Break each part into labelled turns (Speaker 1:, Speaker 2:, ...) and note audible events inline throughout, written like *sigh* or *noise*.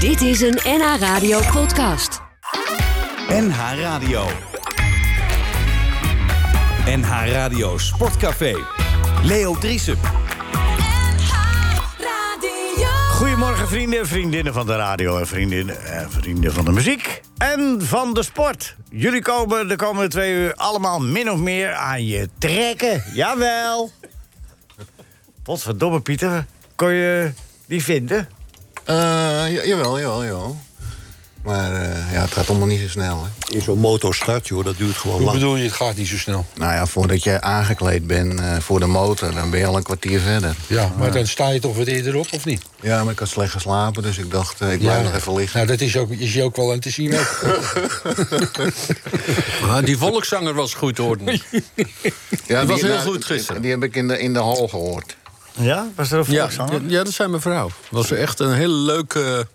Speaker 1: Dit is een NH Radio podcast.
Speaker 2: NH Radio. NH Radio Sportcafé. Leo Driesen.
Speaker 3: Goedemorgen vrienden en vriendinnen van de radio en vriendinnen en vrienden van de muziek en van de sport. Jullie komen de komende twee uur allemaal min of meer aan je trekken. Jawel. Wat verdomme Pieter, kon je die vinden?
Speaker 4: Eh, ja- jawel, jawel, jawel. Maar eh, ja, het gaat allemaal niet zo snel. Hè.
Speaker 5: In zo'n motor start, joh, dat duurt gewoon
Speaker 6: Hoe
Speaker 5: lang.
Speaker 6: bedoel je, het gaat niet zo snel?
Speaker 4: Nou ja, voordat je aangekleed bent eh, voor de motor, dan ben je al een kwartier verder.
Speaker 6: Ja, maar dan sta je toch wat eerder op, of niet?
Speaker 4: Ja, maar ik had slecht geslapen, dus ik dacht, eh, ik blijf nog even liggen.
Speaker 6: Nou, dat is, ook, is je ook wel aan te zien. Ook.
Speaker 5: Maar Ah, die volkszanger was goed
Speaker 4: *laughs*
Speaker 5: te horen.
Speaker 4: Ja,
Speaker 5: was heel
Speaker 4: nou,
Speaker 5: goed gisteren.
Speaker 4: Die heb ik in de, in de hal gehoord.
Speaker 3: Ja, was er een
Speaker 5: Ja,
Speaker 3: volkszanger?
Speaker 5: ja, dat zijn mijn vrouw. Was echt een hele leuke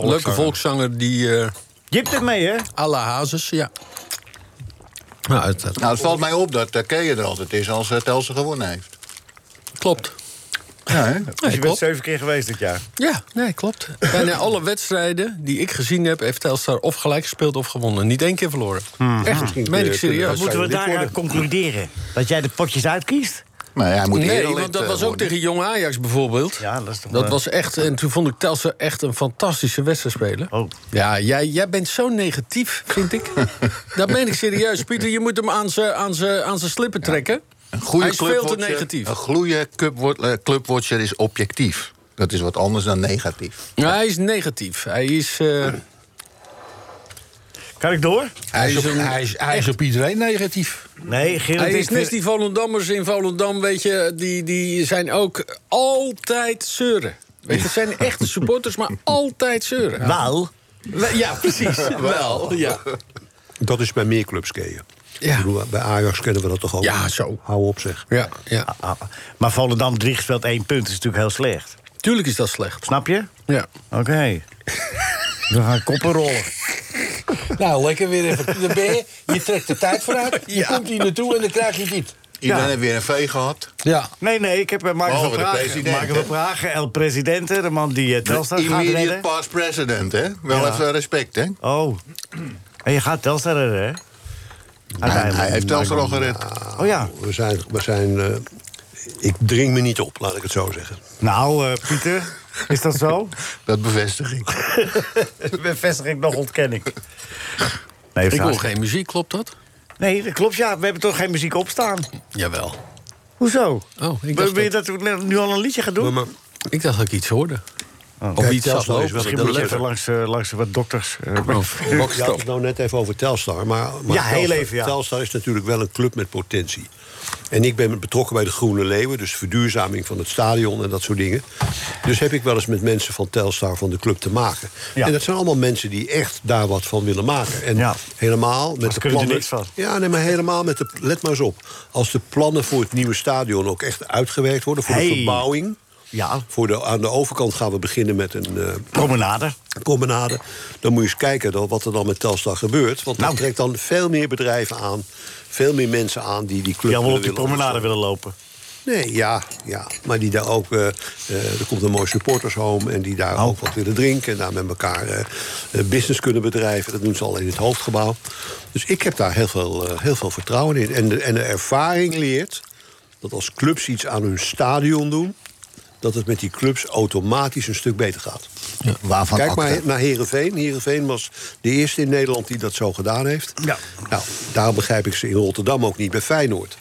Speaker 5: volkszanger, leuke volkszanger die eh
Speaker 3: Je hebt het mee hè?
Speaker 5: à la Hazes, ja. Nou, het, het
Speaker 4: Nou, het valt mij op dat uh, je er altijd is als eh, Telstra gewonnen heeft.
Speaker 5: klopt.
Speaker 4: Ja, hè?
Speaker 3: Dus
Speaker 5: Nee,
Speaker 3: je bent
Speaker 5: klopt.
Speaker 3: zeven keer geweest dit jaar.
Speaker 5: Ja, nee, klopt. Bijna alle wedstrijden die ik gezien heb, heeft Telstar of gelijk gespeeld of gewonnen. Niet één keer verloren.
Speaker 4: Hmm.
Speaker 5: Echt, meen ik serieus.
Speaker 3: Moeten we daaruit concluderen dat jij de potjes uitkiest?
Speaker 4: Maar ja, hij moet
Speaker 5: Nee,
Speaker 4: erelid,
Speaker 5: want dat
Speaker 4: eh,
Speaker 5: was ook
Speaker 4: worden.
Speaker 5: tegen Jong Ajax bijvoorbeeld.
Speaker 3: Ja, dat is toch
Speaker 5: *laughs*
Speaker 3: eh,
Speaker 5: Dat
Speaker 3: wel-
Speaker 5: was echt, en toen vond ik Telstra echt een fantastische wedstrijd spelen.
Speaker 3: Oh.
Speaker 5: Ja, jij, jij bent zo negatief, vind ik. dat meen ik serieus. Pieter, je moet hem aan zijn aan z'n- aan z'n slippen trekken.
Speaker 4: Een goede
Speaker 5: Hij is veel te
Speaker 4: clubwatcher-
Speaker 5: negatief.
Speaker 4: Een goede clubwo- eh, clubwatcher is objectief. Dat is wat anders dan negatief.
Speaker 5: Ja, hij is negatief. Hij is, eh,
Speaker 3: Kan ik door?
Speaker 6: Hij, is
Speaker 5: is
Speaker 6: op,
Speaker 5: een-
Speaker 6: hij, is, hij is op iedereen negatief.
Speaker 3: Nee, Gerrit
Speaker 5: hij
Speaker 3: ik
Speaker 5: is
Speaker 3: vind-
Speaker 5: net die Volendammers in Volendam, weet je. Die, die zijn ook altijd zeuren. Weet je, het zijn echte supporters, maar altijd zeuren.
Speaker 3: Wel,
Speaker 5: Ja,
Speaker 4: *laughs*
Speaker 5: precies.
Speaker 7: *laughs*
Speaker 5: Wel, ja.
Speaker 7: Dat is bij meer clubs kennen.
Speaker 5: Ja.
Speaker 7: Ik bedoel, Bij Ajax kennen we dat toch al?
Speaker 5: Ja, zo.
Speaker 7: Hou op zeg.
Speaker 5: Ja, ja.
Speaker 3: Ah, maar Volendam 3 gespeeld één punt is natuurlijk heel slecht.
Speaker 5: Tuurlijk is dat slecht.
Speaker 3: Snap je?
Speaker 5: Ja.
Speaker 3: Oké. We gaan koppen rollen.
Speaker 6: Nou, lekker weer even. Dan ben je, je trekt de tijd
Speaker 5: *laughs*
Speaker 6: vooruit, je komt hier naartoe en dan krijg je dit.
Speaker 4: Iedereen
Speaker 3: Ja.
Speaker 4: heeft weer een vee gehad.
Speaker 6: Ja.
Speaker 3: Nee, nee, ik heb eh, bij Marco van
Speaker 4: Behalve de
Speaker 3: Praag.
Speaker 4: president,
Speaker 3: Marco van
Speaker 4: hè?
Speaker 3: Praag, El Presidente, de man die eh, Telstar gaat
Speaker 4: Immediate
Speaker 3: redden.
Speaker 4: past president, hè? Wel
Speaker 3: Ja.
Speaker 4: even respect, hè?
Speaker 3: Oh. En je gaat Telstar redden, hè?
Speaker 4: Hij,
Speaker 3: Uiteindelijk.
Speaker 4: hij heeft Telstra al gered.
Speaker 3: Oh ja.
Speaker 7: Nou, We zijn... We zijn eh, ik dring me niet op, laat ik het zo zeggen.
Speaker 3: Nou, eh, Pieter, is dat
Speaker 5: *laughs*
Speaker 3: zo? *laughs*
Speaker 4: Dat bevestig ik.
Speaker 3: Bevestiging nog ontkenning. Nee,
Speaker 5: Ik wil
Speaker 3: vraag.
Speaker 5: geen muziek, klopt dat?
Speaker 3: nee, dat klopt, ja. We hebben toch geen muziek opstaan?
Speaker 5: Jawel.
Speaker 3: Hoezo?
Speaker 5: Oh, ik
Speaker 3: Wil
Speaker 5: dacht,
Speaker 3: wil je
Speaker 5: dat,
Speaker 3: dat we nu al een liedje gaan doen?
Speaker 7: Maar, maar
Speaker 5: ik dacht dat ik iets hoorde. Of
Speaker 7: Kijk,
Speaker 5: iets zag
Speaker 7: Telstar is
Speaker 5: lopen.
Speaker 7: wel
Speaker 3: Misschien
Speaker 7: de
Speaker 3: moet je
Speaker 7: letter.
Speaker 3: even langs, eh, langs wat dokters. *laughs* eh,
Speaker 5: Oh,
Speaker 7: je had het nou net even over Telstar. Maar, maar
Speaker 3: Ja, heel
Speaker 7: Telstar,
Speaker 3: even, ja.
Speaker 7: Telstar is natuurlijk wel een club met potentie. En ik ben betrokken bij de Groene Leeuwen, dus verduurzaming van het stadion en dat soort dingen. Dus heb ik wel eens met mensen van Telstar van de club te maken.
Speaker 3: Ja.
Speaker 7: En dat zijn allemaal mensen die echt daar wat van willen maken. En
Speaker 3: Ja.
Speaker 7: helemaal met
Speaker 3: Anders
Speaker 7: de
Speaker 3: kunnen
Speaker 7: plannen.
Speaker 3: er niks van.
Speaker 7: Ja, nee, maar helemaal met de. Let maar eens op. Als de plannen voor het nieuwe stadion ook echt uitgewerkt worden, voor
Speaker 3: Hey.
Speaker 7: de verbouwing.
Speaker 3: ja,
Speaker 7: Voor de, aan de overkant gaan we beginnen met een eh,
Speaker 3: promenade.
Speaker 7: promenade. Dan moet je eens kijken dan wat er dan met Telstar gebeurt. Want
Speaker 3: Nou.
Speaker 7: dat trekt dan veel meer bedrijven aan. Veel meer mensen aan die die club
Speaker 3: Die allemaal op die
Speaker 7: willen
Speaker 3: promenade
Speaker 7: willen.
Speaker 3: willen lopen.
Speaker 7: Nee, ja, ja. Maar die daar ook... eh, eh, er komt een mooi supportershome en die daar ook wat willen drinken. En daar met elkaar eh, eh, business kunnen bedrijven. Dat doen ze al in het hoofdgebouw. Dus ik heb daar heel veel, eh, heel veel vertrouwen in. En de, en de ervaring leert dat als clubs iets aan hun stadion doen... dat het met die clubs automatisch een stuk beter gaat.
Speaker 4: Waarvan
Speaker 7: Kijk maar
Speaker 4: acte?
Speaker 7: naar Herenveen. Herenveen was de eerste in Nederland die dat zo gedaan heeft.
Speaker 3: Ja.
Speaker 7: Nou, daarom begrijp ik ze in Rotterdam ook niet bij Feyenoord.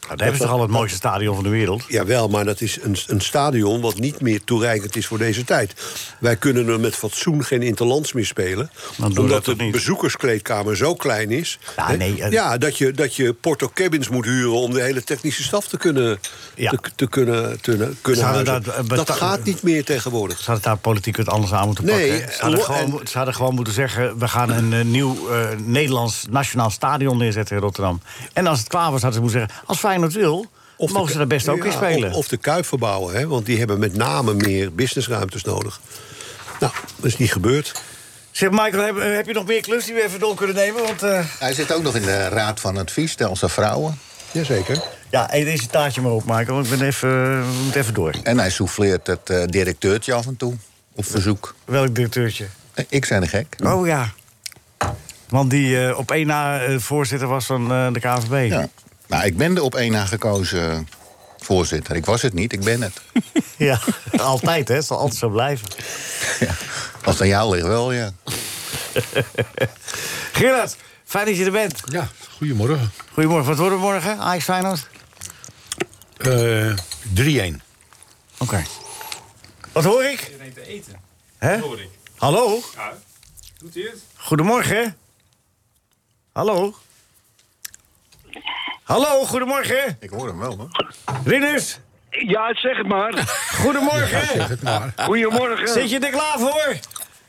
Speaker 3: Nou, daar hebben ze toch al het mooiste stadion van de wereld?
Speaker 7: Jawel, maar dat is een, een stadion wat niet meer toereikend is voor deze tijd. Wij kunnen er met fatsoen geen interlands meer spelen.
Speaker 3: doen we dat
Speaker 7: omdat
Speaker 3: toch
Speaker 7: de
Speaker 3: niet?
Speaker 7: bezoekerskleedkamer zo klein is.
Speaker 3: Ja,
Speaker 7: hè,
Speaker 3: nee, eh.
Speaker 7: ja dat, je, dat je porto cabins moet huren om de hele technische staf te kunnen,
Speaker 3: Ja.
Speaker 7: te, te kunnen, te, kunnen
Speaker 3: Zouden
Speaker 7: huizen.
Speaker 3: dat, eh, beta-
Speaker 7: dat gaat niet meer tegenwoordig.
Speaker 3: Ze hadden daar politiek het anders aan moeten
Speaker 7: Nee,
Speaker 3: pakken. Ze hadden,
Speaker 7: lo-
Speaker 3: gewoon,
Speaker 7: en-
Speaker 3: ze hadden gewoon moeten zeggen... we gaan een eh, nieuw eh, Nederlands nationaal stadion neerzetten in Rotterdam. En als het klaar was, hadden ze moeten zeggen... als Feyenoord wil,
Speaker 7: Of
Speaker 3: mogen
Speaker 7: de-
Speaker 3: ze daar best ook
Speaker 7: ja,
Speaker 3: in spelen.
Speaker 7: Of, of de Kuip verbouwen, hè? want die hebben met name meer businessruimtes nodig. Nou, dat is niet gebeurd.
Speaker 3: Zeg, Michael, heb, Eh, heb je nog meer klus die we even door kunnen nemen? Want eh,
Speaker 4: Hij zit ook nog in de raad van advies, Telstra Vrouwen.
Speaker 7: Jazeker.
Speaker 3: ja, eet deze eh, taartje maar op, Michael. want Ik ben even, we moeten even door.
Speaker 4: En hij souffleert het eh, directeurtje af en toe. Op verzoek.
Speaker 3: Welk directeurtje?
Speaker 4: Eh, Ik zei de gek.
Speaker 3: Oh ja. Want die eh, op één na eh, voorzitter was van eh, de KVB.
Speaker 4: Ja. Nou, ik ben de op één na gekozen voorzitter. Ik was het niet, ik ben het.
Speaker 3: Ja, *laughs* altijd hè, het zal altijd zo blijven.
Speaker 4: Als het aan jou ligt wel, ja.
Speaker 3: *laughs* Gerard, fijn dat je er bent.
Speaker 8: Ja, goedemorgen.
Speaker 3: Goedemorgen, wat worden we morgen? Ajax Feyenoord?
Speaker 8: Eh 3-1.
Speaker 3: Oké. Wat hoor ik?
Speaker 9: Iedereen te eten.
Speaker 3: Hè?
Speaker 9: Hoor ik.
Speaker 3: Hallo?
Speaker 9: Ja. Doet u het?
Speaker 3: Goedemorgen. Hallo? Hallo, goedemorgen.
Speaker 4: Ik hoor hem wel, hoor.
Speaker 3: Rinus,
Speaker 10: Ja, zeg het maar.
Speaker 3: goedemorgen. Zit
Speaker 10: Ah, Goedemorgen.
Speaker 3: je er klaar voor?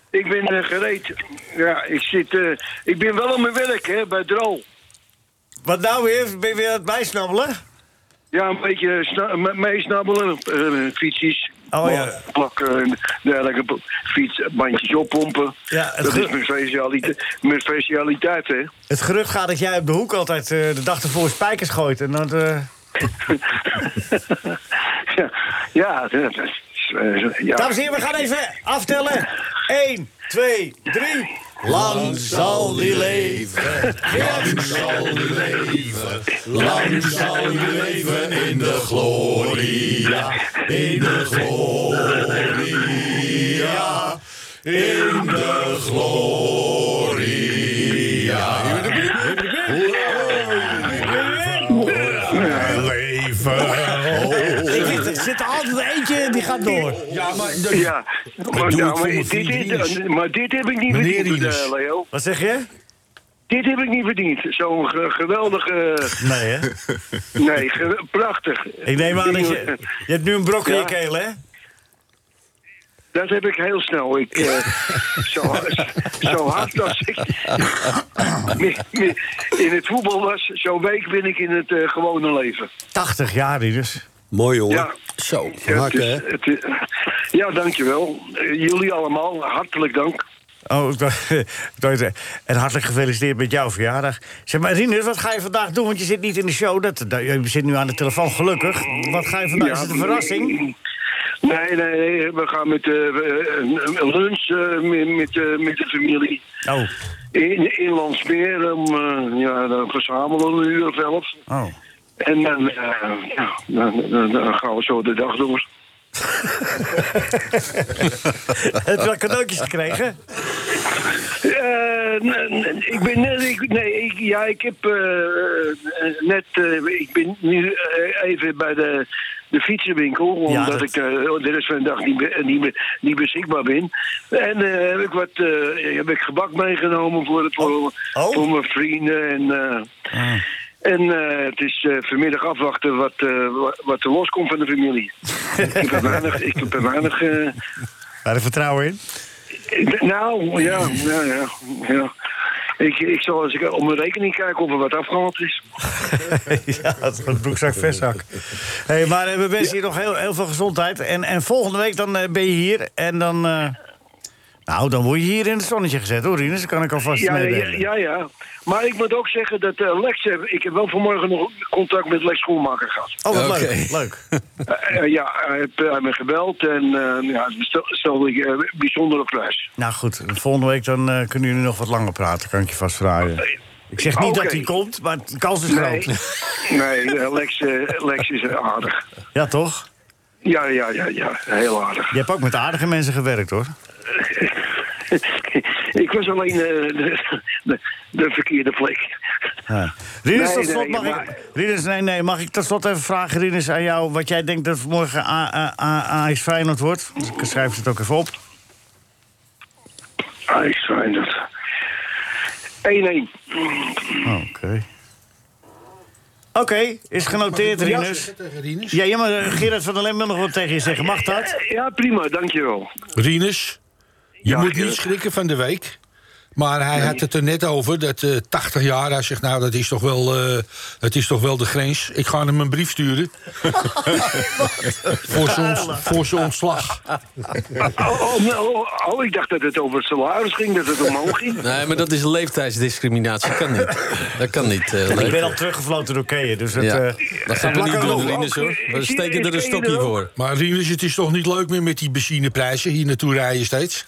Speaker 10: Ik ben eh, gereed. Ja, ik zit... eh, ik ben wel aan mijn werk, hè, bij Drol.
Speaker 3: Wat nou weer? Ben je weer aan het bijsnabbelen?
Speaker 10: Ja, een beetje sna- me- meesnabbelen, eh fietsies.
Speaker 3: Oh, ja.
Speaker 10: Plakken en dergelijke po- fietsbandjes oppompen.
Speaker 3: Ja, het
Speaker 10: dat
Speaker 3: ge-
Speaker 10: is mijn specialiteit, mijn specialiteit, hè.
Speaker 3: Het gerucht gaat dat jij op de hoek altijd eh, de dag ervoor spijkers gooit. En dat, eh,
Speaker 10: ja, ja, *laughs* dat is... eh, ja.
Speaker 3: Dames en heren, we gaan even aftellen. 1, 2, 3. Lang zal die leven. Gerard. Ik zit, er zit er altijd eentje die gaat door.
Speaker 8: Ja, maar dat-
Speaker 10: Ja, maar,
Speaker 8: doe
Speaker 10: nou,
Speaker 8: het voor
Speaker 10: maar
Speaker 8: mijn
Speaker 10: dit,
Speaker 8: vriend
Speaker 10: is-
Speaker 8: Rinus.
Speaker 10: maar dit heb ik niet
Speaker 8: Meneer
Speaker 10: verdiend,
Speaker 8: Rinus.
Speaker 10: eh, Leo.
Speaker 3: Wat zeg je?
Speaker 10: Dit heb ik niet verdiend. Zo'n ge- geweldige...
Speaker 3: Nee, hè?
Speaker 10: Nee, ge- prachtig.
Speaker 3: Ik neem aan dat je... Je hebt nu een brok in je
Speaker 10: Ja.
Speaker 3: keel, hè?
Speaker 10: Dat heb ik heel snel. Ik, eh, zo, zo hard als
Speaker 3: *laughs*
Speaker 10: ik me- me- in het voetbal was, zo week ben ik in het eh, gewone leven.
Speaker 3: 80 jaar, die dus.
Speaker 7: Mooi, jongen.
Speaker 10: Ja,
Speaker 5: Zo.
Speaker 7: Van
Speaker 10: ja, dus- het
Speaker 7: harte,
Speaker 10: is-
Speaker 7: hè?
Speaker 10: het is- *laughs* ja dankjewel. Eh, jullie allemaal, hartelijk dank.
Speaker 3: Oh, ik dacht- *laughs* ik dacht, eh, en hartelijk gefeliciteerd met jouw verjaardag. Zeg maar, Rinus, wat ga je vandaag doen? Want je zit niet in de show. Dat, dat- je zit nu aan de telefoon, gelukkig. Wat ga je vandaag? Is het een verrassing?
Speaker 10: *laughs* Nee, nee, nee, we gaan met eh, een- een lunch eh, met, met, eh, met de familie.
Speaker 3: Oh,
Speaker 10: In, in Landsmeer, om, eh, ja, dan verzamelen we een uur of elf.
Speaker 3: oh.
Speaker 10: En dan, eh, ja, dan, dan- dan gaan we zo de dag door.
Speaker 3: *laughs* Heb je wel cadeautjes gekregen?
Speaker 10: Eh, n- n- ik ben net, ik, nee, ik, ja, ik heb eh, eh, net, eh, ik ben nu eh, even bij de, de fietsenwinkel, omdat
Speaker 3: dat-
Speaker 10: ik eh, de rest van de dag niet, be- niet, be- niet beschikbaar ben. En eh, heb ik wat, eh, heb ik gebak meegenomen voor, het, voor,
Speaker 3: Oh. Ah.
Speaker 10: voor mijn vrienden en... eh, En eh, het is eh, vanmiddag afwachten wat, eh, wa- wat er loskomt van de
Speaker 3: *laughs*
Speaker 10: familie. ik heb er weinig, ik heb er weinig eh,
Speaker 3: Waar de vertrouwen in? *laughs*
Speaker 10: ik- Nou, ja, ja, ja. ja. Ik, ik zal eens om mijn rekening kijken of er wat afgehaald is.
Speaker 3: ja, het is een broekzak, vestzak. Hey, maar eh, we wensen je nog heel, heel veel gezondheid. En, en volgende week dan eh, ben je hier en dan... eh, nou, dan word je hier in het zonnetje gezet, hoor, Rinus. Dat kan ik alvast
Speaker 10: Ja, ja,
Speaker 3: meedelen.
Speaker 10: ja, ja. Maar ik moet ook zeggen dat eh, Lex... eh, Ik heb wel vanmorgen nog contact met Lex Schoenmaker gehad.
Speaker 3: Oh, wat
Speaker 5: Oké.
Speaker 3: leuk, leuk.
Speaker 10: *laughs* Eh, eh, ja, hij heeft eh, me gebeld en eh, ja, stel- stelde ik eh, bijzonder op prijs.
Speaker 3: Nou goed, volgende week dan eh, kunnen jullie nog wat langer praten, kan ik je vast vragen. Ik zeg niet
Speaker 10: Oké.
Speaker 3: dat hij komt, maar de kans is
Speaker 10: Nee,
Speaker 3: groot.
Speaker 10: nee eh, Lex, eh, Lex is aardig.
Speaker 3: Ja, toch?
Speaker 10: Ja, ja, ja, ja, heel aardig.
Speaker 3: Je hebt ook met aardige mensen gewerkt, hoor.
Speaker 10: *laughs* ik was alleen eh, de, de, de verkeerde plek.
Speaker 3: Ja. Rinus,
Speaker 10: Nee,
Speaker 3: tot slot
Speaker 10: nee,
Speaker 3: mag
Speaker 10: maar-
Speaker 3: ik... Rinus, nee, nee, mag ik tot slot even vragen, Rinus, aan jou... wat jij denkt dat morgen A- A- A- AIS Feyenoord wordt? Ik schrijf het ook even op.
Speaker 10: Ah, IJslanders. 1-1.
Speaker 3: Oké. Oké, is genoteerd,
Speaker 8: Ja,
Speaker 3: Rinus.
Speaker 8: zeg tegen Rinus.
Speaker 3: Ja, ja, maar eh, Gerard van der Lem wil nog wat tegen je zeggen. Mag dat?
Speaker 10: Ja, prima, dankjewel.
Speaker 8: Rinus, je
Speaker 10: Ja,
Speaker 8: moet niet
Speaker 10: Gerrit.
Speaker 8: schrikken van de week. Maar hij had het er net over, dat eh 80 jaar. Hij zegt, nou, dat is, toch wel, eh, dat is toch wel de grens. Ik ga hem een brief
Speaker 5: *laughs*
Speaker 8: sturen. voor, zijn ont- voor zijn
Speaker 5: *laughs*
Speaker 8: ontslag.
Speaker 10: Oh, oh, oh, oh, ik dacht dat het over het salaris ging, dat het omhoog ging.
Speaker 5: Nee, maar dat is leeftijdsdiscriminatie. Kan niet. Dat kan niet. eh,
Speaker 3: ik ben
Speaker 5: leeftijd.
Speaker 3: al teruggefloten door Keeën, dus het...
Speaker 5: Ja.
Speaker 3: eh,
Speaker 5: Dat gaan we
Speaker 3: plak
Speaker 5: niet
Speaker 3: er
Speaker 5: doen,
Speaker 3: nog wel op.
Speaker 5: Rinus, hoor. We steken er een stokje voor.
Speaker 8: Maar Rinus, het is toch niet leuk meer met die benzineprijzen? Hier naartoe rijden steeds.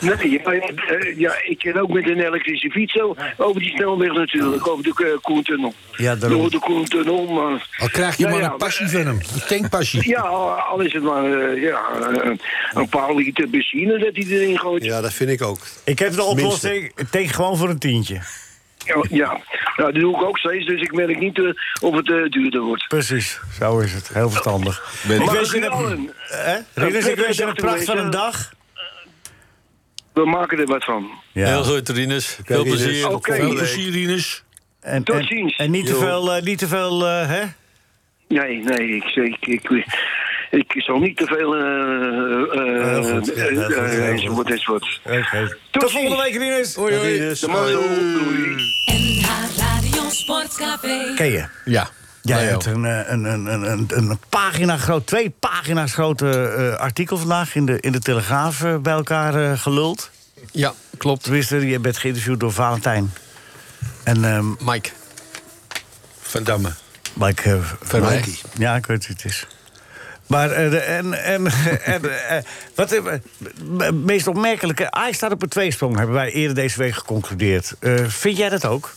Speaker 10: Nee, maar, eh, ja, ik ken ook met een elektrische fiets zo over die snelweg natuurlijk, over de eh, Koentunnel.
Speaker 8: Ja, daarom.
Speaker 10: Door de Koentunnel, maar...
Speaker 8: Al krijg je
Speaker 10: Nou
Speaker 8: maar
Speaker 10: ja,
Speaker 8: een passie van hem. Een tankpassie.
Speaker 10: Ja, al al is het maar eh, ja, eh, een paar liter benzine dat hij erin gooit.
Speaker 7: Ja, dat vind ik ook.
Speaker 3: Ik heb de oplossing, tank gewoon voor een tientje.
Speaker 10: Ja, ja. Nou, dat doe ik ook steeds, dus ik merk niet eh, of het eh, duurder wordt.
Speaker 3: Precies, zo is het. Heel verstandig.
Speaker 10: Ben
Speaker 3: ik
Speaker 10: ik-
Speaker 3: wens je
Speaker 10: Maar
Speaker 3: een,
Speaker 10: Knallen.
Speaker 3: hè? Rinus, ik wens je een
Speaker 10: Dag,
Speaker 3: pracht van
Speaker 10: Rinus.
Speaker 3: een dag.
Speaker 10: We maken er wat van.
Speaker 5: Heel goed, Rinus. Veel
Speaker 7: Rinus.
Speaker 5: plezier.
Speaker 10: Oké.
Speaker 8: Veel plezier, Rinus.
Speaker 3: En,
Speaker 10: Tot
Speaker 3: en-
Speaker 10: ziens.
Speaker 3: En niet te
Speaker 10: Jo.
Speaker 3: veel, eh, niet te veel eh, hè?
Speaker 10: Nee, nee, ik, ik, ik, ik, zal niet te veel...
Speaker 3: Heel goed, ja, heel goed, heel
Speaker 10: eh eh
Speaker 3: goed.
Speaker 10: enzovoort, enzovoort.
Speaker 3: Tot
Speaker 10: ziens.
Speaker 3: volgende week, Rinus. Hoi,
Speaker 10: De man-
Speaker 1: NH Radio Sportcafé.
Speaker 3: Ken je?
Speaker 8: Ja.
Speaker 3: Jij
Speaker 8: Leo.
Speaker 3: hebt een, eh, een, een, een, een, een pagina groot, twee pagina's grote eh, artikel vandaag in de, in de Telegraaf eh, bij elkaar eh, geluld.
Speaker 5: Ja, klopt.
Speaker 3: Tenminste, je bent geïnterviewd door Valentijn. En ehm
Speaker 5: Mike.
Speaker 8: Van Damme.
Speaker 3: Mike eh,
Speaker 5: Verwijt.
Speaker 3: Ja, ik weet wie het is. Maar eh, de- en, en, *laughs* en eh, wat eh, het meest opmerkelijke... Ajax staat op een tweesprong, hebben wij eerder deze week geconcludeerd. Eh, vind jij dat ook?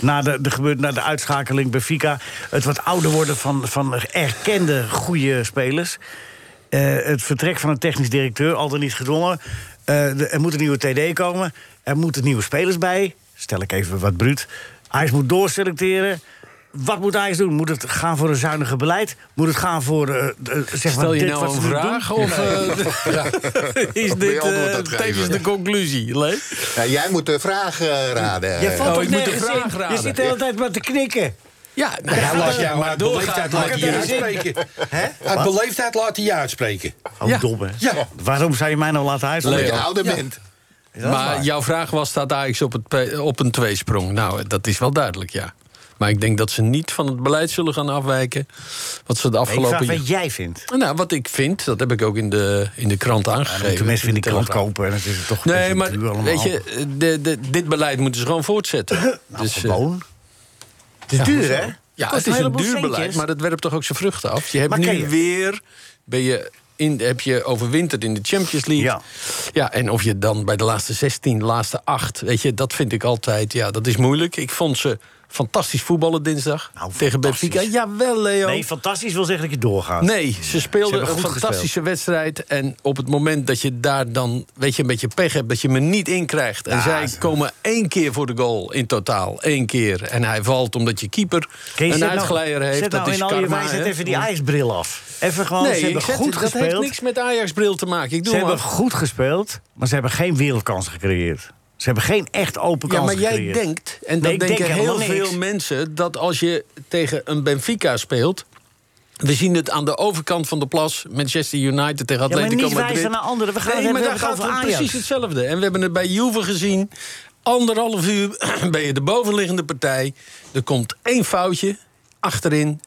Speaker 3: Na de, de, gebeurt, na de uitschakeling bij Fika... het wat ouder worden van, van erkende goede spelers... eh, het vertrek van een technisch directeur, al dan niet gedwongen... eh, de- er moet een nieuwe TD komen, er moeten nieuwe spelers bij... stel ik even wat bruut. Ajax moet doorselecteren... Wat moet Ajax doen? Moet het gaan voor een zuiniger beleid? Moet het gaan voor... eh, eh, zeg maar
Speaker 5: Stel je
Speaker 3: dit
Speaker 5: nou
Speaker 3: wat ze
Speaker 5: een
Speaker 3: nu doen?
Speaker 5: vraag of
Speaker 3: *laughs*
Speaker 5: eh, is
Speaker 4: Wil je
Speaker 5: dit
Speaker 4: antwoord
Speaker 5: eh,
Speaker 4: op geven?
Speaker 5: tevens de conclusie? Lee?
Speaker 4: Ja, jij moet de vraag eh, raden.
Speaker 3: Jij valt
Speaker 5: Oh,
Speaker 3: ook
Speaker 5: ik moet
Speaker 3: nergens
Speaker 5: de vraag
Speaker 3: in. Je
Speaker 5: raden.
Speaker 3: zit de hele tijd maar te knikken.
Speaker 5: Ja, nou, ja, laat jou maar doorgaan.
Speaker 8: laat
Speaker 5: Laat
Speaker 8: hij je
Speaker 5: je-
Speaker 8: uitspreken.
Speaker 3: Hè?
Speaker 8: Uit beleefdheid laat hij je uitspreken.
Speaker 3: Oh,
Speaker 5: Ja.
Speaker 3: dom, hè?
Speaker 8: Ja.
Speaker 3: Waarom zou je mij nou laten
Speaker 4: Dat
Speaker 3: uitspreken?
Speaker 4: je
Speaker 5: Leo.
Speaker 4: ouder bent.
Speaker 5: Maar jouw vraag was, staat Ajax op, het, pe- op een tweesprong? Nou, dat is wel duidelijk, ja. Maar ik denk dat ze niet van het beleid zullen gaan afwijken... wat ze de
Speaker 3: Ik vraag
Speaker 5: afgelopen...
Speaker 3: wat jij vindt.
Speaker 5: Nou, wat ik vind, dat heb ik ook in de, in de krant aangegeven.
Speaker 3: Moeten mensen in die krant
Speaker 5: Telegraaf.
Speaker 3: kopen en het is toch...
Speaker 5: Nee,
Speaker 3: een beetje duur
Speaker 5: maar
Speaker 3: allemaal.
Speaker 5: weet je, de, de, dit beleid moeten ze gewoon voortzetten. dus, eh,
Speaker 3: Nou, Gewoon. Het is duur, hè?
Speaker 5: ja,
Speaker 3: Kost
Speaker 5: het is een
Speaker 3: heleboel
Speaker 5: duur beleid,
Speaker 3: centjes.
Speaker 5: maar dat werpt toch ook zijn vruchten af. Je hebt
Speaker 3: Maar kijk-
Speaker 5: nu weer, ben je in, heb je overwinterd in de Champions League.
Speaker 3: Ja.
Speaker 5: ja, en of je dan bij de laatste 16, de laatste 8, weet je, dat vind ik altijd, ja, dat is moeilijk. Ik vond ze fantastisch voetballen dinsdag
Speaker 3: Nou,
Speaker 5: tegen
Speaker 3: fantastisch.
Speaker 5: Benfica. Jawel, Leo.
Speaker 3: Nee, fantastisch wil zeggen dat je doorgaat.
Speaker 5: Nee, ze speelden
Speaker 3: hebben
Speaker 5: een
Speaker 3: goed
Speaker 5: fantastische wedstrijd. En op het moment dat je daar dan weet je, een beetje pech hebt... dat je me niet inkrijgt. En zij komen één keer voor de goal in totaal. Eén keer. En hij valt omdat je keeper
Speaker 3: Kees, zet
Speaker 5: een
Speaker 3: nou-
Speaker 5: uitglijder heeft.
Speaker 3: Zet
Speaker 5: dat
Speaker 3: nou
Speaker 5: is
Speaker 3: in al je
Speaker 5: karma,
Speaker 3: wijsheid
Speaker 5: hè?
Speaker 3: even die ijsbril af. Even gewoon, ze
Speaker 5: Nee,
Speaker 3: hebben
Speaker 5: ik zet-
Speaker 3: goed
Speaker 5: dat
Speaker 3: gespeeld.
Speaker 5: heeft niks met Ajax-bril te maken. Ik doe
Speaker 3: Ze
Speaker 5: maar.
Speaker 3: hebben goed gespeeld, maar ze hebben geen wereldkans gecreëerd. Ze hebben geen echt open
Speaker 5: Ja,
Speaker 3: kans
Speaker 5: maar jij
Speaker 3: gecreëerd.
Speaker 5: denkt, en
Speaker 3: Nee,
Speaker 5: dat
Speaker 3: ik denk
Speaker 5: denken heel
Speaker 3: helemaal niks.
Speaker 5: veel mensen... dat als je tegen een Benfica speelt... We zien het aan de overkant van de plas. Manchester United tegen
Speaker 3: maar
Speaker 5: Atletico
Speaker 3: niet
Speaker 5: Madrid.
Speaker 3: wijzen naar anderen. We gaan het
Speaker 5: nee, maar
Speaker 3: hebben
Speaker 5: daar
Speaker 3: over
Speaker 5: gaat het om
Speaker 3: Ajax.
Speaker 5: precies hetzelfde. En we hebben het bij Juve gezien. Anderhalf uur *clears throat* ben je de bovenliggende partij. Er komt één foutje achterin.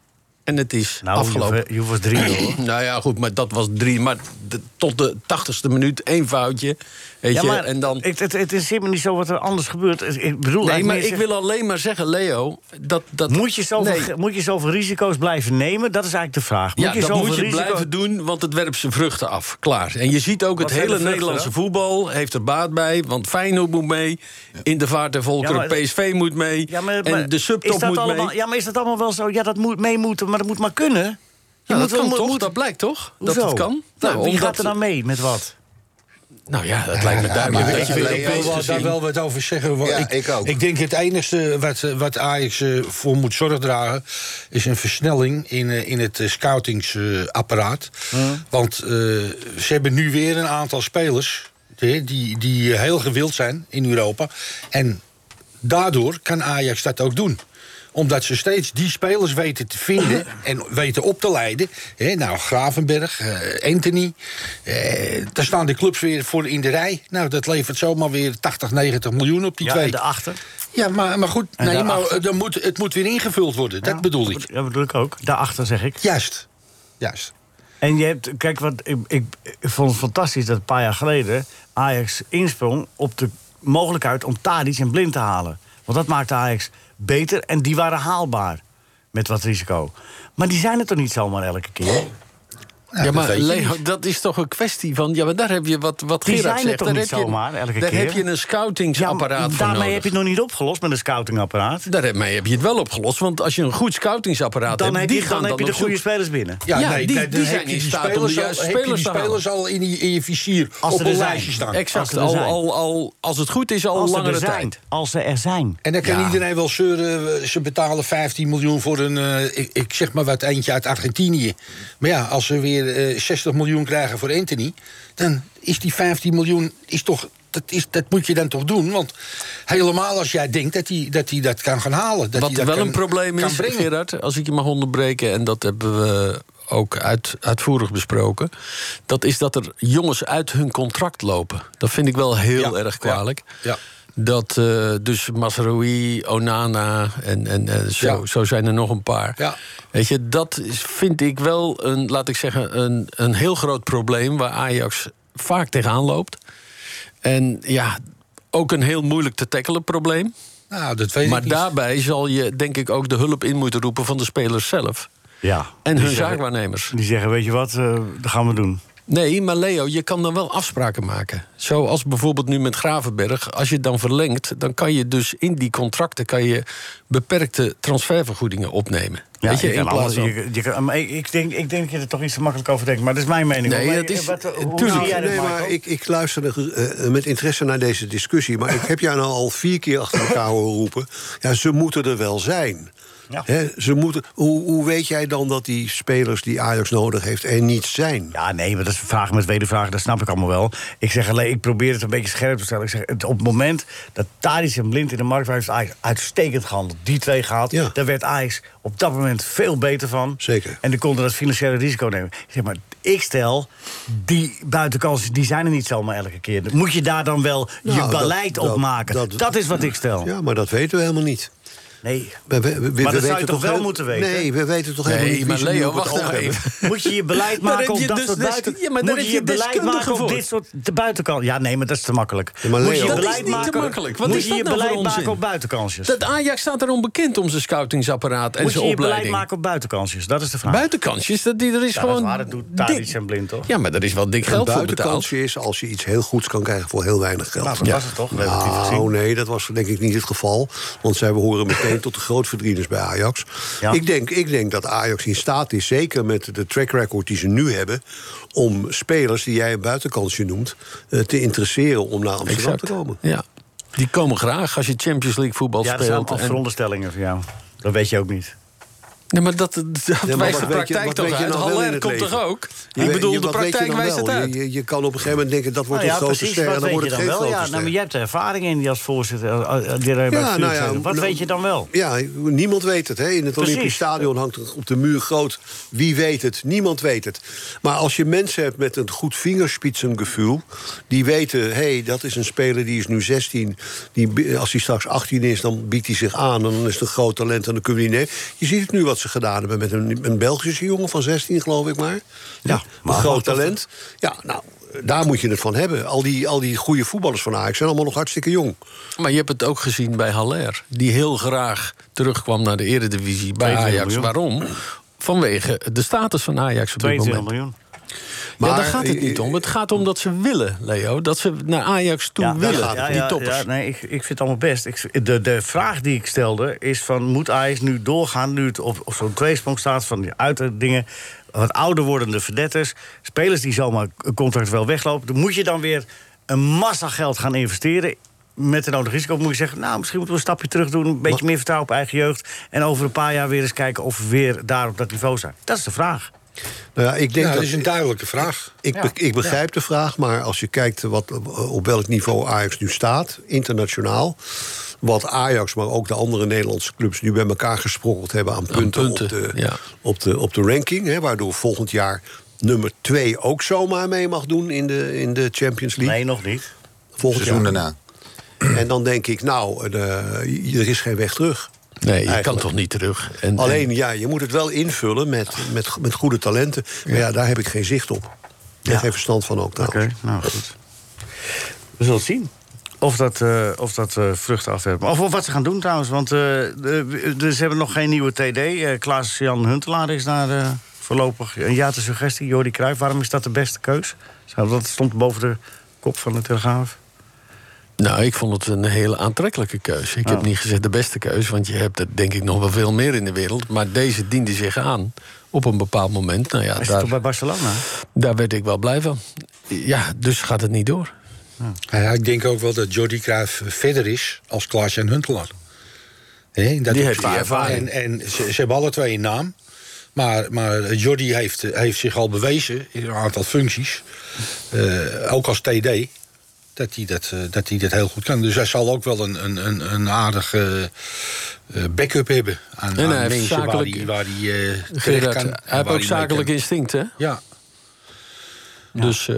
Speaker 5: En het is
Speaker 3: Nou,
Speaker 5: afgelopen.
Speaker 3: Juve- Juve was drie,
Speaker 5: *clears throat*
Speaker 3: hoor.
Speaker 5: Nou ja, goed, maar dat was drie. Maar de- tot de tachtigste minuut één foutje. Weet
Speaker 3: Ja,
Speaker 5: je,
Speaker 3: maar
Speaker 5: en dan...
Speaker 3: het, het, het is helemaal niet zo wat er anders gebeurt. Ik bedoel,
Speaker 5: Nee,
Speaker 3: eigenlijk
Speaker 5: maar
Speaker 3: meer
Speaker 5: ik wil alleen maar zeggen, Leo, dat... dat
Speaker 3: Moet je, zoveel,
Speaker 5: Nee.
Speaker 3: ge- moet je zoveel risico's blijven nemen? Dat is eigenlijk de vraag. Moet
Speaker 5: ja,
Speaker 3: je
Speaker 5: dat
Speaker 3: zoveel
Speaker 5: moet je
Speaker 3: risico-
Speaker 5: blijven doen, want het werpt zijn vruchten af. Klaar. En je ziet ook,
Speaker 3: Wat
Speaker 5: het
Speaker 3: zijn de
Speaker 5: hele
Speaker 3: vruchten,
Speaker 5: Nederlandse
Speaker 3: hè?
Speaker 5: voetbal heeft er baat bij. Want Feyenoord moet mee, in de vaart der volkeren,
Speaker 3: Ja, maar-
Speaker 5: PSV moet mee...
Speaker 3: Ja, maar, maar
Speaker 5: en de subtop
Speaker 3: is dat
Speaker 5: moet
Speaker 3: allemaal,
Speaker 5: mee.
Speaker 3: Ja, maar is dat allemaal wel zo? Ja, dat moet mee moeten, maar dat moet maar kunnen. Je
Speaker 5: Ja, dat
Speaker 3: moet wel-
Speaker 5: kan
Speaker 3: moet-
Speaker 5: toch?
Speaker 3: moet-
Speaker 5: Dat blijkt toch?
Speaker 3: Hoezo?
Speaker 5: Dat het kan?
Speaker 3: Nou, wie
Speaker 5: omdat-
Speaker 3: gaat er dan mee met wat?
Speaker 5: Nou ja, dat lijkt me duidelijk.
Speaker 4: maar-
Speaker 5: dat je
Speaker 4: Ja,
Speaker 5: dat
Speaker 4: maar-
Speaker 8: Ik
Speaker 5: wel
Speaker 8: wil wel-
Speaker 5: eens
Speaker 8: daar
Speaker 5: gezien.
Speaker 8: wel wat over zeggen. want
Speaker 4: Ja, ik ook.
Speaker 8: denk het enige wat, eh, wat Ajax eh, voor moet zorg dragen... is een versnelling in, eh, in het scoutingsapparaat.
Speaker 5: Hm.
Speaker 8: Want eh, ze hebben nu weer een aantal spelers... hè, die, die heel gewild zijn in Europa. En daardoor kan Ajax dat ook doen. Omdat ze steeds die spelers weten te
Speaker 5: *clears throat*
Speaker 8: vinden en weten op te leiden. Hè, nou, Gravenberg, eh, Anthony. eh, daar staan de clubs weer voor in de rij. Nou, dat levert zomaar weer 80, 90 miljoen op die
Speaker 11: Ja,
Speaker 8: twee.
Speaker 11: en daarachter?
Speaker 8: Ja, maar, maar goed,
Speaker 11: En
Speaker 8: nee, maar,
Speaker 11: daarachter?
Speaker 8: eh, dan moet, het moet weer ingevuld worden. Dat bedoel ik.
Speaker 11: Dat bedoel ik ook. Daarachter zeg ik.
Speaker 8: Juist. Juist.
Speaker 3: En je hebt, kijk, wat ik, ik, ik vond het fantastisch dat een paar jaar geleden Ajax insprong op de mogelijkheid om Tadic en Blind te halen. Want dat maakte Ajax beter en die waren haalbaar. Met wat risico. Maar die zijn het toch niet zomaar elke keer?
Speaker 5: Ja, maar Leo, dat is toch een kwestie van... Ja, maar daar heb je wat, wat
Speaker 3: Die
Speaker 5: Gerard
Speaker 3: zijn er
Speaker 5: zegt.
Speaker 3: toch
Speaker 5: daar
Speaker 3: niet
Speaker 5: heb je,
Speaker 3: zomaar elke
Speaker 5: daar
Speaker 3: keer?
Speaker 5: heb je een scoutingsapparaat voor
Speaker 3: Daarmee
Speaker 5: nodig.
Speaker 3: heb je het nog niet opgelost met een scoutingapparaat.
Speaker 5: Daarmee heb je het wel opgelost. Want als je een goed scoutingsapparaat
Speaker 3: Dan
Speaker 5: hebt...
Speaker 3: heb
Speaker 5: die
Speaker 3: je-
Speaker 5: gaan
Speaker 3: dan heb je
Speaker 5: op
Speaker 3: de goede
Speaker 5: zoek.
Speaker 3: spelers binnen.
Speaker 5: Ja,
Speaker 8: nee,
Speaker 5: die,
Speaker 8: nee,
Speaker 5: die,
Speaker 8: dan heb
Speaker 5: zijn
Speaker 8: je
Speaker 5: in
Speaker 8: die
Speaker 5: staat om de
Speaker 8: spelers al-
Speaker 5: juiste
Speaker 8: heb je
Speaker 5: spelers
Speaker 8: die
Speaker 5: te halen.
Speaker 8: spelers al in, je- in je vizier
Speaker 3: Als
Speaker 8: op
Speaker 3: ze
Speaker 8: een
Speaker 3: er zijn.
Speaker 8: lijstje staan.
Speaker 5: Exact,
Speaker 3: er
Speaker 5: al,
Speaker 3: zijn.
Speaker 5: al, al, als het goed is, al
Speaker 3: Als ze
Speaker 5: langere
Speaker 3: er zijn.
Speaker 5: tijd.
Speaker 3: Als ze er zijn.
Speaker 8: En dan kan
Speaker 3: Ja.
Speaker 8: iedereen wel zeuren, eh, ze betalen 15 miljoen voor een, eh, ik, ik zeg maar wat, eentje uit Argentinië. Maar ja, als ze weer eh, 60 miljoen krijgen voor Anthony... dan is die 15 miljoen, is toch, dat, is, dat moet je dan toch doen? Want helemaal als jij denkt dat hij dat, hij dat kan gaan halen. Dat
Speaker 5: Wat
Speaker 8: hij dat
Speaker 5: wel
Speaker 8: kan-
Speaker 5: een probleem
Speaker 8: kan
Speaker 5: is,
Speaker 8: brengen.
Speaker 5: Gerard, als ik je mag onderbreken... en dat hebben we ook uit, uitvoerig besproken... dat is dat er jongens uit hun contract lopen. Dat vind ik wel heel erg kwalijk.
Speaker 8: Ja.
Speaker 5: Dat eh, dus Masraoui, Onana en, en, eh, zo,
Speaker 8: Ja.
Speaker 5: zo zijn er nog een paar.
Speaker 8: Ja.
Speaker 5: Weet je, dat is, vind ik wel een, laat ik zeggen, een, een heel groot probleem waar Ajax vaak tegenaan loopt. En ja, ook een heel moeilijk te tackelen probleem.
Speaker 8: Nou, dat weet
Speaker 5: maar
Speaker 8: ik niet.
Speaker 5: daarbij zal je denk ik ook de hulp in moeten roepen van de spelers zelf.
Speaker 3: Ja.
Speaker 5: En
Speaker 3: Die
Speaker 5: hun
Speaker 3: zeggen-
Speaker 5: zaakwaarnemers.
Speaker 3: Die zeggen, weet je wat, eh, dat gaan we doen.
Speaker 5: Nee, maar Leo, je kan dan wel afspraken maken. Zoals bijvoorbeeld nu met Gravenberg. Als je het dan verlengt, dan kan je dus in die contracten kan je beperkte transfervergoedingen opnemen.
Speaker 3: Ja,
Speaker 5: Weet je, in
Speaker 3: kan
Speaker 5: plaats
Speaker 3: alles-
Speaker 5: van...
Speaker 3: je- je kan- maar ik, ik denk, ik denk dat je er toch iets te makkelijk over denkt. Maar dat is mijn mening.
Speaker 5: Nee,
Speaker 3: hoor. Maar
Speaker 5: dat is-
Speaker 3: wat- hoe
Speaker 5: tuurlijk.
Speaker 3: zie jij dat,
Speaker 7: Nee,
Speaker 3: Michael?
Speaker 7: maar ik, ik luisterde eh, met interesse naar deze discussie. Maar ik heb jou nou al vier keer achter elkaar horen roepen. Ja, ze moeten er wel zijn. Hè, ze moeten, hoe, hoe weet jij dan dat die spelers die Ajax nodig heeft er niet zijn?
Speaker 3: Ja, nee, maar dat is vraag met wedervraag, dat snap ik allemaal wel. Ik zeg alleen, ik probeer het een beetje scherp te stellen. Ik zeg, het- op het moment dat Tadic en Blind in de markt waren, heeft Ajax uitstekend gehandeld. Die twee gehaald, daar werd Ajax op dat moment veel beter van. Zeker. En die konden dat financiële risico nemen. Ik zeg maar, ik stel, die buitenkansen, die zijn er niet zomaar elke keer. Moet je daar dan wel
Speaker 7: Nou,
Speaker 3: je
Speaker 7: dat-
Speaker 3: beleid
Speaker 7: dat-
Speaker 3: op maken? Dat,
Speaker 7: dat-
Speaker 3: is wat ik stel.
Speaker 7: Ja, maar dat weten we helemaal niet.
Speaker 3: Nee.
Speaker 7: We, we- we- we
Speaker 3: maar dat
Speaker 7: weten
Speaker 3: zou je toch wel
Speaker 7: heel-
Speaker 3: moeten weten?
Speaker 7: Nee, we weten toch
Speaker 5: Nee,
Speaker 7: helemaal niet wie
Speaker 5: maar
Speaker 7: ze nu
Speaker 5: Leo,
Speaker 7: op het
Speaker 5: wacht
Speaker 7: oog
Speaker 5: nou *laughs*
Speaker 7: hebben.
Speaker 5: even.
Speaker 3: Moet je je beleid
Speaker 5: Daar
Speaker 3: maken
Speaker 5: heb
Speaker 3: op
Speaker 5: je
Speaker 3: dat
Speaker 5: dus
Speaker 3: soort
Speaker 5: desk-
Speaker 3: buiten...
Speaker 5: ja, maar daar
Speaker 3: Moet je
Speaker 5: heb
Speaker 3: je
Speaker 5: je dus
Speaker 3: beleid
Speaker 5: deskundigen
Speaker 3: maken op
Speaker 5: voor.
Speaker 3: dit soort de buitenkant? Ja, nee, maar dat is te makkelijk.
Speaker 7: maar
Speaker 3: Moet je
Speaker 7: Leo-
Speaker 3: je
Speaker 7: Dat is
Speaker 3: beleid
Speaker 5: niet te
Speaker 3: maken,
Speaker 5: makkelijk. Wat
Speaker 3: moet
Speaker 5: is
Speaker 3: je
Speaker 5: dat
Speaker 3: je
Speaker 5: nou voor
Speaker 3: beleid
Speaker 5: onzin?
Speaker 3: maken op buitenkansjes?
Speaker 5: Dat Ajax staat er onbekend om zijn scoutingsapparaat en
Speaker 3: moet je
Speaker 5: zijn
Speaker 3: je beleid
Speaker 5: opleiding.
Speaker 3: maken op buitenkansjes? Dat is de vraag.
Speaker 5: Buitenkansjes, dat, die, er is
Speaker 3: Ja, dat
Speaker 5: gewoon.
Speaker 3: is waar, dat doet
Speaker 5: dik-
Speaker 3: Tadic en Blind, toch?
Speaker 5: Ja, maar daar is wel dik
Speaker 7: Een
Speaker 5: geld voor betaald.
Speaker 7: buitenkansje is als je iets heel goeds kan krijgen voor heel weinig geld.
Speaker 3: Nou, dat was het toch, relatief
Speaker 7: Nou,
Speaker 3: gezien.
Speaker 7: nee, dat was denk ik niet het geval. Want zij behoren meteen tot de grootverdieners bij Ajax.
Speaker 3: Ja.
Speaker 7: Ik, denk, ik denk dat Ajax in staat is, zeker met de track record die ze nu hebben... om spelers die jij een buitenkansje noemt, eh, te interesseren om naar Amsterdam
Speaker 5: Exact.
Speaker 7: te komen.
Speaker 5: Ja. Die komen graag als je Champions League voetbal
Speaker 3: Ja, dat zijn
Speaker 5: speelt.
Speaker 3: allemaal
Speaker 5: en-
Speaker 3: veronderstellingen van jou. Dat weet je ook niet.
Speaker 5: Nee, maar dat, dat
Speaker 7: Ja, maar
Speaker 5: wijst
Speaker 7: wat
Speaker 5: de
Speaker 7: weet je-
Speaker 5: praktijk
Speaker 7: wat
Speaker 5: toch
Speaker 7: weet je
Speaker 5: uit.
Speaker 7: nou wel in
Speaker 5: Haller
Speaker 7: het
Speaker 5: komt
Speaker 7: leven?
Speaker 5: toch ook?
Speaker 7: Je
Speaker 5: ik
Speaker 7: weet-
Speaker 5: bedoel,
Speaker 7: je-
Speaker 5: de
Speaker 7: wat weet je
Speaker 5: praktijk
Speaker 7: dan
Speaker 5: wijst het
Speaker 7: wel?
Speaker 5: uit.
Speaker 7: Je, je, je kan op een gegeven moment denken, dat wordt
Speaker 3: Nou
Speaker 7: een grote
Speaker 3: precies,
Speaker 7: ster... en
Speaker 3: Wat
Speaker 7: dan
Speaker 3: weet
Speaker 7: wordt
Speaker 3: je
Speaker 7: het
Speaker 3: dan
Speaker 7: geen
Speaker 3: wel?
Speaker 7: grote
Speaker 3: Ja,
Speaker 7: ster.
Speaker 3: nou, maar jij hebt er ervaring in die als voorzitter. eh, eh, die bij het bestuur zit. Wat
Speaker 7: nou,
Speaker 3: weet je dan wel?
Speaker 7: Ja, niemand weet het. Hè? In het
Speaker 3: Precies.
Speaker 7: Olympisch Stadion hangt er op de muur groot. Wie weet het? Niemand weet het. Maar als je mensen hebt met een goed vingerspitsengevoel... die weten, hé, hey, dat is een speler die is nu 16. Die, bi- als hij straks 18 is, dan biedt hij zich aan. En dan is het een groot talent en dan kunnen we die nemen. Je ziet het nu wat ze gedaan hebben met een, een Belgische jongen van 16, geloof ik maar. Ja, een groot talent. Ja, nou... Daar moet je het van hebben. Al die, al die goede voetballers van Ajax zijn allemaal nog hartstikke jong.
Speaker 5: Maar je hebt het ook gezien bij Haller. Die heel graag terugkwam naar de eredivisie bij
Speaker 3: 22
Speaker 5: Ajax.
Speaker 3: miljoen.
Speaker 5: Waarom? Vanwege de status van Ajax op dit
Speaker 3: 22
Speaker 5: moment.
Speaker 3: miljoen.
Speaker 5: Maar, ja,
Speaker 7: Maar-
Speaker 5: daar gaat het niet om. Het gaat om dat ze willen, Leo. Dat ze naar Ajax toe
Speaker 3: daar
Speaker 5: willen,
Speaker 3: gaat het om.
Speaker 5: die toppers.
Speaker 3: Ja, nee, ik, ik vind het allemaal best. Ik, de, de vraag die ik stelde is van... moet Ajax nu doorgaan, nu het op, op zo'n tweesprong staat... van die uiterste dingen, wat ouder wordende verdetters... spelers die zomaar een contract wel weglopen... dan moet je dan weer een massa geld gaan investeren... Met de nodige risico moet je zeggen, nou, misschien moeten we een stapje terug doen... een beetje meer vertrouwen op eigen jeugd... en over een paar jaar weer eens kijken of we weer daar op dat niveau zijn. Dat is de vraag.
Speaker 7: Nou ja, ik denk
Speaker 8: Nou, dat
Speaker 7: dat,
Speaker 8: is een duidelijke vraag.
Speaker 7: Ik,
Speaker 3: Ja.
Speaker 7: be- ik begrijp de eh, vraag, maar als je kijkt wat, op welk niveau Ajax nu staat, internationaal. wat Ajax, maar ook de andere Nederlandse clubs... nu bij elkaar gesprokkeld hebben aan punten, op, de, op, de, op de ranking. Hè, waardoor volgend jaar nummer 2 ook zomaar mee mag doen in de, in de Champions League. Nee,
Speaker 3: nog niet.
Speaker 7: Volgend
Speaker 4: Seizoen
Speaker 7: jaar.
Speaker 4: daarna.
Speaker 7: En dan denk ik, nou, eh, er is geen weg terug.
Speaker 5: Nee, je
Speaker 7: Eigenlijk.
Speaker 5: kan toch niet terug. En,
Speaker 7: Alleen, ja, je moet het wel invullen met, met, met goede talenten. Maar ja, daar heb ik geen zicht op. En geen verstand van ook trouwens.
Speaker 3: nou goed. We zullen het zien. Of dat, eh, of dat eh, vruchten afwerpt. Of, of wat ze gaan doen trouwens. Want eh, de- de- ze hebben nog geen nieuwe TD. Eh, Klaas-Jan Huntelaar is daar eh, voorlopig een ja te suggestie. Jordi Cruijff, waarom is dat de beste keus? Zou- Dat stond boven de kop van de Telegraaf.
Speaker 5: Nou, ik vond het een hele aantrekkelijke keuze. Ik
Speaker 3: Oh.
Speaker 5: heb niet gezegd de beste keuze, want je hebt er denk ik nog wel veel meer in de wereld. Maar deze diende zich aan op een bepaald moment. Nou ja,
Speaker 3: Hij zit
Speaker 5: daar,
Speaker 3: toch bij Barcelona?
Speaker 5: daar werd ik wel blij van. Ja, dus gaat het niet door.
Speaker 8: Nou ja, ik denk ook wel dat Jordi Cruijff verder is als Klaas-Jan Huntelaar. Hè, dat
Speaker 5: Die
Speaker 8: ook-
Speaker 5: heeft die ervaring.
Speaker 8: En, en ze, ze hebben alle twee een naam. Maar, maar Jordi heeft, eh, heeft zich al bewezen in een aantal functies. eh, ook als TD. Dat hij dat, eh, dat hij dat heel goed kan. Dus hij zal ook wel een, een, een, een aardige eh, backup hebben. Aan,
Speaker 5: En
Speaker 8: aan
Speaker 5: hij heeft
Speaker 8: mensen
Speaker 5: zakelijk-
Speaker 8: waar hij, waar hij, eh, terecht
Speaker 5: Gerard,
Speaker 8: kan.
Speaker 5: hij heeft ook zakelijk instinct, hè?
Speaker 8: Ja.
Speaker 5: Dus,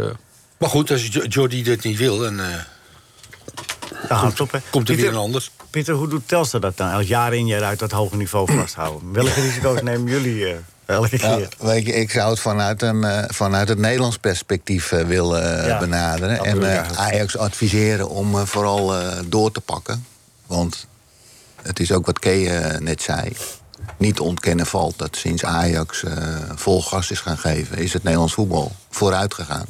Speaker 8: maar goed, als Jo- Jordi dit niet wil, dan... eh,
Speaker 3: Daar houdt het op, hè?
Speaker 8: Komt er weer
Speaker 3: Pieter-
Speaker 8: een ander.
Speaker 3: Pieter, hoe doet Telstra dat dan? Als jaar in jaar uit dat hoge niveau vasthouden. Welke risico's nemen jullie eh, elke
Speaker 4: Ja,
Speaker 3: keer?
Speaker 4: weet je, ik zou het vanuit, een, eh, vanuit het Nederlands perspectief eh, willen eh,
Speaker 3: Ja,
Speaker 4: benaderen.
Speaker 3: dat
Speaker 4: En
Speaker 3: bedoel ik
Speaker 4: eh,
Speaker 3: eigenlijk.
Speaker 4: Ajax adviseren om eh, vooral eh, door te pakken. Want het is ook wat Kee eh, net zei. Niet te ontkennen valt dat sinds Ajax eh, vol gas is gaan geven... is het Nederlands voetbal vooruit gegaan.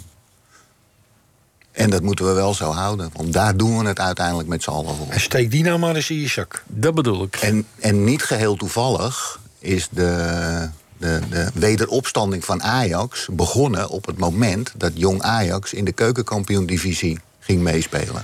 Speaker 4: En dat moeten we wel zo houden. Want daar doen we het uiteindelijk met z'n allen voor.
Speaker 8: Steek die nou maar eens in je zak.
Speaker 5: Dat bedoel ik.
Speaker 4: En, en niet geheel toevallig is de, de, de wederopstanding van Ajax begonnen op het moment dat jong Ajax in de keukenkampioendivisie ging meespelen.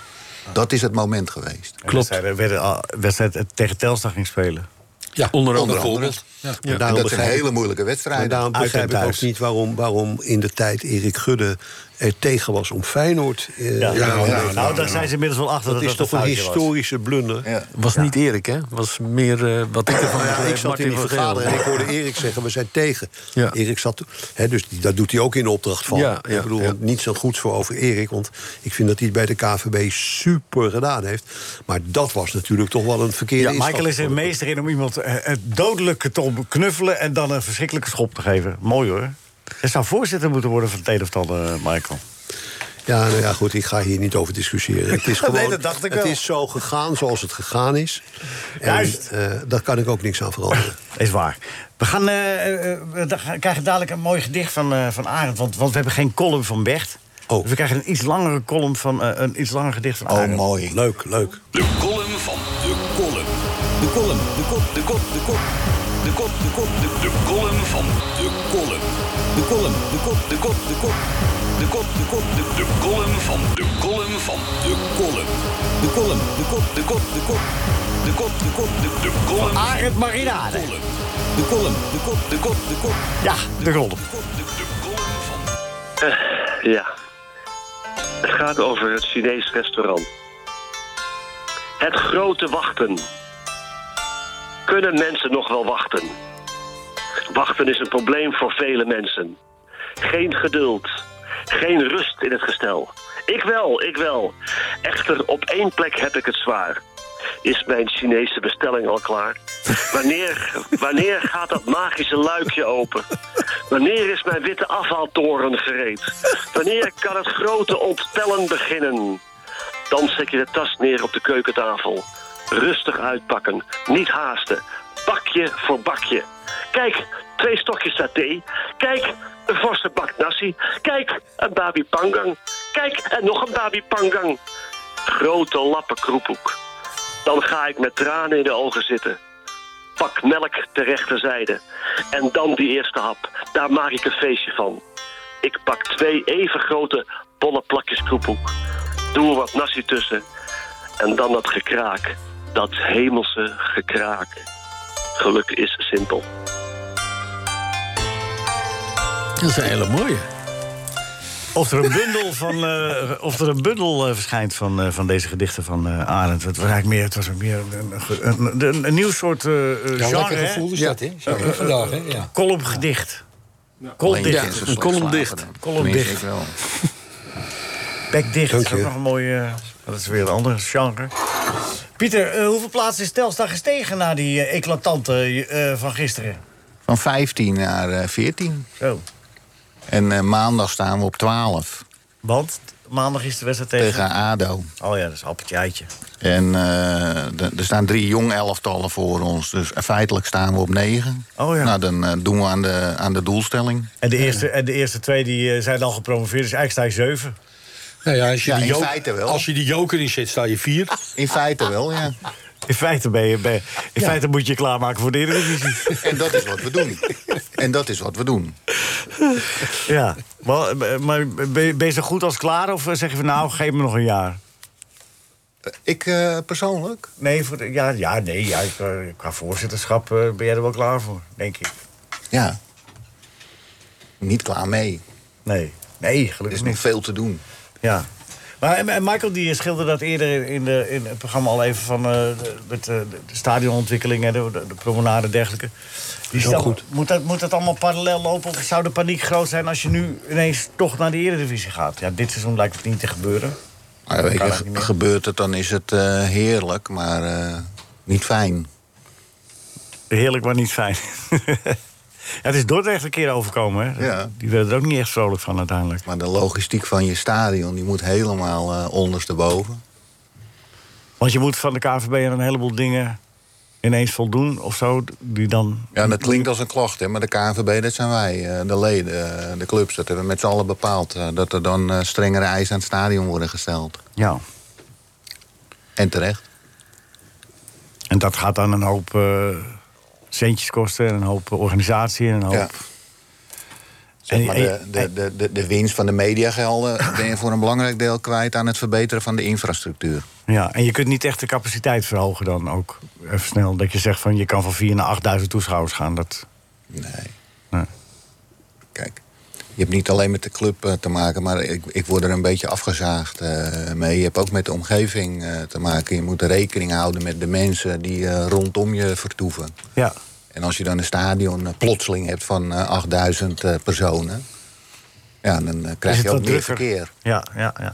Speaker 4: Dat is het moment geweest.
Speaker 3: Klopt. Wedstrijd, werden al- wedstrijd tegen Telstra ging spelen.
Speaker 8: Ja,
Speaker 5: onder
Speaker 4: andere.
Speaker 8: Ja.
Speaker 7: Maar
Speaker 4: Dat
Speaker 7: daarom
Speaker 4: is een
Speaker 7: begrijp ik-
Speaker 4: hele moeilijke wedstrijd.
Speaker 7: Maar daarom
Speaker 4: Uit en
Speaker 7: begrijp ik ook
Speaker 4: thuis.
Speaker 7: niet waarom, waarom in de tijd Erik Gudde er tegen was om Feyenoord. eh,
Speaker 3: Ja,
Speaker 7: aan
Speaker 3: nou,
Speaker 7: te
Speaker 3: nou,
Speaker 7: nemen.
Speaker 3: daar zijn ze inmiddels wel achter
Speaker 7: Dat,
Speaker 3: dat
Speaker 7: is
Speaker 3: dat
Speaker 7: toch
Speaker 3: een
Speaker 7: een
Speaker 3: foutje was.
Speaker 7: historische blunder.
Speaker 5: Was niet Erik, hè? Was meer eh, wat ik ervan
Speaker 7: Ja,
Speaker 5: heb,
Speaker 7: ik zat
Speaker 5: Martin
Speaker 7: in die
Speaker 5: van Geel.
Speaker 7: vergadering en ik hoorde Erik zeggen, we zijn tegen.
Speaker 5: Ja.
Speaker 7: Erik zat, hè, dus die, dat doet hij ook in de opdracht van.
Speaker 5: Ja, ja,
Speaker 7: ik bedoel,
Speaker 5: ja.
Speaker 7: niet zo goed voor over Erik, want ik vind dat hij het bij de KVB super gedaan heeft. Maar dat was natuurlijk toch wel een verkeerde
Speaker 3: Ja, Michael is er
Speaker 7: inschatting.
Speaker 3: meester in om iemand eh, het dodelijke te knuffelen... en dan een verschrikkelijke schop te geven. Mooi hoor. Hij zou voorzitter moeten worden van het een of het ander, eh, Michael.
Speaker 7: Ja, nou ja, goed, ik ga hier niet over discussiëren. Het is
Speaker 3: *laughs* Nee,
Speaker 7: gewoon,
Speaker 3: dat dacht ik
Speaker 7: het
Speaker 3: wel.
Speaker 7: is zo gegaan zoals het gegaan is. En,
Speaker 3: Juist.
Speaker 7: eh, daar kan ik ook niks aan veranderen.
Speaker 3: Is waar. We gaan, eh, eh, eh, we da- krijgen dadelijk een mooi gedicht van, eh, van Arend... Want, want we hebben geen column van Bert.
Speaker 7: Oh.
Speaker 3: Dus we krijgen een iets langere column van eh, een iets langer gedicht van Arend.
Speaker 4: mooi.
Speaker 7: Leuk, leuk.
Speaker 2: De column van de column. De column, de kop, de kop, de kop. De kop, de kop, de De column van de column. De column, de kop, de kop, de kop. De kop, de kop, de De column van de column van de column. De column, de kop, de kop, de kop. De kop, de kop, de De column. van
Speaker 3: Arend Marinade.
Speaker 2: de column. De column, de kop, de kop, de kop.
Speaker 3: Ja, de column.
Speaker 12: Ja. Het gaat over het Chinees restaurant. Het grote wachten. Kunnen mensen nog wel wachten? Wachten is een probleem voor vele mensen. Geen geduld. Geen rust in het gestel. Ik wel, ik wel. Echter, op één plek heb ik het zwaar. Is mijn Chinese bestelling al klaar? Wanneer, wanneer gaat dat magische luikje open? Wanneer is mijn witte afhaaltoren gereed? Wanneer kan het grote onttellen beginnen? Dan zet je de tas neer op de keukentafel. Rustig uitpakken, niet haasten. Bakje voor bakje. Kijk, twee stokjes saté. Kijk, een forse bak nasi. Kijk, een babi pangang. Kijk, en nog een babi pangang. Grote lappen kroepoek. Dan ga ik met tranen in de ogen zitten. Pak melk ter rechterzijde. En dan die eerste hap. Daar maak ik een feestje van. Ik pak twee even grote bolle plakjes kroephoek. Doe er wat nasi tussen. En dan dat gekraak. Dat hemelse gekraak. Geluk is
Speaker 8: *laughs*
Speaker 12: simpel.
Speaker 5: Dat is een hele mooie.
Speaker 3: Of er een bundel, van, eh, of er een bundel eh, verschijnt van, eh, van deze gedichten van eh Arendt. Het was eigenlijk meer, het was ook meer een, een, een- een- een nieuw soort eh genre.
Speaker 8: Ja, lekker
Speaker 3: *laughs* hè?
Speaker 8: gevoel is dat, hè? Zo,
Speaker 3: Eh, eh,
Speaker 8: vandaag, hè? Ja.
Speaker 3: Columngedicht.
Speaker 4: Alleen
Speaker 3: Columngedicht.
Speaker 4: Jens is
Speaker 3: een columngedicht.
Speaker 4: geslagen dan. Tenminste,
Speaker 3: Columngedicht.
Speaker 4: ik wel.
Speaker 3: *laughs* Bekdicht. Dat is
Speaker 4: Dank
Speaker 3: ook
Speaker 4: je.
Speaker 3: nog een mooie... eh, dat is weer een ander genre. Pieter, eh, hoeveel plaatsen is Telstar gestegen... na die eh, eclatante eh, van gisteren?
Speaker 4: Van 15 naar eh, 14.
Speaker 5: Oh.
Speaker 3: Zo.
Speaker 4: En eh, maandag staan we op 12
Speaker 3: Want maandag is de wedstrijd tegen...
Speaker 4: tegen ADO.
Speaker 3: Oh ja, dat is appeltje eitje.
Speaker 4: En eh, d- er staan drie jong elftallen voor ons. Dus feitelijk staan we op 9.
Speaker 3: Oh ja.
Speaker 4: Nou, dan eh, doen we aan de, aan de doelstelling.
Speaker 3: En de eerste, en de eerste twee die, eh, zijn al gepromoveerd, dus eigenlijk sta je zeven.
Speaker 8: Nou ja, als je,
Speaker 3: Ja,
Speaker 8: die
Speaker 3: in
Speaker 8: joker,
Speaker 3: feite wel.
Speaker 8: als je die joker in zit, sta je vier.
Speaker 4: In feite wel, ja.
Speaker 3: In feite, ben je, ben je- in
Speaker 4: Ja.
Speaker 3: feite moet je je klaarmaken voor de Eredivisie.
Speaker 4: *laughs* En dat is wat we doen. En dat is wat we doen.
Speaker 3: ja, maar, maar ben, je, ben je zo goed als klaar of zeg je van nou, geef me nog een jaar?
Speaker 4: Ik persoonlijk?
Speaker 3: Nee, voor de- ja, ja, nee ja, ik, eh, qua voorzitterschap eh, ben jij er wel klaar voor, denk ik.
Speaker 4: Ja. Niet klaar mee.
Speaker 3: Nee, nee gelukkig
Speaker 4: Er is
Speaker 3: niet.
Speaker 4: nog veel te doen.
Speaker 3: Ja. Maar en- en Michael die schilderde dat eerder in- in, de, in het programma al even van eh, de, het, eh, de stadionontwikkeling en de, de promenade en dergelijke. Die
Speaker 7: Heel
Speaker 3: stel-
Speaker 7: goed.
Speaker 3: Moet, dat, moet dat allemaal parallel lopen of zou de paniek groot zijn als je nu ineens toch naar de Eredivisie gaat? Ja, dit seizoen lijkt het niet te gebeuren.
Speaker 4: Maar weet
Speaker 3: Kan
Speaker 4: je,
Speaker 3: ook niet meer.
Speaker 4: gebeurt het, dan is het eh, heerlijk, maar eh, niet fijn.
Speaker 3: Heerlijk, maar niet fijn. *laughs* ja, het is Dordrecht een keer overkomen, hè?
Speaker 4: Ja.
Speaker 3: Die werden er ook niet echt vrolijk van uiteindelijk.
Speaker 4: Maar de logistiek van je stadion die moet helemaal eh, ondersteboven.
Speaker 3: Want je moet van de KVB aan een heleboel dingen ineens voldoen of zo, die dan...
Speaker 4: Ja, dat klinkt als een klacht, hè, maar de KNVB, dat zijn wij, eh, de leden, eh, de clubs. Dat hebben we met z'n allen bepaald. eh, dat er dan eh, strengere eisen aan het stadion worden gesteld.
Speaker 3: Ja.
Speaker 4: En terecht.
Speaker 3: En dat gaat dan een hoop eh, centjes kosten en een hoop organisatie en een hoop.
Speaker 4: Ja. Zeg
Speaker 3: En-
Speaker 4: maar de,
Speaker 3: en-
Speaker 4: de, de, de, de winst van de
Speaker 3: *coughs*
Speaker 4: mediagelden ben je voor een belangrijk deel kwijt aan het verbeteren van de infrastructuur.
Speaker 3: Ja, en je kunt niet echt de capaciteit verhogen dan ook. Even snel, dat je zegt van je kan van 4 naar 8000 toeschouwers gaan. Dat...
Speaker 4: Je hebt niet alleen met de club eh, te maken, maar ik, ik word er een beetje afgezaagd eh, mee. Je hebt ook met de omgeving eh, te maken. Je moet rekening houden met de mensen die eh, rondom je vertoeven.
Speaker 3: Ja.
Speaker 4: En als je dan een stadion eh, plotseling hebt van eh, 8000 eh, personen, ja, dan eh, krijg
Speaker 3: Is
Speaker 4: je
Speaker 3: het
Speaker 4: ook
Speaker 3: wat
Speaker 4: meer
Speaker 3: drukker?
Speaker 4: verkeer.
Speaker 3: Ja, ja, ja, ja.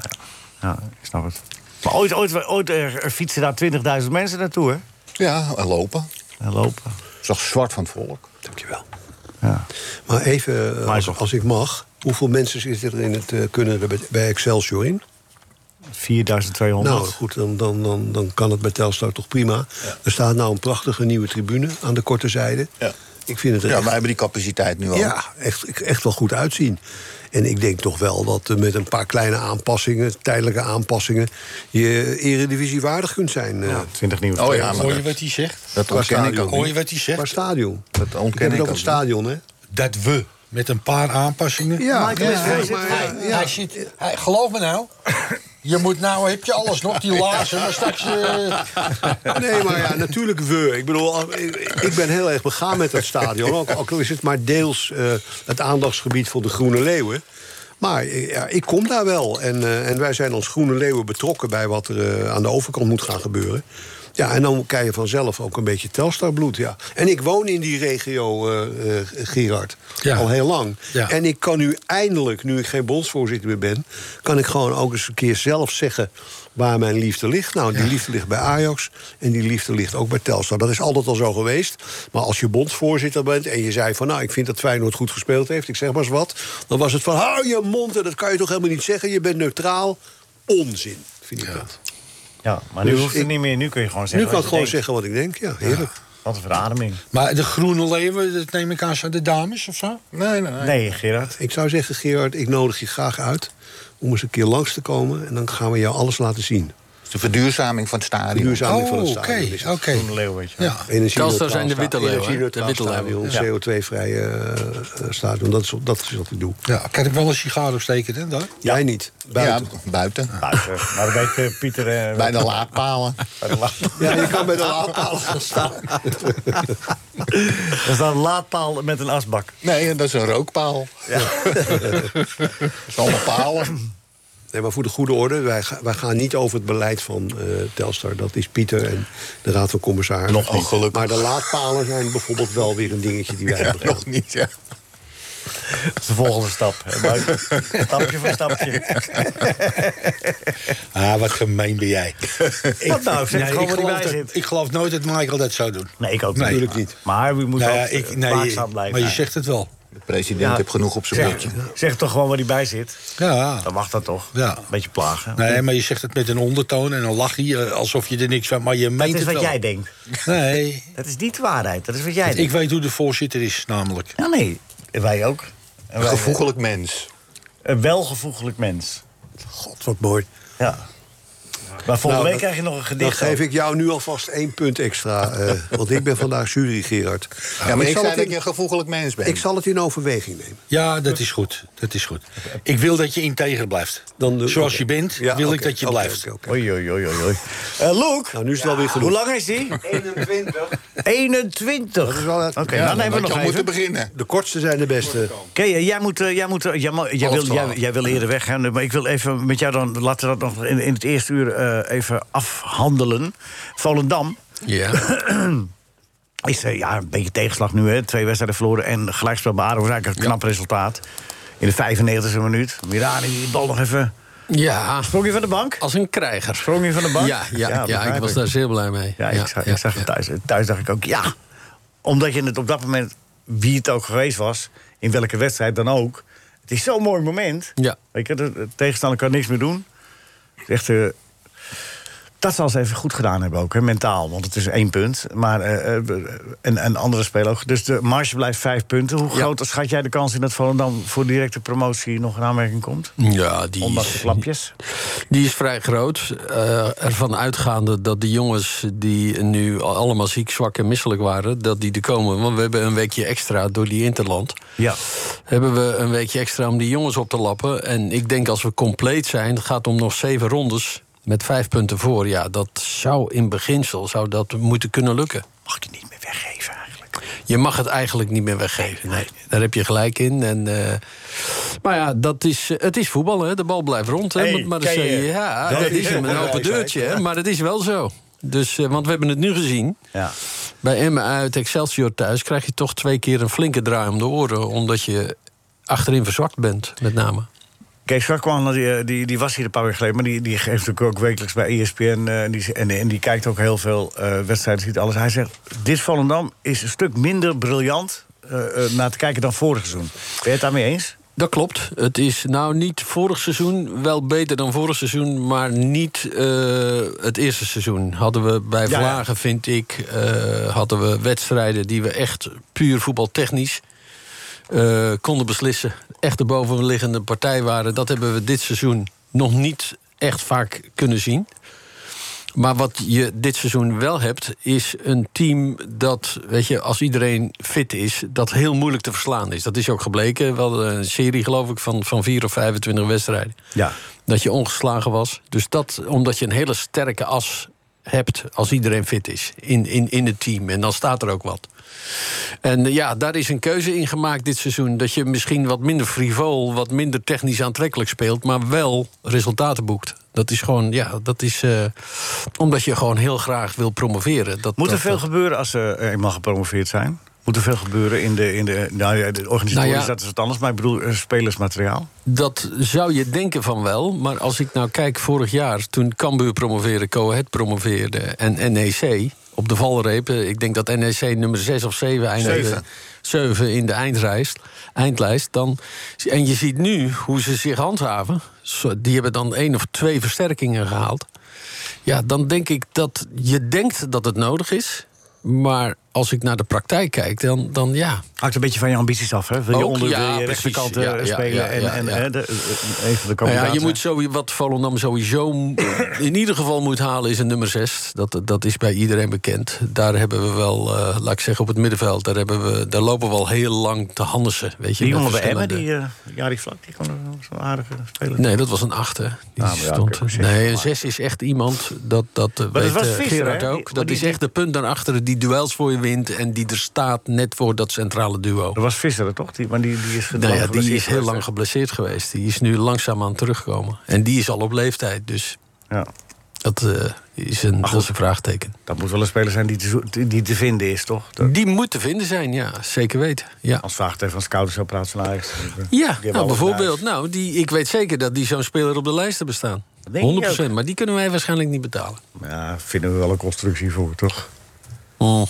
Speaker 3: ja ik snap het. Maar ooit, ooit, ooit eh, er fietsen daar 20.000 mensen naartoe, hè?
Speaker 4: Ja, Nou, en lopen.
Speaker 3: En lopen.
Speaker 4: Zag zwart van het volk.
Speaker 7: Dankjewel. Maar even, eh, als, als ik mag. Hoeveel mensen zitten er in het, eh, kunnen er bij- bij Excelsior in?
Speaker 3: 4200.
Speaker 7: Nou goed, dan, dan, dan, dan kan het bij Telstar toch prima. Er staat nou een prachtige nieuwe tribune aan de korte zijde. Ik vind het
Speaker 4: Ja,
Speaker 7: echt-
Speaker 4: wij hebben die capaciteit nu al. *laughs*
Speaker 7: Ja, echt, echt wel goed uitzien. En ik denk toch wel dat eh, met een paar kleine aanpassingen, tijdelijke aanpassingen, je eredivisie waardig kunt zijn. eh.
Speaker 3: Ja, 20 nieuwe
Speaker 7: Oh ja,
Speaker 8: trainers.
Speaker 7: maar
Speaker 8: Hoor je
Speaker 7: dat-
Speaker 8: wat hij zegt?
Speaker 7: Dat
Speaker 8: Qua
Speaker 7: ontken ik
Speaker 8: stadion.
Speaker 7: ook
Speaker 8: Hoor je
Speaker 7: niet.
Speaker 8: wat hij zegt?
Speaker 7: Qua stadion.
Speaker 4: Dat
Speaker 7: Ik heb het over het stadion, hè?
Speaker 8: Dat we. Met een paar aanpassingen.
Speaker 7: Ja,
Speaker 8: Michael
Speaker 7: ja,
Speaker 8: is heel
Speaker 7: maar-
Speaker 8: zitten-
Speaker 7: ja.
Speaker 8: hij- hij zit- hij- Geloof me nou. Je moet nou, heb je alles nog, *laughs* die laarzen, maar straks... eh,
Speaker 7: Nee, maar ja, natuurlijk we. Ik bedoel, ik, ik ben heel erg begaan met dat stadion. Ook, ook al is het maar deels eh, het aandachtsgebied voor de Groene Leeuwen. Maar eh, ja, ik kom daar wel. En, eh, en wij zijn als Groene Leeuwen betrokken bij wat er eh, aan de overkant moet gaan gebeuren. Ja, en dan krijg je vanzelf ook een beetje Telstar-bloed, ja. En ik woon in die regio, eh, eh, Gerard,
Speaker 8: Ja.
Speaker 7: al heel lang.
Speaker 8: Ja.
Speaker 7: En ik kan nu eindelijk, nu ik geen bondsvoorzitter meer ben... kan ik gewoon ook eens een keer zelf zeggen waar mijn liefde ligt. Nou, die liefde ligt bij Ajax en die liefde ligt ook bij Telstar. Dat is altijd al zo geweest. Maar als je bondsvoorzitter bent en je zei van... nou, ik vind dat Feyenoord goed gespeeld heeft, ik zeg maar eens wat... dan was het van, hou je mond, en dat kan je toch helemaal niet zeggen. Je bent neutraal. Onzin, vind ik dat.
Speaker 3: Ja, maar nu
Speaker 7: Dus
Speaker 3: hoeft het
Speaker 7: ik-
Speaker 3: niet meer. Nu kun je gewoon zeggen
Speaker 7: Nu kan
Speaker 3: wat
Speaker 7: ik
Speaker 3: je
Speaker 7: gewoon
Speaker 3: denkt.
Speaker 7: zeggen wat ik denk, ja, heerlijk.
Speaker 3: Wat een verademing.
Speaker 8: Maar de Groene Leeuwen, dat neem ik aan, zijn de dames of zo?
Speaker 4: Nee,
Speaker 3: Nee, Gerard.
Speaker 7: Ik zou zeggen, Gerard, ik nodig je graag uit... om eens een keer langs te komen en dan gaan we jou alles laten zien.
Speaker 4: De verduurzaming van het stadion.
Speaker 7: Verduurzaming van het
Speaker 8: Oh, oké,
Speaker 7: stadion. is het.
Speaker 8: oké.
Speaker 3: Een leeuw, weet je.
Speaker 8: Ja.
Speaker 7: Energie-neutraal
Speaker 5: Telstar zijn de
Speaker 7: sta-
Speaker 5: witte leeuwen, hè?
Speaker 7: energie-neutraal
Speaker 5: De witte leeuwen.
Speaker 7: stadion, CO2-vrij eh, eh, stadion. Dat is, dat is wat ik doe.
Speaker 8: Ja, kan ik wel een sigaar opsteken, hè, daar?
Speaker 7: Jij niet. Buiten.
Speaker 4: Ja, buiten.
Speaker 3: Buiten. Maar dat weet eh, Pieter... eh,
Speaker 4: Bij de laadpalen.
Speaker 3: bij de laad.
Speaker 7: Ja, je kan bij de laadpalen gaan staan.
Speaker 3: Dat is dan een laadpaal met een asbak.
Speaker 4: Nee, dat is een rookpaal.
Speaker 3: Ja.
Speaker 4: is allemaal palen.
Speaker 7: Nee, maar voor de goede orde, wij, ga- wij gaan niet over het beleid van eh, Telstar. Dat is Pieter en de Raad van Commissarissen. Oh,
Speaker 4: Nog niet. Gelukkig.
Speaker 7: Maar de laadpalen zijn bijvoorbeeld wel weer een dingetje die wij
Speaker 4: Ja,
Speaker 7: hebben gedaan.
Speaker 4: nog niet, ja.
Speaker 3: Dat is de volgende stap. hè, Buik. stapje voor
Speaker 8: *laughs*
Speaker 3: stapje.
Speaker 8: Ah, wat gemeen ben jij.
Speaker 3: Wat nou, zeg gewoon
Speaker 8: ik,
Speaker 3: wat
Speaker 8: geloof
Speaker 3: erbij
Speaker 8: dat,
Speaker 3: zit.
Speaker 8: ik geloof nooit dat Michael dat zou doen.
Speaker 3: Nee, ik ook
Speaker 8: Nee.
Speaker 3: natuurlijk niet. *laughs* Maar we moeten
Speaker 8: Nou ja,
Speaker 3: ook, eh,
Speaker 8: ik- nee,
Speaker 3: waakzaam blijven.
Speaker 8: maar je zegt het wel.
Speaker 4: De president heeft genoeg op zijn
Speaker 3: Ja.
Speaker 4: bordje.
Speaker 3: Zeg toch gewoon waar hij bij zit.
Speaker 8: Ja.
Speaker 3: Dan mag dat toch.
Speaker 8: Ja.
Speaker 3: Beetje plagen.
Speaker 8: Nee, maar je zegt het met een ondertoon en dan lach je eh, alsof je er niks van... maar je meent
Speaker 3: dat is
Speaker 8: het
Speaker 3: wat
Speaker 8: wel.
Speaker 3: jij denkt.
Speaker 8: Nee,
Speaker 3: Dat is niet de waarheid. Dat is wat jij
Speaker 8: ik
Speaker 3: denkt.
Speaker 8: weet hoe de voorzitter is namelijk.
Speaker 3: Ja, nee. Wij ook. En
Speaker 4: Een
Speaker 3: wij-
Speaker 4: gevoegelijk mens.
Speaker 3: Een welgevoegelijk mens.
Speaker 7: God, wat mooi.
Speaker 3: Ja. Maar volgende
Speaker 7: Nou,
Speaker 3: week
Speaker 7: dat-
Speaker 3: krijg je nog een
Speaker 7: Dan
Speaker 3: gedicht.
Speaker 7: geef
Speaker 3: ook.
Speaker 7: ik jou nu alvast één punt extra.
Speaker 4: *laughs*
Speaker 7: eh, want ik ben vandaag jury, Gerard.
Speaker 4: Ja, maar ik,
Speaker 7: zal
Speaker 4: zei
Speaker 7: het
Speaker 4: dat
Speaker 7: in-
Speaker 4: je een gevoegelijk mens bent.
Speaker 7: ik zal het in overweging nemen.
Speaker 8: Ja, dat is goed. Dat is goed. Ik wil dat je integer blijft.
Speaker 7: Dan doe-
Speaker 8: Zoals
Speaker 7: oké.
Speaker 8: je bent,
Speaker 7: Ja,
Speaker 8: wil ik
Speaker 7: oké,
Speaker 8: dat je
Speaker 7: oké,
Speaker 8: blijft.
Speaker 7: oké, oké.
Speaker 3: Oei, oei, oei, oei, oei. Eh, Luke,
Speaker 7: Nou, nu is het wel weer genoeg.
Speaker 3: hoe lang is die?
Speaker 9: 21.
Speaker 3: 21. Dat is wel... Oké,
Speaker 4: Ja,
Speaker 3: dan
Speaker 4: dan
Speaker 3: hebben
Speaker 4: had
Speaker 3: we
Speaker 4: je al
Speaker 3: nog even.
Speaker 4: moeten beginnen.
Speaker 7: De kortste zijn de beste.
Speaker 3: Oké, eh, jij moet, eh, jij, moet, eh, jij, ma- jij,
Speaker 4: Half
Speaker 3: wil, jij,
Speaker 4: twaalf.
Speaker 3: jij wil eerder weg, hè, maar ik wil even met jou dan... laten we dat nog in, in het eerste uur eh, even afhandelen. Volendam
Speaker 5: Ja.
Speaker 3: *clears throat* is eh, ja, een beetje tegenslag nu, hè. Twee wedstrijden verloren en gelijkspel bij Aro. was eigenlijk een knap resultaat. In de 95e minuut. Mirani, die bal nog even...
Speaker 5: ja,
Speaker 3: Sprong je van de bank?
Speaker 5: als een krijger.
Speaker 3: Sprong je van de bank?
Speaker 5: Ja, ja, ja,
Speaker 3: begrijp
Speaker 5: ik was
Speaker 3: ik.
Speaker 5: daar zeer blij mee.
Speaker 3: Ja, ik, zag, ik zag
Speaker 5: ja.
Speaker 3: het thuis. Thuis dacht ik ook, ja. Omdat je het op dat moment, wie het ook geweest was... in welke wedstrijd dan ook... het is zo'n mooi moment.
Speaker 5: Ja.
Speaker 3: Weet je, de, de tegenstander kan niks meer doen. Het is echt, eh, dat zal ze even goed gedaan hebben ook, hè, mentaal. Want het is één punt. Maar, eh, eh, en, en andere spelen ook. Dus de marge blijft vijf punten. Hoe
Speaker 5: Ja.
Speaker 3: groot schat jij de kans in dat Volendam... voor directe promotie nog in aanmerking komt?
Speaker 5: Ja, die
Speaker 3: Ondanks de
Speaker 5: is,
Speaker 3: klapjes.
Speaker 5: die is vrij groot. Eh, ervan uitgaande dat de jongens die nu allemaal ziek, zwak en misselijk waren... dat die er komen, want we hebben een weekje extra door die Interland...
Speaker 3: Ja.
Speaker 5: hebben we een weekje extra om die jongens op te lappen. En ik denk als we compleet zijn, het gaat om nog zeven rondes... met vijf punten voor. Ja, dat zou in beginsel zou dat moeten kunnen lukken.
Speaker 3: Mag ik je niet meer weggeven eigenlijk.
Speaker 5: Je mag het eigenlijk niet meer weggeven. Nee, daar heb je gelijk in. En, eh, maar ja, dat is, eh, het is voetbal, hè? De bal blijft rond. Hè?
Speaker 3: Hey,
Speaker 5: maar, maar dan
Speaker 3: ken
Speaker 5: zeg je,
Speaker 3: je?
Speaker 5: ja,
Speaker 3: Dat
Speaker 5: dat
Speaker 3: is
Speaker 5: is hem, een
Speaker 3: een
Speaker 5: open
Speaker 3: wijsheid,
Speaker 5: deurtje. Hè? Maar het is wel zo. Dus, eh, want we hebben het nu gezien.
Speaker 3: Ja.
Speaker 5: Bij Emmen uit Excelsior thuis krijg je toch twee keer een flinke draai om de oren. Omdat je achterin verzwakt bent, met name.
Speaker 3: Kees Kwakman, die, eh, die, die was hier een paar weken geleden... maar die, die geeft natuurlijk ook wekelijks bij ESPN... eh, en, die, en, en die kijkt ook heel veel eh, wedstrijden, ziet alles. Hij zegt, dit Volendam is een stuk minder briljant... eh, eh, naar te kijken dan vorig seizoen. Ben je het daarmee eens?
Speaker 5: Dat klopt. Het is nou niet vorig seizoen, wel beter dan vorig seizoen, maar niet eh, het eerste seizoen. Hadden we bij
Speaker 3: Ja, ja.
Speaker 5: Vlagen, vind ik, eh, hadden we wedstrijden die we echt puur voetbaltechnisch eh, konden beslissen. Echt de bovenliggende partij waren. Dat hebben we dit seizoen nog niet echt vaak kunnen zien. Maar wat je dit seizoen wel hebt, is een team dat, weet je, als iedereen fit is, dat heel moeilijk te verslaan is. Dat is ook gebleken. We hadden een serie, geloof ik, van, van 4 of 25 wedstrijden.
Speaker 3: Ja.
Speaker 5: Dat je ongeslagen was. Dus dat omdat je een hele sterke as hebt als iedereen fit is in, in, in het team. En dan staat er ook wat. En eh, ja, daar is een keuze in gemaakt dit seizoen. Dat je misschien wat minder frivol, wat minder technisch aantrekkelijk speelt, maar wel resultaten boekt. Dat is gewoon, ja, dat is eh, omdat je gewoon heel graag wil promoveren. Dat,
Speaker 3: Moet er
Speaker 5: dat-
Speaker 3: veel
Speaker 5: dat-
Speaker 3: gebeuren als ze eh, eenmaal gepromoveerd zijn? Moet er veel gebeuren in de, in de, nou ja, de organisatorisch,
Speaker 5: Nou ja.
Speaker 3: dat is wat anders... maar ik bedoel, eh, spelersmateriaal.
Speaker 5: Dat zou je denken van wel, maar als ik nou kijk vorig jaar... toen Cambuur promoveerde, Cohet promoveerde en NEC op de valreep... eh, ik denk dat NEC nummer 6 of 7 eindigde...
Speaker 4: Zeven.
Speaker 5: 7 in de eindlijst, eindlijst dan, en je ziet nu hoe ze zich handhaven. Zo, Die hebben dan één of twee versterkingen gehaald. Ja, dan denk ik dat je denkt dat het nodig is... maar als ik naar de praktijk kijk, dan, dan ja...
Speaker 3: Hangt een beetje van je ambities af, hè? Wil je
Speaker 5: Ook,
Speaker 3: onder
Speaker 5: ja,
Speaker 3: wil je
Speaker 5: precies.
Speaker 3: rechterkant eh,
Speaker 5: Ja, ja,
Speaker 3: spelen
Speaker 5: ja, ja,
Speaker 3: en, en
Speaker 5: ja.
Speaker 3: hè, de, eh, een van
Speaker 5: Nou ja,
Speaker 3: de kandidaten?
Speaker 5: je moet sowieso, wat Volendam sowieso m- in ieder geval moet halen is een nummer 6. Dat, dat is bij iedereen bekend. Daar hebben we wel, eh, laat ik zeggen, op het middenveld... daar, hebben we, daar lopen we al heel lang te handen. Weet je,
Speaker 3: Die
Speaker 5: met
Speaker 3: jongen bij Emmen,
Speaker 5: verschillende-
Speaker 3: die eh, Jari Vlak, die kon er wel zo'n aardige speler.
Speaker 5: Nee, dat was een 8, hè. Die
Speaker 3: Ah, maar ja,
Speaker 5: stond...
Speaker 3: oké, zes.
Speaker 5: nee, een 6 is echt iemand, dat, dat eh,
Speaker 3: dat
Speaker 5: weet
Speaker 3: was
Speaker 5: eh,
Speaker 3: Visser,
Speaker 5: Gerard
Speaker 3: hè? Die-
Speaker 5: ook.
Speaker 3: maar
Speaker 5: Dat
Speaker 3: die-
Speaker 5: is echt de punt daarachter die duels voor je wint en die er staat net voor dat centrale duo.
Speaker 3: Dat was Visser er toch? Die, maar die, die is,
Speaker 5: Nou ja, die
Speaker 3: geblesseerd
Speaker 5: is heel
Speaker 3: geweest,
Speaker 5: lang
Speaker 3: hè?
Speaker 5: geblesseerd geweest. Die is nu langzaam aan het terugkomen. En die is al op leeftijd, dus
Speaker 3: ja.
Speaker 5: dat, eh, is een, dat is een vraagteken.
Speaker 3: Dat moet wel een speler zijn die te, zo- die te vinden is, toch?
Speaker 5: Die moet te vinden zijn, ja, zeker weten. Ja.
Speaker 3: Als vraagteken van scoutingsapparaat van Ajax. Die hebben
Speaker 5: Ja, nou,
Speaker 3: alles
Speaker 5: bijvoorbeeld. Nou, die, ik weet zeker dat die zo'n speler op de lijst hebben staan.
Speaker 3: Dat denk ik
Speaker 5: 100 maar die kunnen wij waarschijnlijk niet betalen.
Speaker 3: in huis. Ja, vinden we wel een constructie voor, toch?
Speaker 5: Oh.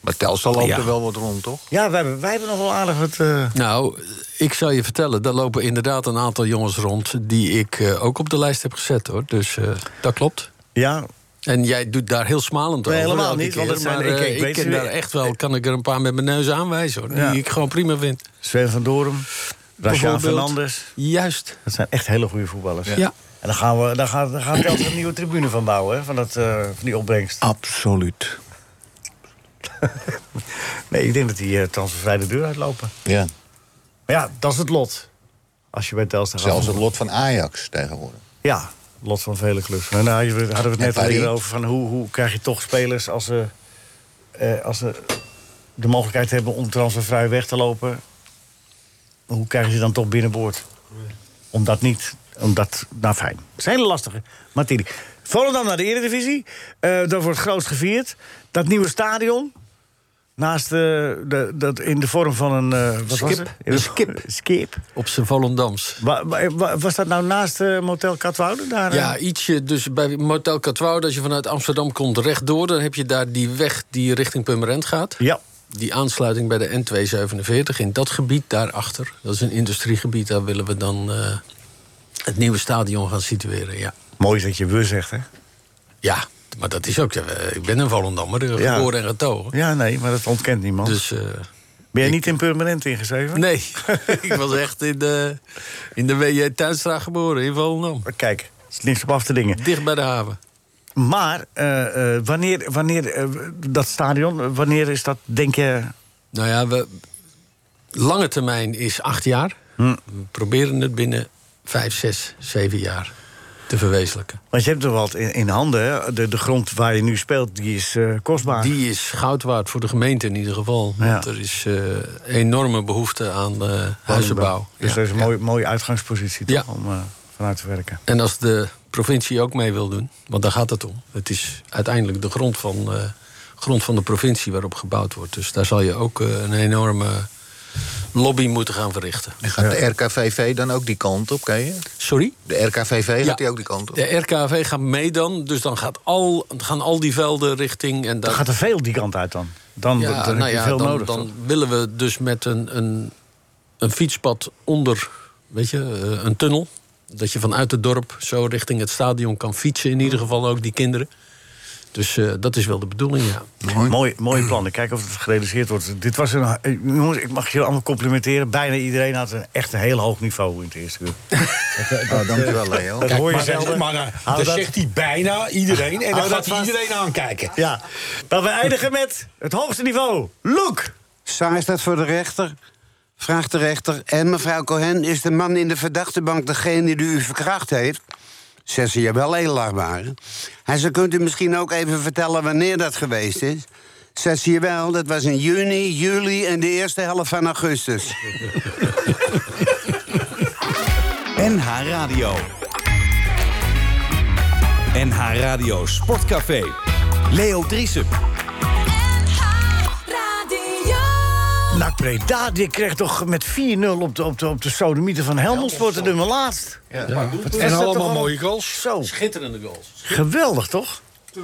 Speaker 4: Maar Telstar loopt
Speaker 5: Ja.
Speaker 4: er wel wat rond, toch?
Speaker 3: Ja, wij hebben, wij hebben nog wel aardig wat... eh,
Speaker 5: Nou, ik zal je vertellen, daar lopen inderdaad een aantal jongens rond... die ik eh, ook op de lijst heb gezet, hoor. Dus eh, dat klopt.
Speaker 3: Ja.
Speaker 5: En jij doet daar heel smalend
Speaker 3: Nee,
Speaker 5: over.
Speaker 3: helemaal
Speaker 5: elke
Speaker 3: niet, want
Speaker 5: keer,
Speaker 3: het zijn-
Speaker 5: maar,
Speaker 3: ik-
Speaker 5: eh,
Speaker 3: ik
Speaker 5: ik,
Speaker 3: weet
Speaker 5: ken
Speaker 3: ze
Speaker 5: daar
Speaker 3: weer.
Speaker 5: echt wel, kan ik er een paar met mijn neus aanwijzen, hoor.
Speaker 3: Ja.
Speaker 5: Die ik gewoon prima vind.
Speaker 3: Sven van Doren, Rashaan
Speaker 5: Bijvoorbeeld.
Speaker 3: Fernandes.
Speaker 5: Juist.
Speaker 3: Dat zijn echt hele goede voetballers.
Speaker 5: Ja. Ja.
Speaker 3: En dan gaan we, dan gaan, dan gaan Telstra een nieuwe tribune van bouwen, hè, van, dat, eh, van die opbrengst.
Speaker 4: Absoluut.
Speaker 3: Nee, ik denk dat die eh transfervrij de deur uitlopen.
Speaker 4: Ja.
Speaker 3: Maar ja, dat is het lot. Als je bij Telstra gaat.
Speaker 4: Zelfs het lot van Ajax tegenwoordig.
Speaker 3: Ja, lot van vele clubs. Maar nou, je- hadden we het
Speaker 4: En
Speaker 3: net al
Speaker 4: Paris.
Speaker 3: hier over van hoe, hoe krijg je toch spelers als ze, eh, als ze de mogelijkheid hebben om transfervrij weg te lopen. Hoe krijg je ze dan toch binnenboord? Omdat niet. Omdat, nou fijn. Het zijn lastige materie. Volendam naar de Eredivisie. Eh dat wordt groot gevierd. Dat nieuwe stadion. Naast eh, de, dat in de vorm van een. eh, wat was
Speaker 5: Skip.
Speaker 3: het?
Speaker 5: Een skip.
Speaker 3: Skip.
Speaker 5: Op zijn Volendams.
Speaker 3: Wa- wa- wa- was dat nou naast eh, Motel Katwoude? Daar, eh?
Speaker 5: Ja, ietsje. Dus bij Motel Catwoude, als je vanuit Amsterdam komt rechtdoor... dan heb je daar die weg die richting Purmerend gaat.
Speaker 3: Ja.
Speaker 5: Die aansluiting bij de N247 in dat gebied daarachter. Dat is een industriegebied, daar willen we dan eh, het nieuwe stadion gaan situeren. Ja,
Speaker 3: Mooi is dat je we zegt, hè?
Speaker 5: ja maar dat is ook... eh, Ik ben een Volendammer, eh,
Speaker 3: Ja.
Speaker 5: geboren en getogen.
Speaker 3: Ja, nee, maar dat ontkent niemand.
Speaker 5: Dus, eh,
Speaker 3: ben jij niet in permanent ingeschreven?
Speaker 5: nee,
Speaker 3: *laughs*
Speaker 5: ik was echt in de, in de WJ Tuinstraat geboren, in Volendam.
Speaker 3: Kijk, het is niks op af te dingen.
Speaker 5: Dicht bij de haven.
Speaker 3: Maar eh, eh, wanneer, wanneer eh, dat stadion, eh, wanneer is dat, denk je...
Speaker 5: Nou ja, we, lange termijn is acht jaar.
Speaker 3: Hm.
Speaker 5: We proberen het binnen vijf, zes, zeven jaar te verwezenlijken.
Speaker 3: Want je hebt er wat in, in handen, hè? De, de grond waar je nu speelt, die is eh, kostbaar.
Speaker 5: Die is goud waard voor de gemeente in ieder geval. Want er is eh, enorme behoefte aan eh, huizenbouw.
Speaker 3: Dus
Speaker 5: Ja.
Speaker 3: dat is een mooie, mooie uitgangspositie toch,
Speaker 5: Ja.
Speaker 3: om eh, vanuit te werken.
Speaker 5: En als de provincie ook mee wil doen, want daar gaat het om. Het is uiteindelijk de grond van, eh, grond van de provincie waarop gebouwd wordt. Dus daar zal je ook eh, een enorme lobby moeten gaan verrichten.
Speaker 4: En gaat de RKVV dan ook die kant op, ken je?
Speaker 5: Sorry?
Speaker 4: De RKVV
Speaker 5: Ja.
Speaker 4: gaat die ook die kant op?
Speaker 5: De RKV gaat mee dan, dus dan gaat al, gaan al die velden richting... En
Speaker 3: Dan gaat er veel die kant uit dan. Dan,
Speaker 5: Ja,
Speaker 3: dan
Speaker 5: nou
Speaker 3: heb je
Speaker 5: ja,
Speaker 3: veel
Speaker 5: dan,
Speaker 3: nodig.
Speaker 5: Dan
Speaker 3: toch?
Speaker 5: willen we dus met een, een, een fietspad onder, weet je, eh, een tunnel... dat je vanuit het dorp zo richting het stadion kan fietsen... in ieder geval ook die kinderen. Dus eh, dat is wel de bedoeling, ja.
Speaker 3: Mooi, mooi plan. Ik kijk of het gerealiseerd wordt. Dit was een. eh, Jongens, ik mag jullie allemaal complimenteren. Bijna iedereen had een echt een heel hoog niveau in het
Speaker 13: *laughs*
Speaker 3: eerste uur.
Speaker 4: Oh, dankjewel, Leo.
Speaker 3: Dat hoor je
Speaker 13: maar,
Speaker 3: zelden.
Speaker 13: maar, eh,
Speaker 3: Hou
Speaker 13: dan
Speaker 3: dat-
Speaker 13: zegt hij bijna iedereen. En dan
Speaker 3: Hou dat
Speaker 13: gaat hij
Speaker 3: vast.
Speaker 13: iedereen aankijken.
Speaker 3: Ja, dan we eindigen met het hoogste niveau. Look!
Speaker 7: Saar staat voor de rechter. Vraagt de rechter. En mevrouw Cohen, is de man in de verdachte bank degene die u verkracht heeft? Zegt ze, jawel, edelachtbare. Hij zegt, kunt u misschien ook even vertellen wanneer dat geweest is? Zegt ze, jawel, dat was in juni, juli en de eerste helft van
Speaker 14: *laughs*
Speaker 7: augustus.
Speaker 14: NH Radio. NH Radio Sportcafé. Leo Driesen.
Speaker 10: Radio.
Speaker 3: Nou, Preda, die kreeg toch met 4-0 op de, op de, op de sodomieten van Helmond de nummer laatst.
Speaker 8: En allemaal mooie
Speaker 3: goals. Zo,
Speaker 5: Schitterende goals.
Speaker 3: geweldig toch?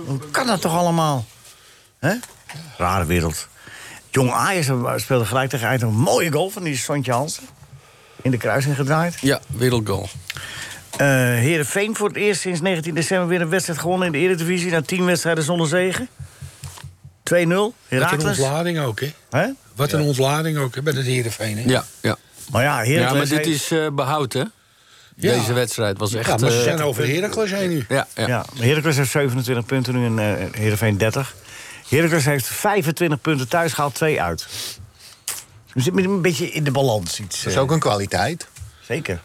Speaker 3: Hoe kan dat toch allemaal? Hè? Rare wereld. Jong Ajax speelde gelijk tegen Eindhoven. Mooie goal van die Sontje Hansen. In de kruising gedraaid.
Speaker 5: Ja, wereldgoal.
Speaker 3: Eh Heerenveen voor het eerst sinds 19 december weer een wedstrijd gewonnen in de Eredivisie. Na 10 wedstrijden zonder zegen. 2-0.
Speaker 8: Wat een
Speaker 3: Herakles.
Speaker 8: ontlading ook, hè?
Speaker 3: Hè?
Speaker 8: Wat een ontlading ook, hè, bij het Heerenveen, hè?
Speaker 5: Ja, ja.
Speaker 3: Maar ja, Heracles
Speaker 5: ja, maar dit is
Speaker 3: heeft-
Speaker 5: eh, behoud, hè? Deze wedstrijd was echt...
Speaker 8: Ja, maar ze
Speaker 5: eh,
Speaker 8: zijn over Heracles heen nu.
Speaker 5: ja, ja.
Speaker 3: Ja, Heracles heeft 27 punten nu en eh Heerenveen 30. Heracles heeft 25 punten thuis gehaald, 2 uit. We zitten met een beetje in de balans iets.
Speaker 4: Dat is
Speaker 3: eh,
Speaker 4: ook een kwaliteit.
Speaker 3: Zeker.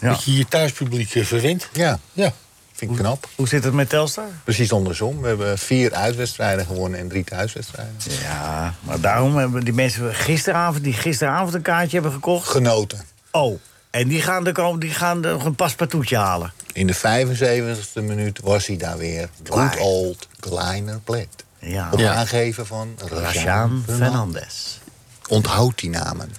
Speaker 3: Ja.
Speaker 8: Dat je je thuispubliek eh, verwint.
Speaker 4: Ja.
Speaker 8: Ja.
Speaker 4: Vind ik knap.
Speaker 3: Hoe zit het met Telstar?
Speaker 4: Precies andersom. We hebben vier uitwedstrijden gewonnen en drie thuiswedstrijden.
Speaker 3: Ja, maar daarom hebben die mensen gisteravond, die gisteravond een kaartje hebben gekocht.
Speaker 4: Genoten.
Speaker 3: Oh, en die gaan, de, kro- die gaan de, nog een paspartoutje halen.
Speaker 4: In de 75e minuut was hij daar weer. Good old Kleiner Plet.
Speaker 3: Ja.
Speaker 4: Op
Speaker 3: Ja.
Speaker 4: aangeven van
Speaker 3: Rashaan
Speaker 4: Rashaan
Speaker 3: Fernandes.
Speaker 4: Onthoud die namen.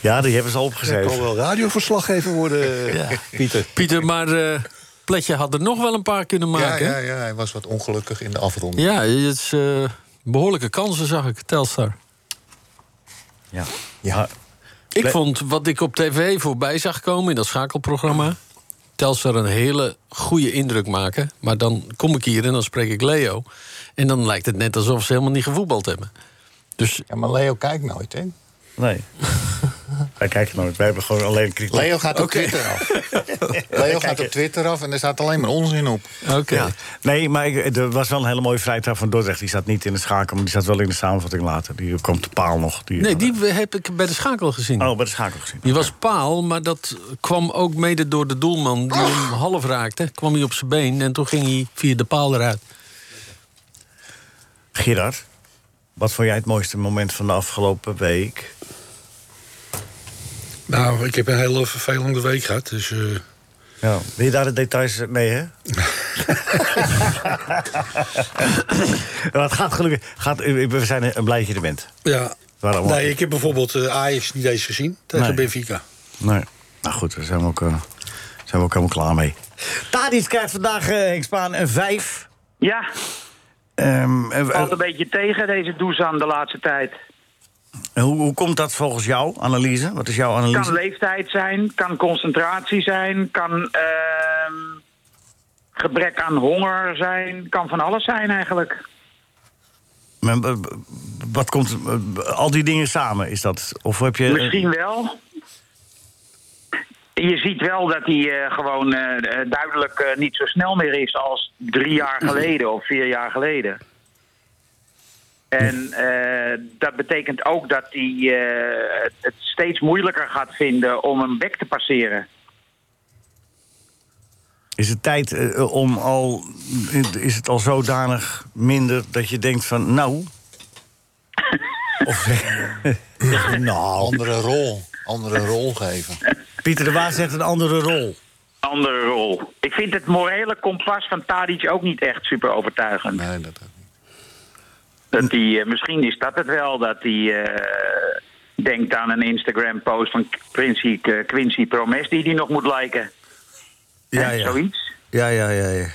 Speaker 3: Ja, die hebben ze al
Speaker 15: Ik
Speaker 3: opgeschreven.
Speaker 15: kan wel radioverslaggever worden,
Speaker 5: Ja.
Speaker 15: Pieter.
Speaker 5: Pieter, maar eh, Pletje had er nog wel een paar kunnen
Speaker 4: Ja,
Speaker 5: maken.
Speaker 4: ja,
Speaker 5: hè?
Speaker 4: ja, hij was wat ongelukkig in de afronding.
Speaker 5: Ja, het is eh, behoorlijke kansen, zag ik, Telstar.
Speaker 3: Ja.
Speaker 4: ja.
Speaker 5: Ik
Speaker 4: Le-
Speaker 5: vond wat ik op tv voorbij zag komen in dat schakelprogramma... Telstar een hele goede indruk maken. Maar dan kom ik hier en dan spreek ik Leo. En dan lijkt het net alsof ze helemaal niet gevoetbald hebben. Dus...
Speaker 4: Ja, maar Leo kijkt nooit, hè?
Speaker 3: Nee. *laughs* Wij kijken nooit. Wij hebben gewoon alleen kritiek.
Speaker 4: Leo gaat op
Speaker 3: Oké.
Speaker 4: Twitter
Speaker 3: *laughs*
Speaker 4: af. Leo gaat op Twitter af en er staat alleen maar onzin op.
Speaker 5: Oké.
Speaker 3: Ja. Nee, maar ik- er was wel een hele mooie vrijdag van Dordrecht. Die zat niet in de schakel, maar die zat wel in de samenvatting later. Die komt de paal nog. Die,
Speaker 5: Nee, die heb ik bij de schakel gezien.
Speaker 3: Oh, bij de schakel gezien.
Speaker 5: Die was paal, maar dat kwam ook mede door de doelman
Speaker 16: Oh.
Speaker 5: die hem half raakte. Kwam hij op zijn been en toen ging hij via de paal eruit.
Speaker 3: Gerard, wat vond jij het mooiste moment van de afgelopen week?
Speaker 8: Nou, ik heb een hele vervelende week gehad. Dus, eh,
Speaker 3: Ja. Wil je daar de details mee,
Speaker 8: *laughs*
Speaker 3: hè? Maar het gaat gelukkig. Gaat, we zijn blij dat je er bent.
Speaker 8: ja.
Speaker 3: Waarom?
Speaker 8: Nee, ik heb bijvoorbeeld eh, Ajax niet eens gezien tegen
Speaker 3: Nee.
Speaker 8: Benfica.
Speaker 3: Nee. Nou goed, daar zijn we ook, eh, zijn we ook helemaal klaar mee. Tadic krijgt vandaag, eh Henk Spaan, een 5.
Speaker 16: Ja,
Speaker 3: Ehm, eh,
Speaker 16: valt een beetje tegen deze Doezan de laatste tijd.
Speaker 3: eh, hoe, hoe komt dat volgens jou, analyse? Wat is jouw
Speaker 16: Kan
Speaker 3: analyse?
Speaker 16: leeftijd zijn, kan concentratie zijn, kan ehm, gebrek aan honger zijn, kan van alles zijn eigenlijk.
Speaker 3: Men- eh, Wat komt, eh, al die dingen samen, is dat? Of heb je... eh,
Speaker 16: Misschien wel. Je ziet wel dat hij eh, gewoon eh, eh, duidelijk eh, niet zo snel meer is als drie jaar geleden of vier jaar geleden. En eh, dat betekent ook dat hij eh, het- het steeds moeilijker gaat vinden om een bek te passeren.
Speaker 3: Is het tijd eh, om al... Is het al zodanig minder dat je denkt van... Nou... of... nou...
Speaker 4: Andere rol. Andere rol geven.
Speaker 3: Pieter de Waas zegt een andere rol.
Speaker 16: Andere rol. Ik vind het morele kompas van Tadic ook niet echt super overtuigend. Nee,
Speaker 4: dat
Speaker 16: ook niet. Dat hij, eh, misschien is dat het wel, dat hij eh, denkt aan een Instagram-post van Quincy, eh, Quincy Promes die hij nog moet liken.
Speaker 3: Ja,
Speaker 16: Hè,
Speaker 3: ja.
Speaker 16: Zoiets.
Speaker 3: Ja, ja, ja, ja.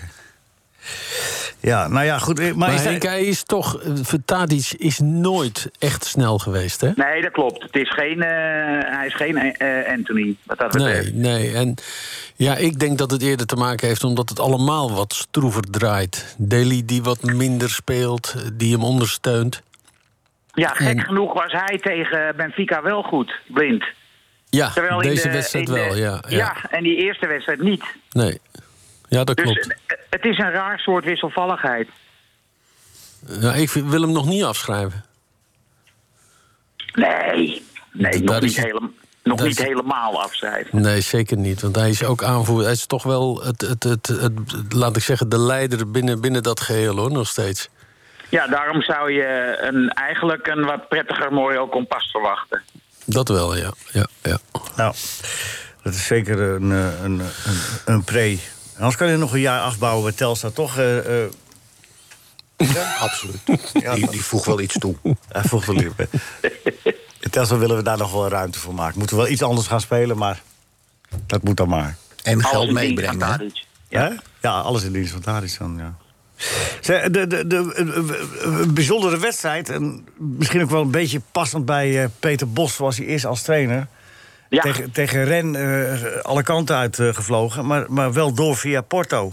Speaker 3: Ja, nou ja, goed. eh, Maar,
Speaker 5: Maar,
Speaker 3: is
Speaker 5: Henk,
Speaker 3: dat-
Speaker 5: hij is toch... eh, Tadic is nooit echt snel geweest, hè?
Speaker 16: Nee, dat klopt. Het is geen, eh, hij is geen eh, Anthony, wat dat betreft.
Speaker 5: Nee, nee. En ja, ik denk dat het eerder te maken heeft omdat het allemaal wat stroever draait. Deli die wat minder speelt, eh, die hem ondersteunt.
Speaker 16: Ja, gek genoeg was hij tegen Benfica wel goed, blind.
Speaker 5: Ja,
Speaker 16: Terwijl in
Speaker 5: deze
Speaker 16: de-
Speaker 5: wedstrijd
Speaker 16: in de-
Speaker 5: wel, ja, ja.
Speaker 16: Ja, en die eerste wedstrijd niet.
Speaker 5: Nee. Ja, dat
Speaker 16: Dus
Speaker 5: klopt.
Speaker 16: eh, het is een raar soort wisselvalligheid.
Speaker 5: Ja, ik wil hem nog niet afschrijven.
Speaker 16: Nee, nee nog,
Speaker 5: daar
Speaker 16: niet,
Speaker 5: is het-
Speaker 16: helem- nog
Speaker 5: daar
Speaker 16: niet
Speaker 5: is-
Speaker 16: helemaal afschrijven.
Speaker 5: Nee, zeker niet. Want hij is ook aanvoerder. Hij is toch wel, het, het, het, het, laat ik zeggen, de leider binnen, binnen dat geheel hoor, nog steeds.
Speaker 16: Ja, daarom zou je een, eigenlijk een wat prettiger Morio kompas verwachten.
Speaker 5: Dat wel, ja. ja, ja.
Speaker 3: Nou, dat is zeker een, eh, een, een, een pre. Anders kan je nog een jaar afbouwen bij Telstra, toch? eh, eh?
Speaker 4: Ja, absoluut. die, die voegt wel iets toe.
Speaker 3: Hij voegt wel iets bij Telstra willen we daar nog wel ruimte voor maken. Moeten we wel iets anders gaan spelen, maar dat moet dan maar.
Speaker 4: En Alles geld in dienst meebrengen, van hè?
Speaker 3: Ja? ja, alles in dienst van Tadic dan, ja. Zeg, De, de, de, eh, eh, bijzondere wedstrijd, en misschien ook wel een beetje passend bij eh, Peter Bos, zoals hij is als trainer. Tegen, tegen Ren eh, alle kanten uit eh, gevlogen, maar, maar wel door via Porto.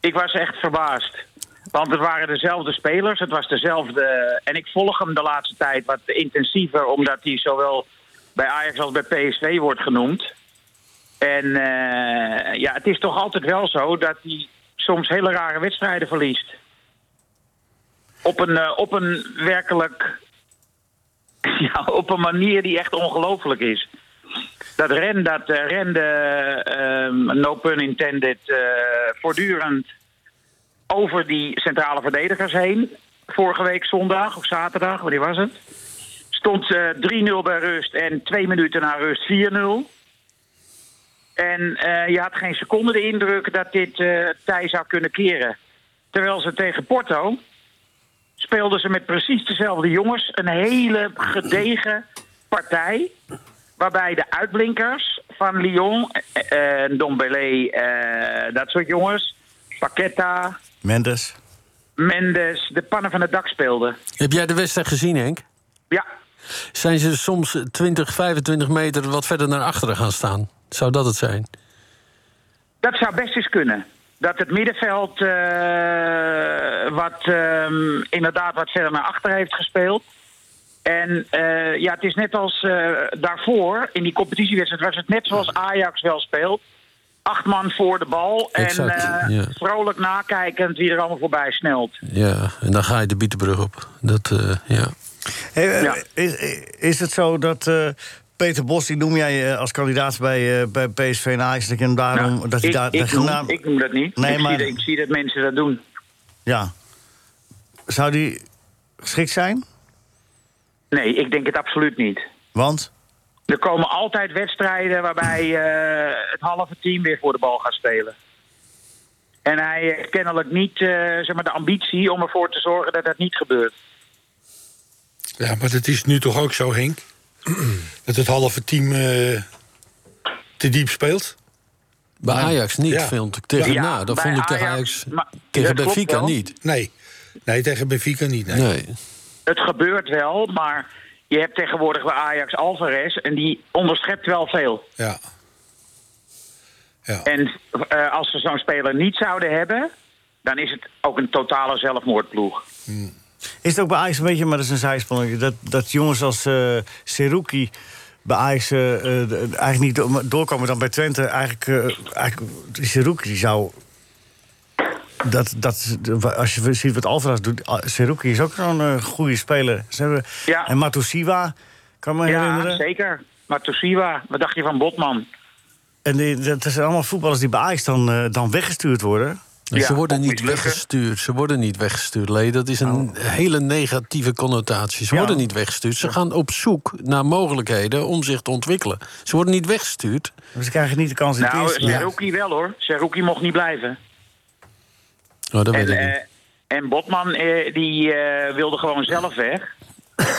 Speaker 16: Ik was echt verbaasd. Want het waren dezelfde spelers, het was dezelfde... En ik volg hem de laatste tijd wat intensiever... omdat hij zowel bij Ajax als bij PSV wordt genoemd. En eh, ja, het is toch altijd wel zo dat hij soms hele rare wedstrijden verliest. Op een, eh, op een *laughs* werkelijk... Ja, op een manier die echt ongelooflijk is. Dat ren, dat eh, rende, ehm, no pun intended, eh, voortdurend over die centrale verdedigers heen. Vorige week zondag of zaterdag, wanneer was het? Stond eh, 3-0 bij rust en twee minuten na rust 4-0. En eh, je had geen seconde de indruk dat dit eh tij zou kunnen keren. Terwijl ze tegen Porto speelden ze met precies dezelfde jongens een hele gedegen partij. Waarbij de uitblinkers van Lyon, eh, eh, Dombele, eh, dat soort jongens, Paqueta,
Speaker 3: Mendes.
Speaker 16: Mendes, de pannen van het dak speelden.
Speaker 5: Heb jij de wedstrijd gezien, Henk?
Speaker 16: Ja.
Speaker 5: Zijn ze soms 20, 25 meter wat verder naar achteren gaan staan? Zou dat het zijn?
Speaker 16: Dat zou best eens kunnen. Dat het middenveld eh, wat, ehm, inderdaad wat verder naar achter heeft gespeeld. En eh, ja, het is net als eh, daarvoor, in die competitiewedstrijd, was het net zoals Ajax wel speelt. Acht man voor de bal
Speaker 5: Exact,
Speaker 16: en eh,
Speaker 5: ja.
Speaker 16: vrolijk nakijkend wie er allemaal voorbij snelt.
Speaker 5: Ja, en dan ga je de Bietenbrug op. Dat, eh, ja.
Speaker 3: Hey, eh, is, is het zo dat eh, Peter Bos, die noem jij eh, als kandidaat bij, eh, bij PSV en Ajax... dat Nou, je hem daarom... dat hij
Speaker 16: Nou, ik,
Speaker 3: daar,
Speaker 16: ik,
Speaker 3: de
Speaker 16: noem,
Speaker 3: naam-
Speaker 16: ik noem dat niet.
Speaker 3: Nee,
Speaker 16: ik,
Speaker 3: maar-
Speaker 16: zie, dat- ik zie dat mensen dat doen.
Speaker 3: Ja. Zou die geschikt zijn?
Speaker 16: Nee, ik denk het absoluut niet.
Speaker 3: Want?
Speaker 16: Er komen altijd wedstrijden waarbij eh, het halve team weer voor de bal gaat spelen. En hij heeft kennelijk niet eh, zeg maar de ambitie om ervoor te zorgen dat dat niet gebeurt.
Speaker 8: Ja, maar dat is nu toch ook zo, Henk? *clears throat* dat het halve team eh, te diep speelt?
Speaker 5: Bij Ajax niet,
Speaker 8: Ja.
Speaker 5: vond ik tegen-
Speaker 8: Ja,
Speaker 5: nou, dat
Speaker 8: bij
Speaker 5: vond ik tegen
Speaker 8: Ajax,
Speaker 5: Ajax.
Speaker 8: maar-
Speaker 5: tegen
Speaker 8: dat klopt
Speaker 5: Benfica
Speaker 8: wel.
Speaker 5: niet.
Speaker 8: Nee. nee, tegen Benfica niet. Nee.
Speaker 16: Het gebeurt wel, maar je hebt tegenwoordig bij Ajax Alvarez en die onderschept wel veel.
Speaker 8: Ja.
Speaker 16: En eh, als ze zo'n speler niet zouden hebben, dan is het ook een totale zelfmoordploeg.
Speaker 3: Is het ook bij Ajax een beetje, maar dat is een zijspanning... dat, dat jongens als eh Seruki bij Ajax eh, eh, de- eigenlijk niet do- doorkomen dan bij Twente... eigenlijk, eh, eigenlijk die Seruki die zou... Dat, dat, als je ziet wat Alvarez doet, ah, Seruki is ook zo'n eh, goede speler. Ze hebben,
Speaker 16: Ja.
Speaker 3: En Matusiwa, kan me
Speaker 16: Ja,
Speaker 3: herinneren.
Speaker 16: zeker. Maar Tosiwa, wat dacht je van Botman?
Speaker 3: En die, dat zijn allemaal voetballers die bij Ajax dan, eh, dan weggestuurd worden.
Speaker 5: ze worden niet weggestuurd. Ze worden niet weggestuurd, Lee. Dat is een
Speaker 16: Oh.
Speaker 5: hele negatieve connotatie. Ze worden niet weggestuurd. Ze gaan op zoek naar mogelijkheden om zich te ontwikkelen. Ze worden niet weggestuurd.
Speaker 3: Maar ze krijgen niet de kans in het
Speaker 16: Nou,
Speaker 3: eerste. Ja.
Speaker 16: Seruki wel hoor. Seruki mocht niet blijven.
Speaker 5: Oh, dat
Speaker 16: en,
Speaker 5: weet ik niet.
Speaker 16: eh, en Botman eh, die eh, wilde gewoon zelf
Speaker 5: *laughs*
Speaker 16: weg.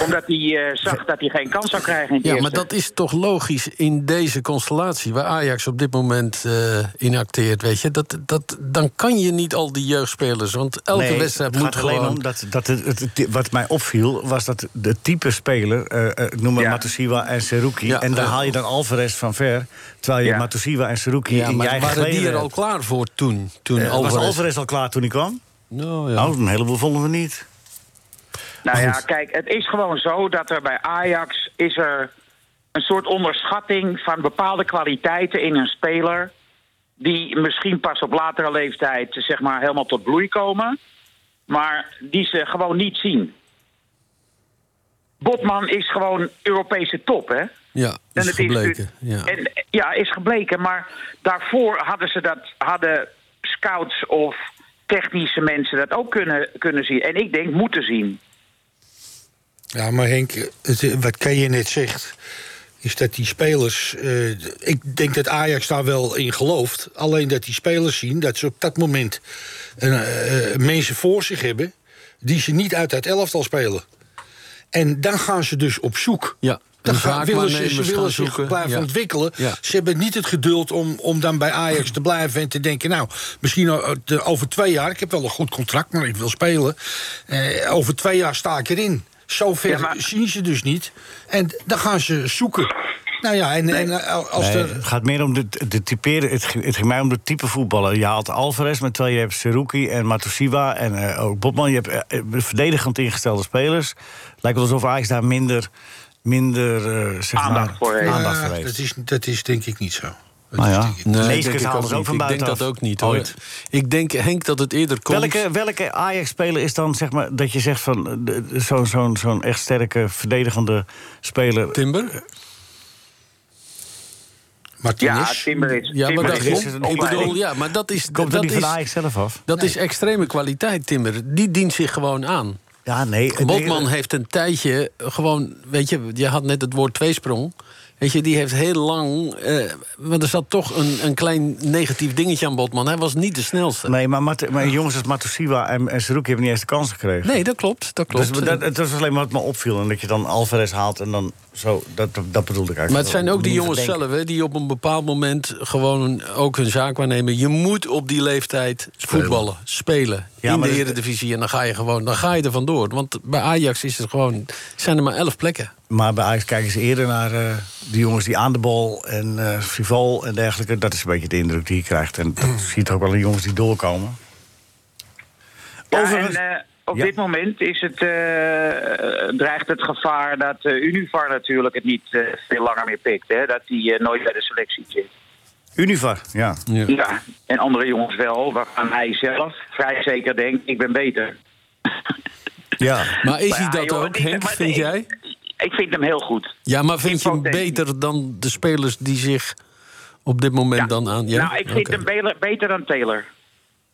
Speaker 16: omdat hij eh, zag dat hij geen kans zou krijgen in het
Speaker 5: Ja,
Speaker 16: eerste.
Speaker 5: maar dat is toch logisch in deze constellatie... waar Ajax op dit moment eh, in acteert, weet je. Dat, dat, dan kan je niet al die jeugdspelers... want elke
Speaker 3: Nee,
Speaker 5: wedstrijd
Speaker 3: het
Speaker 5: moet
Speaker 3: gaat alleen
Speaker 5: gewoon...
Speaker 3: om dat, dat het, het- het- wat mij opviel was dat de type speler, eh, eh, ik noem maar Matusiwa en Seruki, en daar
Speaker 5: eh,
Speaker 3: haal je dan Alvarez van ver, terwijl je
Speaker 5: Ja.
Speaker 3: Matusiwa en Seruki
Speaker 5: Ja,
Speaker 3: in je
Speaker 5: maar
Speaker 3: eigen
Speaker 5: waren die
Speaker 3: geleden
Speaker 5: er al
Speaker 3: hebt.
Speaker 5: klaar voor toen? toen
Speaker 3: Eh,
Speaker 5: Alvarez...
Speaker 3: Was Alvarez al klaar toen hij kwam?
Speaker 5: Nou,
Speaker 3: ja. een heleboel vonden we niet.
Speaker 16: Nou ja, kijk, het is gewoon zo dat er bij Ajax is er een soort onderschatting van bepaalde kwaliteiten in een speler. Die misschien pas op latere leeftijd zeg maar helemaal tot bloei komen. Maar die ze gewoon niet zien. Botman is gewoon Europese top, hè?
Speaker 5: Ja,
Speaker 16: En
Speaker 5: is
Speaker 16: het is
Speaker 5: gebleken. Ja.
Speaker 16: En, eh, ja, is gebleken. Maar daarvoor hadden ze dat, hadden scouts of technische mensen dat ook kunnen, kunnen zien. En ik denk moeten zien.
Speaker 8: Ja, maar Henk, het- wat Keijer net zegt, is dat die spelers... eh, ik denk dat Ajax daar wel in gelooft. Alleen dat die spelers zien dat ze op dat moment eh, eh, mensen voor zich hebben... die ze niet uit dat elftal spelen. En dan gaan ze dus op zoek.
Speaker 5: Ja.
Speaker 8: Dan
Speaker 5: en
Speaker 8: gaan, willen ze, ze
Speaker 5: zaakwaarnemers
Speaker 8: willen
Speaker 5: gaan
Speaker 8: zich
Speaker 5: zoeken.
Speaker 8: blijven
Speaker 5: Ja.
Speaker 8: ontwikkelen.
Speaker 5: Ja.
Speaker 8: Ze hebben niet het geduld om, om dan bij Ajax te blijven en te denken... nou, misschien o- de- over twee jaar, ik heb wel een goed contract, maar ik wil spelen. Eh, over twee jaar sta ik erin. Zo ver
Speaker 16: Ja, maar-
Speaker 8: zien ze dus niet. En dan gaan ze zoeken. Nou ja, en, en eh, als
Speaker 3: Nee,
Speaker 8: er...
Speaker 3: Het gaat meer om de, de typeren. Het, ging- het ging mij om de type voetballer. Je haalt Alvarez, maar terwijl je hebt Seruki en Matusiwa en eh, ook Bobman. Je hebt eh, eh, verdedigend ingestelde spelers. Lijkt wel alsof Ajax daar minder, minder eh, zeg
Speaker 8: Aandacht
Speaker 3: maar,
Speaker 8: voor heeft.
Speaker 3: aandacht
Speaker 8: Ja,
Speaker 3: voor heeft.
Speaker 8: dat, is, dat is denk ik niet zo.
Speaker 3: Nou ja,
Speaker 5: Nee,
Speaker 3: Leeskens
Speaker 5: denk ik
Speaker 3: halen
Speaker 5: ook
Speaker 3: ze ook
Speaker 5: niet.
Speaker 3: van
Speaker 5: Ik denk
Speaker 3: buitenaf.
Speaker 5: dat ook
Speaker 8: Oh,
Speaker 5: niet, hoor.
Speaker 3: Ooit.
Speaker 5: Ik denk, Henk, dat het eerder komt...
Speaker 3: Welke, welke Ajax-speler is dan, zeg maar, dat je zegt van eh, de- de- zo'n zo'n zo'n echt sterke verdedigende speler?
Speaker 5: Timber?
Speaker 16: Ja, Timber is.
Speaker 5: Ja, maar
Speaker 16: Timber
Speaker 5: dat,
Speaker 16: is
Speaker 5: ik
Speaker 16: een
Speaker 5: bedoel, ja, maar dat is.
Speaker 3: Komt er
Speaker 5: dat
Speaker 3: niet van
Speaker 5: is-
Speaker 3: Ajax zelf af?
Speaker 5: Dat is extreme kwaliteit, Timber. Die dient zich gewoon aan.
Speaker 3: Ja, nee.
Speaker 5: Botman
Speaker 3: nee,
Speaker 5: heeft een tijdje gewoon. Weet je, je had net het woord tweesprong. Weet je, die heeft heel lang. eh, want er zat toch een, een klein negatief dingetje aan Botman. Hij was niet de snelste.
Speaker 3: Nee, maar, Mat- maar jongens als Matusiwa en, en Saruki hebben niet eens de kans gekregen.
Speaker 5: Nee, dat klopt. Dat klopt.
Speaker 3: Dus dat, het was alleen maar wat me opviel. En dat je dan Alvarez haalt en dan zo. Dat, dat, dat bedoelde ik eigenlijk.
Speaker 5: Maar het zijn ook die
Speaker 3: Niet
Speaker 5: jongens
Speaker 3: denken.
Speaker 5: zelf hè, die op een bepaald moment gewoon ook hun zaak waarnemen. Je moet op die leeftijd voetballen, spelen
Speaker 3: Ja,
Speaker 5: in de
Speaker 3: maar dat-
Speaker 5: Eredivisie. En dan ga je gewoon, dan ga je er vandoor. Want bij Ajax is het gewoon, zijn er maar elf plekken.
Speaker 3: Maar bij Ajax kijken ze eerder naar eh, die jongens die aan de bal en eh frivol en dergelijke. Dat is een beetje de indruk die je krijgt.
Speaker 5: *clears throat*
Speaker 3: En dat ziet ook wel de jongens die doorkomen.
Speaker 16: Ja,
Speaker 3: Overigens-
Speaker 16: en, eh, op
Speaker 3: Ja.
Speaker 16: dit moment is het, eh, eh, dreigt het gevaar dat eh, Univar natuurlijk het niet eh, veel langer meer pikt. Hè? Dat hij eh, nooit bij de selectie zit.
Speaker 3: Univar, ja.
Speaker 5: Ja.
Speaker 16: en andere jongens wel, waarvan hij zelf vrij zeker denkt, ik ben beter.
Speaker 3: Ja.
Speaker 5: Maar is
Speaker 16: Maar
Speaker 5: hij
Speaker 16: ja,
Speaker 5: dat
Speaker 16: joh,
Speaker 5: ook,
Speaker 16: ik-
Speaker 5: Henk,
Speaker 16: maar
Speaker 5: vind
Speaker 16: nee.
Speaker 5: jij?
Speaker 16: Ik vind hem heel goed.
Speaker 5: Ja, maar vind je hem beter dan de spelers die zich op dit moment dan aan... Ja?
Speaker 16: nou, ik vind
Speaker 5: Oké.
Speaker 16: hem beter, beter dan Taylor.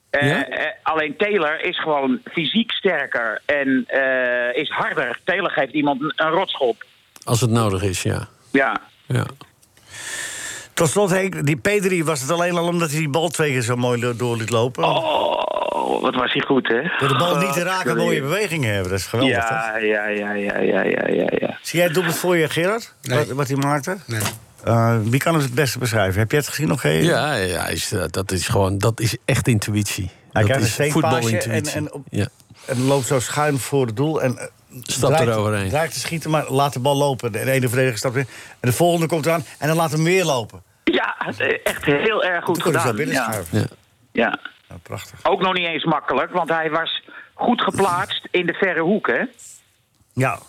Speaker 16: Eh,
Speaker 5: Ja?
Speaker 16: eh, alleen Taylor is gewoon fysiek sterker en eh, is harder. Taylor geeft iemand een, een rotschop.
Speaker 5: Als het nodig is, ja.
Speaker 16: Ja.
Speaker 3: Tot slot, Henk, die Pedri was het alleen al omdat hij die bal twee keer zo mooi lo- door liet lopen.
Speaker 16: Oh, wat was hij goed, hè? Oh,
Speaker 3: Door de bal niet te raken,
Speaker 16: Godverdorie.
Speaker 3: mooie bewegingen hebben. Dat is geweldig, toch?
Speaker 16: ja, ja, ja, ja, ja, ja, ja, ja.
Speaker 3: Zie jij het doelpunt voor je, Gerard? Wat, wat hij maakte? Nee. wie kan het het beste beschrijven? Heb jij het gezien nog, Gerard?
Speaker 5: Ja, ja is, eh, dat is gewoon, dat is echt intuïtie.
Speaker 3: Hij
Speaker 5: dat
Speaker 3: krijgt een
Speaker 5: is
Speaker 3: steekpaasje en,
Speaker 5: voetbalintuïtie.
Speaker 3: en, op-
Speaker 5: Ja.
Speaker 3: en loopt zo schuin voor het doel. En, eh,
Speaker 5: Stapt
Speaker 3: draait-
Speaker 5: eroverheen.
Speaker 3: Draait te schieten, maar laat de bal lopen. De ene verdediger stapt in. En de volgende komt eraan en dan laat hem weer lopen.
Speaker 16: Ja, echt heel erg goed
Speaker 3: Toen kon hij zo
Speaker 16: gedaan.
Speaker 3: binnen
Speaker 16: Ja.
Speaker 3: schuiven. Nou,
Speaker 16: Ja.
Speaker 3: prachtig.
Speaker 16: Ook nog niet eens makkelijk, want hij was goed geplaatst in de verre hoek, hè?
Speaker 3: Ja.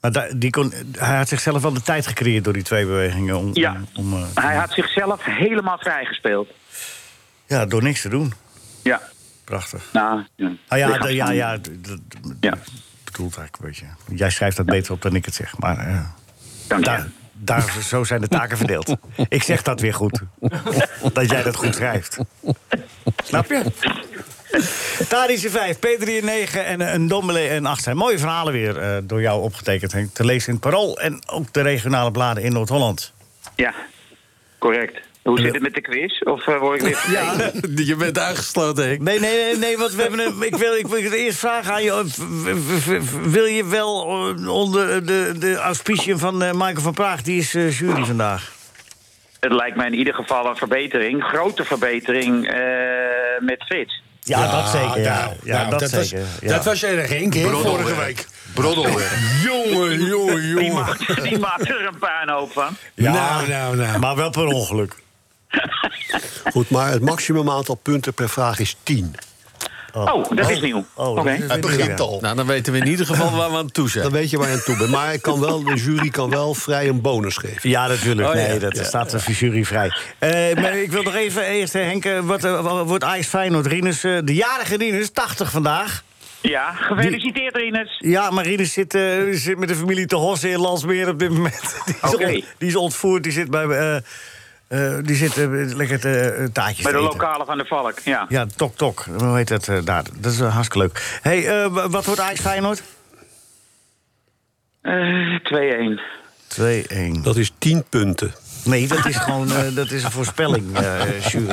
Speaker 3: Maar da- die kon, hij had zichzelf wel de tijd gecreëerd door die twee bewegingen. Om,
Speaker 16: Ja.
Speaker 3: om- om, eh,
Speaker 16: Hij had zichzelf helemaal vrijgespeeld.
Speaker 3: ja, door niks te doen.
Speaker 16: Ja.
Speaker 3: Prachtig.
Speaker 16: Nou,
Speaker 3: Ah, ja,
Speaker 16: lichaams-
Speaker 3: de- ja, ja, d- d- d- bedoelt eigenlijk een beetje. Jij schrijft dat beter op dan ik het zeg. Maar eh, daar, daar, zo zijn de taken verdeeld. Ik zeg dat weer
Speaker 16: *laughs*
Speaker 3: goed. dat jij dat goed schrijft. Snap je? Tadic in 5, P3 in 9 en eh, een Dombele en 8 zijn. Mooie verhalen weer eh, door jou opgetekend, Henk. Te lezen in het Parool en ook de regionale bladen in Noord-Holland.
Speaker 16: Ja, correct. Hoe zit het met de quiz? Of eh, word ik weer
Speaker 5: Ja, *laughs* je bent aangesloten, Henk.
Speaker 3: Nee, nee, nee, nee want we hebben een, ik, wil, ik wil het eerst vragen aan je. eh, v- v- v- Wil je wel eh, onder de, de auspiciën van eh, Michael van Praag? Die is eh, jury vandaag.
Speaker 16: Het lijkt mij in ieder geval een verbetering, grote verbetering eh, met Frits.
Speaker 3: Ja, dat zeker. Ja,
Speaker 6: nou,
Speaker 3: ja,
Speaker 6: nou,
Speaker 3: dat,
Speaker 6: dat was-
Speaker 3: zeker. ja.
Speaker 6: Dat was erg, Henk, hè, vorige week.
Speaker 3: *laughs*
Speaker 6: Broddelwerk. jongen, jongen,
Speaker 16: Die
Speaker 6: jongen.
Speaker 16: maakt, die maakt er een puinhoop van.
Speaker 3: Ja,
Speaker 6: Nou, nou, nou.
Speaker 3: Maar wel per ongeluk.
Speaker 7: *laughs* Goed, maar het maximum aantal punten per vraag is 10.
Speaker 16: Oh, dat is nieuw.
Speaker 3: Oh,
Speaker 16: Oké.
Speaker 7: Het begint al.
Speaker 5: Nou, dan weten we in ieder geval waar we aan toe zijn.
Speaker 7: Dan weet je waar je aan toe bent. Maar ik kan wel, de jury kan wel vrij een bonus geven.
Speaker 3: Ja, natuurlijk.
Speaker 7: Oh, ja.
Speaker 3: nee, dat
Speaker 7: Ja.
Speaker 3: staat de jury vrij. Eh, maar ik wil nog even eerst, eh, Henk, eh, wat eh, wat wordt Ajax Feyenoord? Rinus, eh, de jarige Rinus, 80 vandaag.
Speaker 16: Ja, gefeliciteerd Rinus.
Speaker 3: Ja, maar Rinus zit, eh, zit met de familie te hossen in Landsmeer op dit moment. *laughs* Die is,
Speaker 16: Oké.
Speaker 3: on- die is ontvoerd, die zit bij... eh, eh, die zit eh, lekker te, eh, taartjes
Speaker 16: Bij de
Speaker 3: te eten.
Speaker 16: lokale van de Valk, ja.
Speaker 3: Ja, Tok Tok. Hoe heet dat eh, daar? Dat is eh, hartstikke leuk. hey, eh, wa- wat wordt Ajax Feyenoord?
Speaker 16: Eh, 2-1.
Speaker 3: 2-1.
Speaker 7: Dat is 10 punten.
Speaker 3: Nee, dat is gewoon eh, dat is een voorspelling, eh, jury.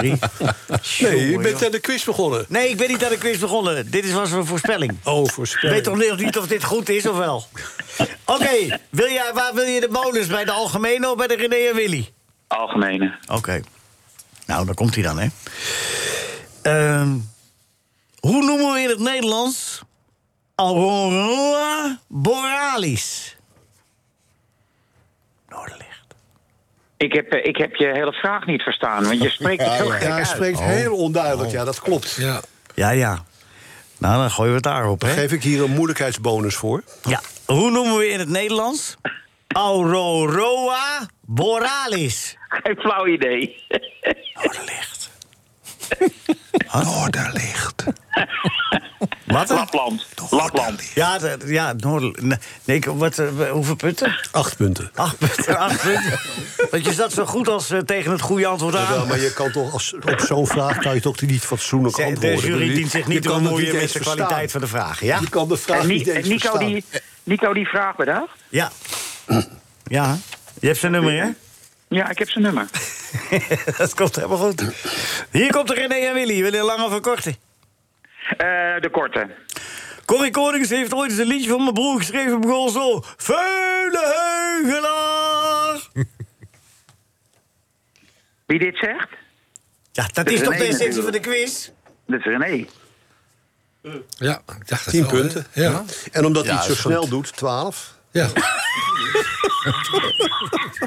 Speaker 7: Nee, je
Speaker 3: Jongen,
Speaker 7: bent aan de quiz begonnen.
Speaker 3: Nee, ik ben niet aan de quiz begonnen. Dit is was een voorspelling.
Speaker 7: Oh,
Speaker 3: Ik
Speaker 7: voorspelling.
Speaker 3: weet toch nog niet of dit goed is of
Speaker 7: *laughs*
Speaker 3: wel? Oké, wil jij- waar wil je de bonus? Bij de Algemene of bij de René en Willy?
Speaker 16: Algemene.
Speaker 3: Oké. Nou, daar komt hij dan, hè. Ehm, hoe noemen we in het Nederlands... Aurora Borealis?
Speaker 16: Ik heb, eh, ik heb je hele vraag niet verstaan, want je spreekt het zo gek
Speaker 7: Ja, hij
Speaker 16: uit.
Speaker 7: spreekt heel onduidelijk. Ja, dat klopt. Ja.
Speaker 3: Oh. Ja, ja. Nou, dan gooien we het daarop, hè.
Speaker 7: Geef ik hier een moeilijkheidsbonus voor.
Speaker 3: Ja, hoe noemen we in het Nederlands? Aurora Borealis. Oh,
Speaker 16: Geen flauw idee.
Speaker 7: *laughs* Oh,
Speaker 3: Wat? *laughs* Wat?
Speaker 16: Lapland. Lapland.
Speaker 3: Ja, de- ja het Noorden- Nee, nee, ik- wat, eh, hoeveel punten?
Speaker 7: Acht punten.
Speaker 3: Acht
Speaker 7: *laughs*
Speaker 3: punten, acht punten. Want je zat zo goed als eh, tegen het goede antwoord aan.
Speaker 7: Ja, maar je kan toch als, op zo'n vraag kan je toch niet fatsoenlijk
Speaker 3: Zeg, de
Speaker 7: antwoorden.
Speaker 3: jury
Speaker 7: Je-
Speaker 3: dient zich niet
Speaker 7: je
Speaker 3: te
Speaker 7: kan het
Speaker 3: bemoeien
Speaker 7: niet
Speaker 3: met
Speaker 7: eens
Speaker 3: de
Speaker 7: verstaan.
Speaker 3: kwaliteit van de vraag, ja?
Speaker 7: Je kan de vraag
Speaker 16: En, Ni-
Speaker 7: niet eens
Speaker 16: en Nico,
Speaker 7: verstaan.
Speaker 16: die, Nico die vraag bedacht?
Speaker 3: Ja. Ja, je hebt zijn nummer, hè?
Speaker 16: Ja, ik heb zijn nummer.
Speaker 3: *laughs* dat komt helemaal goed. Hier komt de René en Willy. Willen lang of een korte?
Speaker 16: Eh, de korte.
Speaker 3: Corrie Konings heeft ooit eens een liedje van mijn broer geschreven. Begon zo. Vele heugelaar.
Speaker 16: Wie dit zegt?
Speaker 3: Ja, dat is toch de essentie van de quiz?
Speaker 16: E Dat is E. René.
Speaker 7: Ja, ik dacht
Speaker 16: het
Speaker 7: Tien
Speaker 16: wel, hè?
Speaker 7: punten.
Speaker 16: Ja.
Speaker 7: En omdat
Speaker 16: Ja,
Speaker 7: hij het zo
Speaker 16: is goed.
Speaker 7: snel doet, twaalf. *laughs*
Speaker 6: Ja.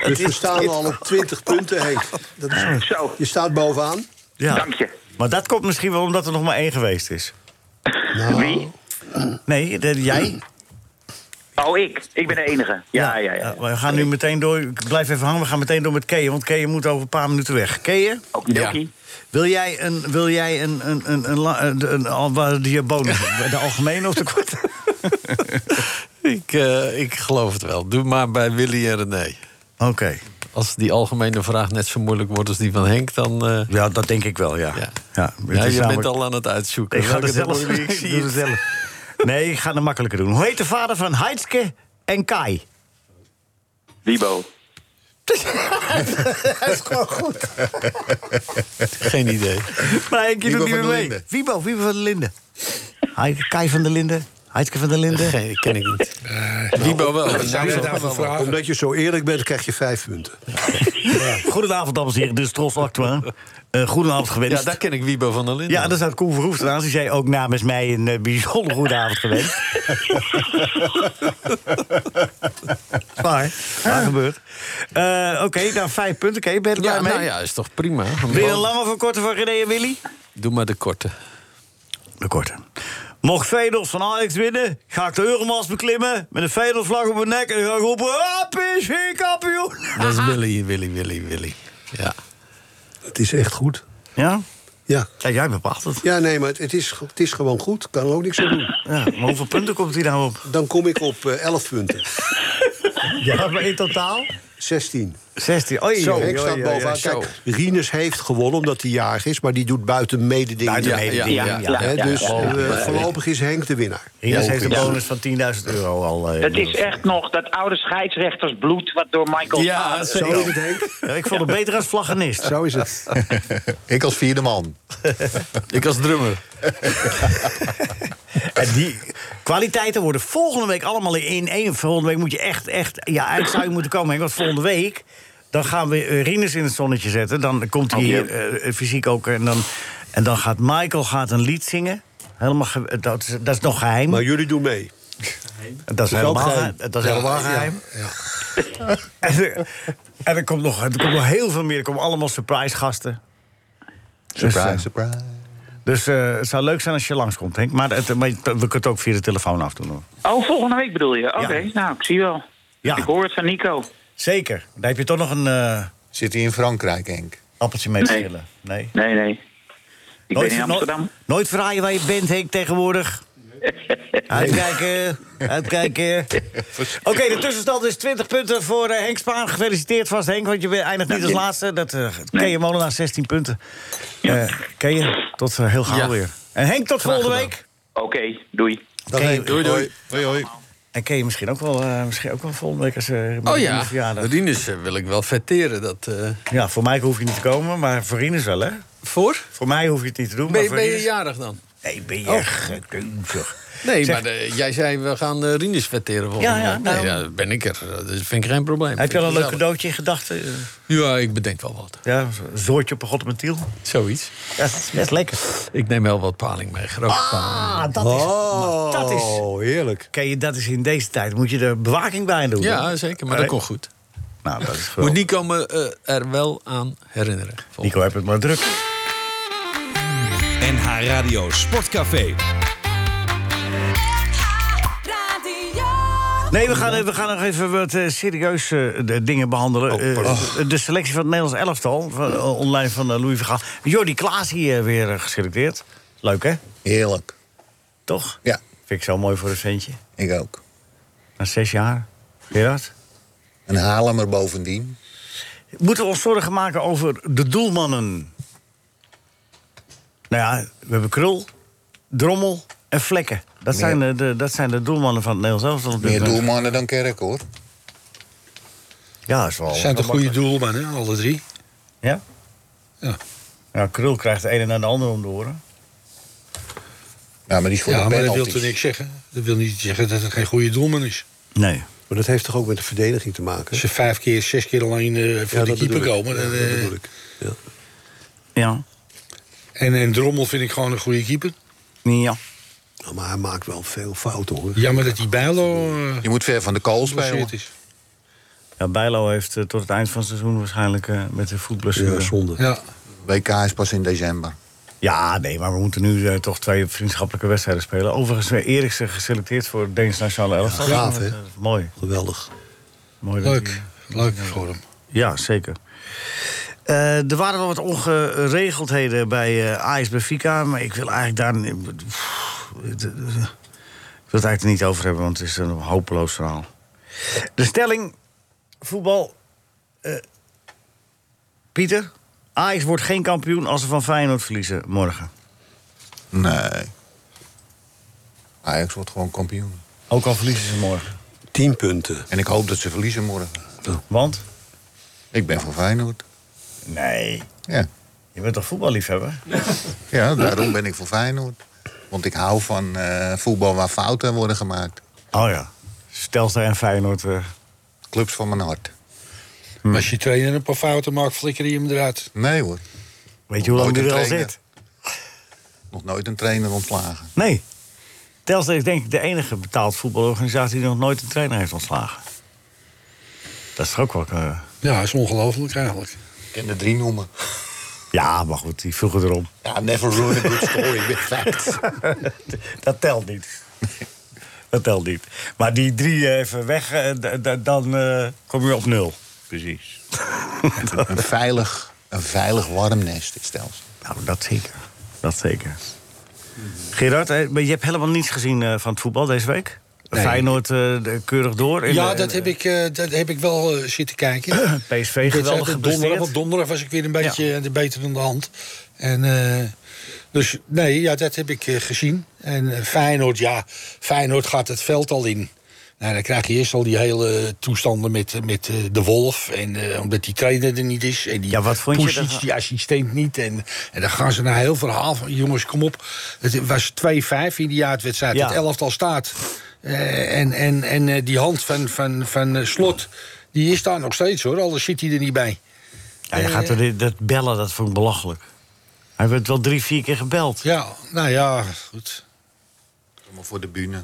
Speaker 7: dus we staan al op twintig punten, Henk. Dat is, Je staat bovenaan.
Speaker 3: Ja.
Speaker 7: Dank je.
Speaker 3: Maar dat komt misschien wel omdat er nog maar één geweest is.
Speaker 16: Wie?
Speaker 3: Nee, de- jij?
Speaker 16: Oh, ik. Ik ben de enige. Ja, ja, ja.
Speaker 3: Ja, Eh, we gaan nu meteen door. Ik blijf even hangen. We gaan meteen door met Keeën. Want Keeën moet over een paar minuten weg. Keeën?
Speaker 16: Okidoki.
Speaker 3: Wil jij een, wil jij een, een, een, een, la- een, een, al- waar
Speaker 5: *laughs*
Speaker 3: die bonus? De algemene of de korte? *laughs*
Speaker 5: Ik, eh, ik geloof het wel. Doe maar bij Willy en René.
Speaker 3: Oké.
Speaker 5: Als die algemene vraag net zo moeilijk wordt als die van Henk, dan... eh,
Speaker 3: ja, dat denk ik wel, ja.
Speaker 5: Ja,
Speaker 3: ja,
Speaker 5: je
Speaker 3: het is namelijk-
Speaker 5: bent al aan het uitzoeken.
Speaker 3: *laughs* Ik ga
Speaker 5: Welke
Speaker 3: het
Speaker 5: de
Speaker 3: zelf
Speaker 5: moeilijke ik zie
Speaker 3: doe
Speaker 5: het.
Speaker 3: het zelf. Nee, ik ga het makkelijker doen. Hoe heet de vader van Heidske en Kai?
Speaker 16: Wibo.
Speaker 3: dat is gewoon goed.
Speaker 5: Geen idee.
Speaker 3: *laughs* Maar Henkie
Speaker 5: Wiebo
Speaker 3: doet niet
Speaker 5: van
Speaker 3: meer
Speaker 5: der
Speaker 3: mee.
Speaker 5: Linden.
Speaker 3: Wiebo, Wiebo van der Linden. Heidke- Kai van der Linden. Heidske van der Linden.
Speaker 5: Geen, ken ik niet.
Speaker 7: Wiebo
Speaker 5: wel.
Speaker 7: Wat zou je daarvoor vragen? Omdat je zo eerlijk bent, krijg je vijf punten.
Speaker 3: Goedenavond, dames en heren. Dus Dit is Tros Actua. Eh goedenavond gewenst.
Speaker 5: Ja, daar ken ik Wiebo van der Linden.
Speaker 3: Ja, daar staat Koen Verhoef trouwens. Die zei ook namens mij een eh, bijzonder goede avond
Speaker 5: *laughs*
Speaker 3: gewenst. Waar? Waar gebeurt? Eh, Oké, nou vijf punten. Oké, ben je er
Speaker 5: Ja,
Speaker 3: blij mee?
Speaker 5: nou *laughs* ja, is toch prima.
Speaker 3: Wil je een lange of een korte van René en Willy?
Speaker 5: Doe maar de korte.
Speaker 3: De korte. Mocht Vedos van Ajax winnen, ga ik de Euromast beklimmen... met een Vedelvlag op mijn nek en dan ga ik roepen... APSV kampioen!
Speaker 5: *laughs* Dat is Willy, Willy, Willy, Willy. Ja.
Speaker 7: Het is echt goed.
Speaker 3: Ja?
Speaker 7: Ja.
Speaker 3: Kijk, jij bepaalt het.
Speaker 7: Ja, nee, maar het, het is, het is gewoon goed. Kan er ook niks aan doen.
Speaker 3: Ja, maar hoeveel punten komt hij nou op?
Speaker 7: Dan kom ik op eh, 11 punten.
Speaker 3: Ja, maar in totaal?
Speaker 7: 16.
Speaker 3: 16. Oei,
Speaker 7: Zo,
Speaker 3: oei,
Speaker 7: ik
Speaker 3: oei,
Speaker 7: sta
Speaker 3: oei,
Speaker 7: bovenaan.
Speaker 3: oei, zo.
Speaker 7: Kijk, Rinus heeft gewonnen omdat hij jarig is... maar die doet buiten mededingen.
Speaker 3: Buiten mededingen, ja, ja,
Speaker 7: Hè,
Speaker 3: ja,
Speaker 7: dus
Speaker 3: ja, ja.
Speaker 7: eh, voorlopig is Henk de winnaar.
Speaker 3: Rinus heeft een
Speaker 7: Ja.
Speaker 3: bonus van 10.000 euro al. eh,
Speaker 16: Het is
Speaker 3: inmiddels.
Speaker 16: echt nog dat oude scheidsrechtersbloed wat door Michael Staal-
Speaker 3: Ja, zo is het, Ah, Ja, ik vond het beter als vlaggenist.
Speaker 7: Zo is het.
Speaker 4: *laughs* Ik als vierde
Speaker 3: *laughs*
Speaker 4: man.
Speaker 5: Ik als drummer.
Speaker 3: En die kwaliteiten worden volgende week allemaal in één. Volgende week moet je echt, echt ja, uit zou je moeten komen. Henk, Want volgende week dan gaan we eh, Rinus in het zonnetje zetten. Dan komt hij hier eh, fysiek ook. En dan, en dan gaat Michael gaat een lied zingen. Helemaal ge- dat, is, dat is nog geheim.
Speaker 7: Maar jullie doen mee.
Speaker 3: dat is
Speaker 7: ook
Speaker 3: helemaal
Speaker 7: geheim.
Speaker 3: geheim. Dat is
Speaker 7: Ja,
Speaker 3: helemaal
Speaker 7: ja,
Speaker 3: geheim. *laughs* En, er- en er, komt nog, er komt nog heel veel meer. Er komen allemaal surprise gasten.
Speaker 4: Surprise,
Speaker 3: eh,
Speaker 4: surprise.
Speaker 3: Dus eh, het zou leuk zijn als je langskomt, Henk. Maar, het, maar je- we kunnen het ook via de telefoon afdoen. Hoor.
Speaker 16: Oh, volgende week bedoel je? Oké, nou, ik zie wel.
Speaker 3: Ja.
Speaker 16: Ik hoor het van Nico.
Speaker 3: Zeker. Daar heb je toch nog een...
Speaker 4: Zit hij in Frankrijk, Henk?
Speaker 3: Appeltje mee te
Speaker 16: Nee.
Speaker 3: schillen. Nee.
Speaker 16: Nee, nee. Ik ben in
Speaker 3: ver-
Speaker 16: Amsterdam.
Speaker 3: Nooit, nooit verraaien waar je bent, Henk,
Speaker 16: *laughs*
Speaker 3: tegenwoordig. Uitkijken, uitkijken.
Speaker 5: *laughs*
Speaker 3: Oké, de tussenstand is 20 punten voor eh, Henk Spaan. Gefeliciteerd vast, Henk, want je bent- eindigt niet als laatste. Dat eh ken je Molenaar, 16 punten. Eh ken je? Tot eh, heel gauw
Speaker 16: Ja.
Speaker 3: weer. En Henk, tot volgende
Speaker 16: gedaan.
Speaker 3: week.
Speaker 16: Oké, doei.
Speaker 3: Dag, Henk.
Speaker 5: Doei, doei.
Speaker 4: Hoi, hoi.
Speaker 3: En ken je misschien ook wel, eh, misschien ook wel volgende week als eh
Speaker 5: Oh
Speaker 3: met
Speaker 5: ja,
Speaker 3: een verjaardag.
Speaker 5: Rinus eh, wil ik wel vetteren. Dat, eh,
Speaker 3: Ja, voor mij hoef je niet te komen, maar voor Rinus wel, hè?
Speaker 5: Voor?
Speaker 3: Voor mij hoef je het niet te doen,
Speaker 5: ben,
Speaker 3: maar
Speaker 5: je-
Speaker 3: voor
Speaker 5: ben je
Speaker 3: Rinus-
Speaker 5: jarig dan?
Speaker 3: Nee, ben je
Speaker 5: Oh.
Speaker 3: gekeuzig.
Speaker 5: Nee,
Speaker 3: Zeg-
Speaker 5: maar de- jij zei we gaan eh, Rinus vetteren volgende
Speaker 3: Ja, ja,
Speaker 5: week.
Speaker 3: daarom.
Speaker 5: Nee, ja, ben ik er. Dat is- vind ik geen probleem.
Speaker 3: Heb je
Speaker 5: Vind
Speaker 3: al
Speaker 5: ik
Speaker 3: een
Speaker 5: gezellig.
Speaker 3: leuk cadeautje in gedachten? Eh,
Speaker 5: Ja, ik bedenk wel wat.
Speaker 3: Ja, een zoortje op een godmentiel.
Speaker 5: Zoiets.
Speaker 3: Ja, dat is best lekker.
Speaker 5: Ik neem wel wat paling mee. Grote paling.
Speaker 3: Ah, dat is... maar dat is
Speaker 7: Oh, heerlijk.
Speaker 3: Ken je, dat is in deze tijd. Moet je er bewaking bij doen.
Speaker 5: Ja,
Speaker 3: hoor.
Speaker 5: zeker. Maar
Speaker 3: Nee.
Speaker 5: dat komt goed.
Speaker 3: Nou, dat is
Speaker 5: Moet
Speaker 3: geweldig.
Speaker 5: Nico me eh, er wel aan herinneren.
Speaker 3: Nico, heb het maar druk.
Speaker 2: NH Radio Sportcafé.
Speaker 3: Nee, we gaan, eh, we gaan nog even wat eh, serieuze eh, de dingen behandelen.
Speaker 7: Oh,
Speaker 3: Eh, de selectie van het Nederlands elftal. Van, eh, online van eh, Louis Vergaal. Jordi Klaas hier eh, weer eh, geselecteerd. Leuk, hè?
Speaker 4: Heerlijk.
Speaker 3: Toch?
Speaker 4: Ja.
Speaker 3: Vind ik zo mooi voor een ventje.
Speaker 4: Ik ook.
Speaker 3: Na zes jaar. Gerard?
Speaker 4: Een Haarlemmer bovendien.
Speaker 3: Moeten we ons zorgen maken over de doelmannen? Nou ja, we hebben Krul, Drommel en Vlekken.
Speaker 4: Meer-
Speaker 3: Dat, zijn, de, de- dat zijn de doelmannen van het Nederlands elftal. op dit
Speaker 4: Meer
Speaker 3: moment.
Speaker 4: doelmannen dan Kerk, hoor.
Speaker 3: Ja, is wel.
Speaker 8: Zijn toch
Speaker 3: wel
Speaker 8: goede
Speaker 3: makkelijk.
Speaker 8: doelmannen, hè, alle drie?
Speaker 3: Ja?
Speaker 8: Ja.
Speaker 3: Ja, Krul krijgt de ene naar de andere om de oren.
Speaker 4: Ja, maar die
Speaker 3: voor de
Speaker 8: maar dat wil
Speaker 3: penalties.
Speaker 8: toch niks zeggen? Dat wil niet zeggen dat het geen goede doelman is.
Speaker 3: Nee.
Speaker 7: Maar dat heeft toch ook met de verdediging te maken?
Speaker 8: Als ze vijf keer, zes keer alleen eh, voor
Speaker 7: Ja,
Speaker 8: de
Speaker 7: dat
Speaker 8: keeper
Speaker 7: bedoel ik.
Speaker 8: komen... dan,
Speaker 7: Ja,
Speaker 8: eh,
Speaker 7: dat bedoel ik.
Speaker 3: Ja.
Speaker 8: En, en Drommel vind ik gewoon een goede keeper.
Speaker 3: Ja.
Speaker 7: Maar hij maakt wel veel fouten, hoor.
Speaker 8: Jammer dat die eh, Bijlo...
Speaker 4: Je moet ver van de kool
Speaker 8: spelen.
Speaker 3: Ja, Bijlo heeft eh, tot het eind van het seizoen waarschijnlijk eh, met de voetblessure.
Speaker 4: Ja, zonde.
Speaker 8: Ja.
Speaker 4: WK is pas in december.
Speaker 3: Ja, nee, maar we moeten nu eh, toch twee vriendschappelijke wedstrijden spelen. Overigens, eh, Eriksen geselecteerd voor het Deens Nationale Elftal.
Speaker 7: gaaf,
Speaker 3: Dat
Speaker 7: hè?
Speaker 3: is, eh, Mooi.
Speaker 7: Geweldig.
Speaker 3: Mooi dat
Speaker 8: Leuk.
Speaker 3: hij-
Speaker 8: Leuk voor hem.
Speaker 3: Ja, zeker. Eh, er waren wel wat ongeregeldheden bij eh AS Benfica, maar ik wil eigenlijk daar... ni- Pff, het- het- Ik wil het eigenlijk er niet over hebben, want het is een hopeloos verhaal. De stelling, voetbal... eh, Pieter, Ajax wordt geen kampioen als ze van Feyenoord verliezen morgen.
Speaker 4: Nee. Ajax wordt gewoon kampioen.
Speaker 3: Ook al verliezen ze morgen.
Speaker 7: Tien punten.
Speaker 4: En ik hoop dat ze verliezen morgen.
Speaker 3: Want?
Speaker 4: Ik ben voor Feyenoord.
Speaker 3: Nee.
Speaker 4: Ja.
Speaker 3: Je bent toch voetballiefhebber?
Speaker 4: *laughs* Ja, daarom ben ik voor Feyenoord. Want ik hou van eh, voetbal waar fouten worden gemaakt.
Speaker 3: Oh ja. Stelster en Feyenoord. eh.
Speaker 4: Clubs van mijn hart.
Speaker 8: Hm. Als je trainer een paar fouten maakt, flikker je hem eruit.
Speaker 4: Nee hoor.
Speaker 3: Weet je hoe lang die er al zit?
Speaker 4: Nog nooit een trainer ontslagen.
Speaker 3: Nee. Telstra is denk ik de enige betaald voetbalorganisatie... die nog nooit een trainer heeft ontslagen. Dat is toch ook wel... eh,
Speaker 8: Ja, is ongelooflijk eigenlijk.
Speaker 4: Ik ken er drie noemen.
Speaker 3: Ja, maar goed, die vroegen erom.
Speaker 4: Ja, never ruin a good story with facts.
Speaker 3: *laughs* Dat telt niet. Dat telt niet. Maar die drie even weg, eh, d- d- dan eh, kom je op nul. Precies.
Speaker 4: een, veilig, een veilig warm nest, dit stelsel.
Speaker 3: Nou, dat zeker. Dat zeker. Gerard, eh, maar je hebt helemaal niets gezien eh, van het voetbal deze week?
Speaker 8: Nee.
Speaker 3: Feyenoord eh, de- keurig door. in
Speaker 8: Ja,
Speaker 3: de-
Speaker 8: dat heb ik, eh, dat heb ik wel eh, zitten
Speaker 3: *clears throat*
Speaker 8: kijken.
Speaker 3: PSV geweldig
Speaker 8: donderdag,
Speaker 3: gepresteerd.
Speaker 8: want donderdag was ik weer een beetje eh, beter dan de hand. En, eh, dus nee, ja, dat heb ik eh, gezien. En eh, Feyenoord, ja, Feyenoord gaat het veld al in. Nou, dan krijg je eerst al die hele toestanden met, eh, met eh, de Wolf. En eh, omdat die trainer er niet is. En die
Speaker 3: Ja, wat vond je
Speaker 8: Pusic,
Speaker 3: daarvan?
Speaker 8: die assistent niet. En, en dan gaan ze naar heel verhaal van... jongens, kom op. Het was 2-5 in die jaarwedstrijd.
Speaker 3: Ja.
Speaker 8: Het elftal staat. Eh, en en, en eh, die hand van, van, van eh, Slot, die is daar nog steeds hoor. Anders zit hij er niet bij. Eh,
Speaker 3: Ja, je gaat er, dit- dat bellen, dat vond ik belachelijk. Hij werd wel drie, vier keer gebeld.
Speaker 8: Ja, nou ja, goed.
Speaker 4: Maar voor de bühne.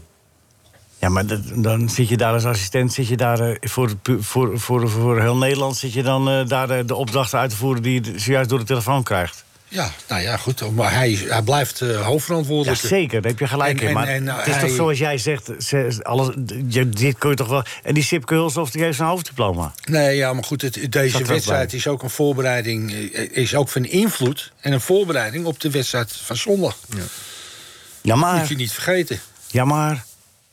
Speaker 3: Ja, maar dat- dan zit je daar als assistent, zit je daar eh, voor, het pu- voor, voor, voor heel Nederland... zit je dan eh, daar de, de opdrachten uit te voeren die je d- zojuist door de telefoon krijgt.
Speaker 8: Ja, nou ja, goed. Maar hij, hij blijft eh
Speaker 3: Ja,
Speaker 8: hoofdverantwoordelijk.
Speaker 3: zeker, daar heb je gelijk
Speaker 8: En-
Speaker 3: in.
Speaker 8: en-
Speaker 3: Maar
Speaker 8: en, eh,
Speaker 3: het is
Speaker 8: hij-
Speaker 3: toch zoals jij zegt, ze- alles, je, dit kun je toch wel... En die Sipke Hulshoff, die heeft zijn hoofddiploma.
Speaker 8: Nee, ja, maar goed, het- het-
Speaker 3: Zat er
Speaker 8: deze
Speaker 3: ook
Speaker 8: wedstrijd
Speaker 3: bij.
Speaker 8: is ook een voorbereiding... eh, is ook van invloed en een voorbereiding op de wedstrijd van zondag.
Speaker 3: Ja,
Speaker 8: Moet
Speaker 3: maar...
Speaker 8: je niet vergeten.
Speaker 3: Ja, maar...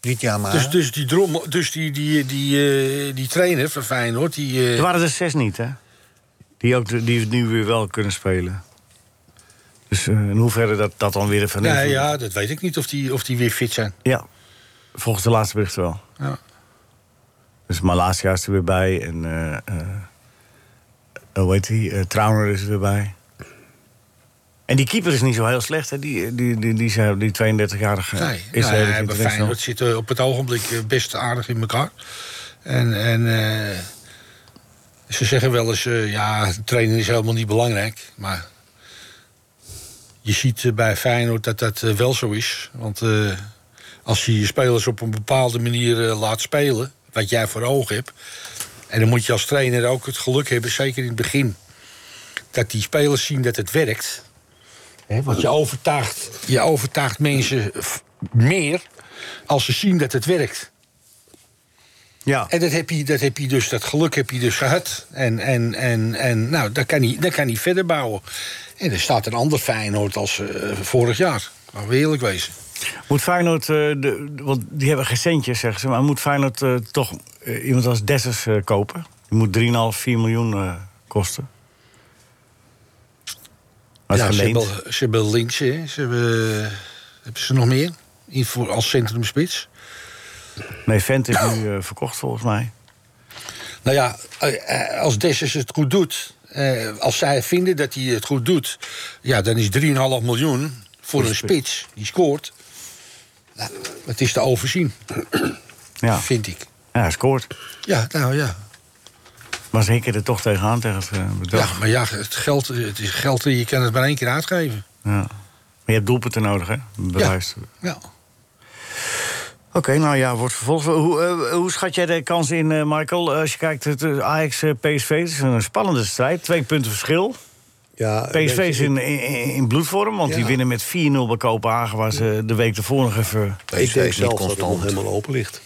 Speaker 4: Niet ja, maar.
Speaker 8: Dus, dus die drommel, dus die, die, die, eh, die trainer van Feyenoord, die... eh,
Speaker 3: Er waren er zes niet, hè? Die, ook, die het nu weer wel kunnen spelen. Dus eh, in hoeverre dat, dat dan weer van
Speaker 8: nee,
Speaker 3: invloed is.
Speaker 8: ja, dat weet ik niet of die, of die weer fit zijn.
Speaker 3: Ja, volgens de laatste bericht wel.
Speaker 8: Ja.
Speaker 3: Dus Malasia is er weer bij en... eh eh, hoe heet die? Eh, Trauner is er weer bij. En die keeper is niet zo heel slecht, hè? Die, die, die, die, zijn- die 32-jarige
Speaker 8: Nee,
Speaker 3: is
Speaker 8: nou,
Speaker 3: heel
Speaker 8: ja, bij Feyenoord zit eh, op het ogenblik eh, best aardig in elkaar. En, en eh, ze zeggen wel eens, eh, ja, trainen is helemaal niet belangrijk. Maar je ziet eh, bij Feyenoord dat dat eh, wel zo is. Want eh, als je je spelers op een bepaalde manier eh, laat spelen... wat jij voor ogen hebt... en dan moet je als trainer ook het geluk hebben, zeker in het begin... dat die spelers zien dat het werkt... Hè, want je overtuigt, je overtuigt mensen f- meer als ze zien dat het werkt.
Speaker 3: Ja.
Speaker 8: En dat heb je, dat heb je dus, dat geluk heb je dus gehad. En, en, en, en nou, daar kan, hij, daar kan hij verder bouwen. En er staat een ander Feyenoord als eh, vorig jaar. Laten we eerlijk wezen.
Speaker 3: Moet Feyenoord, eh, de, de- want die hebben geen centjes, zeggen ze... maar moet Feyenoord eh, toch eh, iemand als Dessers eh, kopen? Die moet 3,5, 4 miljoen eh, kosten. Maar het
Speaker 8: Ja,
Speaker 3: is
Speaker 8: ze,
Speaker 3: geleend.
Speaker 8: hebben, ze hebben links, hè. Ze hebben, eh, hebben ze nog meer? In voor, als centrumspits?
Speaker 3: Nee, Vent is nu eh, verkocht volgens mij.
Speaker 8: Nou ja, eh, eh, als Dessers het goed doet... eh, als zij vinden dat hij het goed doet... ja, dan is 3,5 miljoen voor een spits die scoort... Nou, het is te overzien,
Speaker 3: Ja.
Speaker 8: vind ik.
Speaker 3: Ja, hij scoort.
Speaker 8: Ja, nou ja.
Speaker 3: Maar ze hikken er toch tegenaan, tegen het eh,
Speaker 8: Ja,
Speaker 3: bedrag.
Speaker 8: maar ja, het geld, het is geld, je kan het maar één keer uitgeven.
Speaker 3: Ja. Maar je hebt doelpunten nodig, hè? Bewijs.
Speaker 8: Ja.
Speaker 3: Oké, nou ja, wordt vervolgd. Hoe, eh, hoe schat jij de kans in, eh, Michael? Als je kijkt, het eh, Ajax eh, PSV het is een spannende strijd. Twee punten verschil.
Speaker 7: Ja,
Speaker 3: PSV
Speaker 7: weet
Speaker 3: is
Speaker 7: je,
Speaker 3: in, in, in- in bloedvorm, want die winnen met 4-0 bij Kopenhagen... waar ze de week ervoor nog even...
Speaker 7: Ik denk zelf dat het nog helemaal open ligt.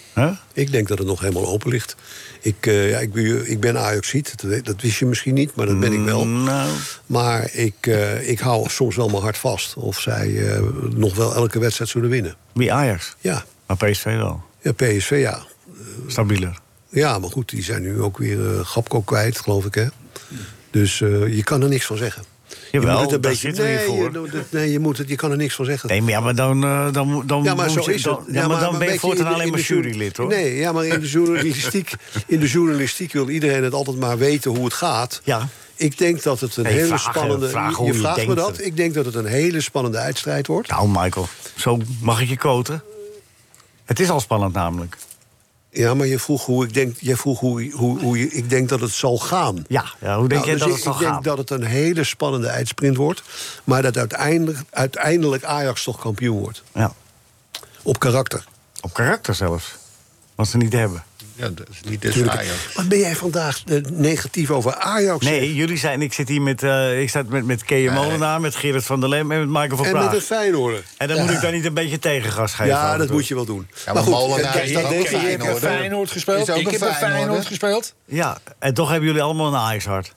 Speaker 7: Ik denk dat het nog helemaal open ligt. Ik, eh, ja, ik, ben- ik ben Ajaxiet, dat, weet- dat wist je misschien niet, maar dat ben ik wel.
Speaker 3: Mm, nou.
Speaker 7: Maar ik, eh, ik hou soms wel mijn hart vast of zij eh, nog wel elke wedstrijd zullen winnen.
Speaker 3: Wie, Ajax?
Speaker 7: Ja.
Speaker 3: Maar PSV wel?
Speaker 7: Ja, PSV ja.
Speaker 3: Stabieler.
Speaker 7: Ja, maar goed, die zijn nu ook weer eh Gapko kwijt, geloof ik hè. Dus eh, je kan er niks van zeggen.
Speaker 3: Jawel,
Speaker 7: je moet het een
Speaker 3: daar
Speaker 7: beetje,
Speaker 3: zitten we hier
Speaker 7: nee,
Speaker 3: voor.
Speaker 7: je doet het- nee, je, moet het, je kan er niks van zeggen.
Speaker 3: Nee, maar, ja, maar dan, eh, dan, dan,
Speaker 7: Ja, maar
Speaker 3: moet
Speaker 7: zo
Speaker 3: je-
Speaker 7: is
Speaker 3: dan,
Speaker 7: het.
Speaker 3: ja, maar dan ben
Speaker 7: weet
Speaker 3: je voortaan
Speaker 7: in de-
Speaker 3: alleen maar
Speaker 7: in de jour-
Speaker 3: jurylid, hoor.
Speaker 7: Nee, ja, maar in de, journalistiek,
Speaker 3: *laughs*
Speaker 7: in de journalistiek wil iedereen het altijd maar weten hoe het gaat.
Speaker 3: Ja.
Speaker 7: Ik denk dat het een
Speaker 3: Nee,
Speaker 7: hele
Speaker 3: vragen,
Speaker 7: spannende...
Speaker 3: vragen hoe
Speaker 7: je
Speaker 3: je
Speaker 7: vraagt me
Speaker 3: denkt.
Speaker 7: dat. Ik denk dat het een hele spannende uitstrijd wordt.
Speaker 3: Nou, Michael, zo mag ik je quoten. Het is al spannend namelijk.
Speaker 7: Ja, maar je vroeg hoe ik denk, je vroeg hoe, hoe, hoe je, ik denk dat het zal gaan.
Speaker 3: Ja, ja, hoe denk jij
Speaker 7: dus
Speaker 3: dat
Speaker 7: ik,
Speaker 3: het zal
Speaker 7: ik
Speaker 3: gaan?
Speaker 7: denk dat het een hele spannende uitsprint wordt. Maar dat uiteindelijk, uiteindelijk Ajax toch kampioen wordt.
Speaker 3: Ja.
Speaker 7: Op karakter.
Speaker 3: Op karakter zelfs. Wat ze niet hebben.
Speaker 17: Ja, dat is niet
Speaker 7: Natuurlijk. Wat ben jij vandaag eh, negatief over Ajax? zeg?
Speaker 3: Nee, jullie zijn... Ik zit hier met, eh ik zat met, met Kees Molenaar, met Gerrit van der Lem en met Michael van
Speaker 7: En
Speaker 3: Praag.
Speaker 7: met een Feyenoorder.
Speaker 3: En dan
Speaker 7: Ja.
Speaker 3: moet ik dan niet een beetje tegengas geven.
Speaker 7: Ja,
Speaker 3: af en
Speaker 7: dat
Speaker 3: toe?
Speaker 7: moet je wel doen. eh,
Speaker 3: Ja, maar Molenaar
Speaker 7: kijk,
Speaker 3: is
Speaker 7: dat
Speaker 3: ook
Speaker 7: deed
Speaker 3: een
Speaker 7: je hier.
Speaker 8: Ik heb Feyenoord gespeeld, ik heb bij Feyenoord gespeeld.
Speaker 3: Ja, en toch hebben jullie allemaal een Ajax-hart.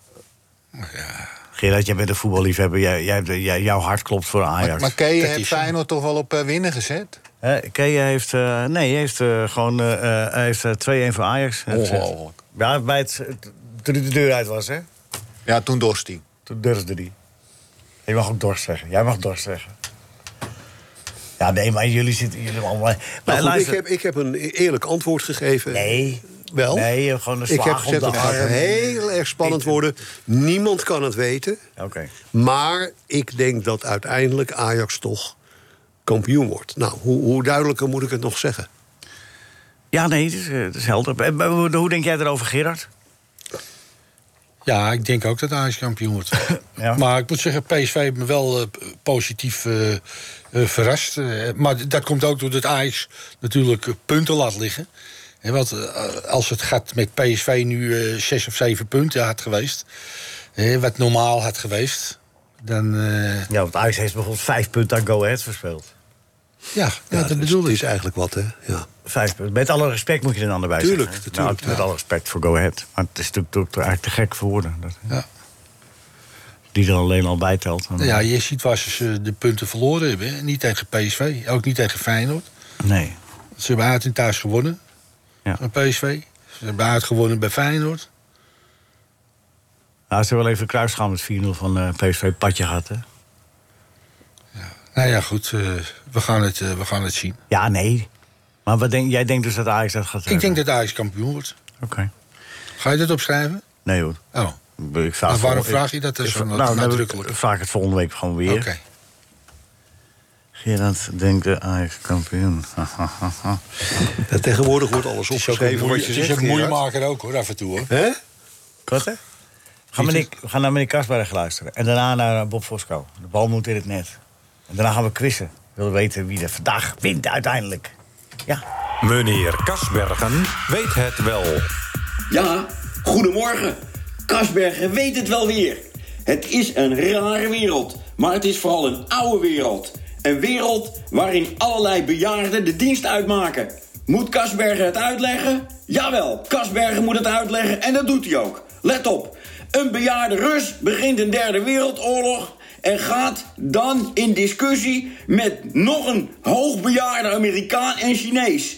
Speaker 3: Gerard, jij bent een voetballiefhebber. Jij, jij, hebt- jij- jouw hart klopt voor Ajax.
Speaker 4: Maar Kee heeft Feyenoord toch wel op eh, winnen gezet?
Speaker 3: Hè, Kea heeft, eh, nee, hij heeft eh, gewoon eh, eh, hij heeft, eh, 2-1 voor Ajax. gezet.
Speaker 4: Ongelooflijk.
Speaker 3: Ja, bij het, het- toen hij de deur uit was, hè?
Speaker 4: Ja, toen dorst hij.
Speaker 3: Toen durfde hij. Je mag ook dorst zeggen. Jij mag dorst zeggen. Ja, nee, maar jullie zitten jullie allemaal... Maar
Speaker 7: Nou, goed, ik,
Speaker 3: luister-
Speaker 7: heb, ik heb een eerlijk antwoord gegeven.
Speaker 3: Nee.
Speaker 7: Wel?
Speaker 3: Nee, je hebt gewoon een
Speaker 7: Ik
Speaker 3: slaag
Speaker 7: heb
Speaker 3: op
Speaker 7: gezegd,
Speaker 3: de
Speaker 7: het gaat
Speaker 3: arm.
Speaker 7: heel erg spannend worden. Niemand kan het weten.
Speaker 3: Oké.
Speaker 7: Maar ik denk dat uiteindelijk Ajax toch kampioen wordt. Nou, hoe, hoe duidelijker moet ik het nog zeggen?
Speaker 3: Ja, nee, het is, eh, het is helder. En, eh, hoe- Hoe denk jij erover, Gerard?
Speaker 8: Ja, ik denk ook dat Ajax kampioen
Speaker 3: *laughs*
Speaker 8: wordt. Maar ik moet zeggen, PSV heeft me wel eh, p- positief eh, eh, verrast. Eh, maar d- dat komt ook doordat Ajax natuurlijk eh, punten laat liggen. Hè, want eh, als het gaat met PSV nu eh, zes of zeven punten had geweest... hè, wat normaal had geweest, dan... eh,
Speaker 3: Ja, want Ajax heeft bijvoorbeeld vijf punten aan Go Ahead verspeeld.
Speaker 8: ja, ja,
Speaker 3: dus
Speaker 8: dat bedoel ik.
Speaker 7: is eigenlijk wat, hè? Ja.
Speaker 3: Vijf punten. Met alle respect moet je er een ander bij
Speaker 7: Tuurlijk,
Speaker 3: zeggen, hè?
Speaker 7: tuurlijk,
Speaker 3: Nou, met alle respect voor Go Ahead. Maar het is natuurlijk toch eigenlijk te gek voor woorden. Dat, Die er alleen al bij telt.
Speaker 8: Ja, je ziet waar ze eh, de punten verloren hebben. hè. Niet tegen PSV, ook niet tegen Feyenoord.
Speaker 3: Nee.
Speaker 8: Ze hebben uit en thuis gewonnen.
Speaker 3: Ja.
Speaker 8: Van PSV. Ze hebben uit gewonnen bij Feyenoord.
Speaker 3: Nou, ze hebben wel even kruisgaan met 4-0 van eh, PSV Patje gehad, hè?
Speaker 8: Nou ja, goed. eh, we, gaan het, eh, we gaan het zien.
Speaker 3: Ja, nee. Maar wat denk, jij denkt dus dat Ajax dat gaat
Speaker 8: Ik denk dat Ajax kampioen wordt.
Speaker 3: Oké.
Speaker 8: Ga je dat opschrijven?
Speaker 3: Nee, hoor.
Speaker 8: Oh.
Speaker 3: Ik vraag
Speaker 8: Maar waarom
Speaker 3: ik-
Speaker 8: vraag je dat dus zo
Speaker 3: nou, dan heb
Speaker 8: nadrukkelijk?
Speaker 3: ik- vraag ik het volgende week gewoon weer.
Speaker 8: Oké.
Speaker 3: Gerard denkt de Ajax kampioen. *laughs*
Speaker 7: Ja, tegenwoordig wordt alles opgeschreven. wat je
Speaker 8: Het is
Speaker 7: zegt,
Speaker 8: een
Speaker 7: Gerard.
Speaker 8: moeimaker ook hoor, af en toe hoor.
Speaker 7: Hè?
Speaker 3: Wat, hè? We gaan, meneer, we gaan naar meneer Kasberg luisteren. En daarna naar eh, Bob Fosco. De bal moet in het net. En daarna gaan we quizzen. We willen weten wie er vandaag wint uiteindelijk.
Speaker 14: Meneer Kasbergen weet het wel.
Speaker 8: *laughs*
Speaker 18: Ja, goedemorgen. Kasbergen weet het wel weer. Het is een rare wereld, maar het is vooral een oude wereld. Een wereld waarin allerlei bejaarden de dienst uitmaken. Moet Kasbergen het uitleggen? Jawel, Kasbergen moet het uitleggen en dat doet hij ook. Let op, een bejaarde Rus begint een derde wereldoorlog... en gaat dan in discussie met nog een hoogbejaarde Amerikaan en Chinees.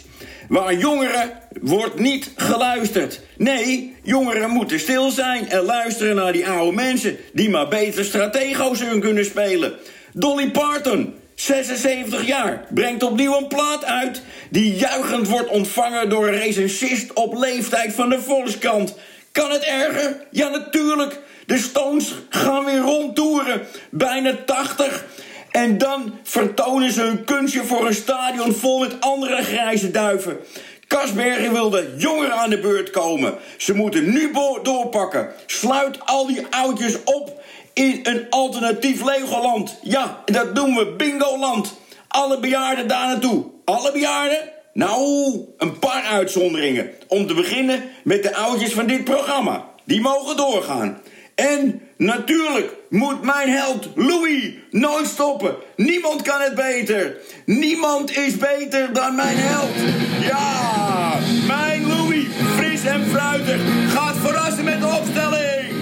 Speaker 18: Waar jongeren wordt niet geluisterd. Nee, jongeren moeten stil zijn en luisteren naar die oude mensen... die maar beter stratego's hun kunnen spelen. Dolly Parton, 76 jaar, brengt opnieuw een plaat uit... die juichend wordt ontvangen door een recensist op leeftijd van de Volkskrant. Kan het erger? Ja, natuurlijk. De Stones gaan weer rondtoeren. Bijna 80. En dan vertonen ze hun kunstje voor een stadion vol met andere grijze duiven. Kasbergen wil de jongeren aan de beurt komen. Ze moeten nu bo- doorpakken. Sluit al die oudjes op in een alternatief Legoland. Ja, en dat noemen we Bingoland. Alle bejaarden daar naartoe. Alle bejaarden? Nou, een paar uitzonderingen. Om te beginnen met de oudjes van dit programma. Die mogen doorgaan. En natuurlijk moet mijn held Louis nooit stoppen. Niemand kan het beter. Niemand is beter dan mijn held. Ja, mijn Louis, fris en fruitig, gaat verrassen met de opstelling.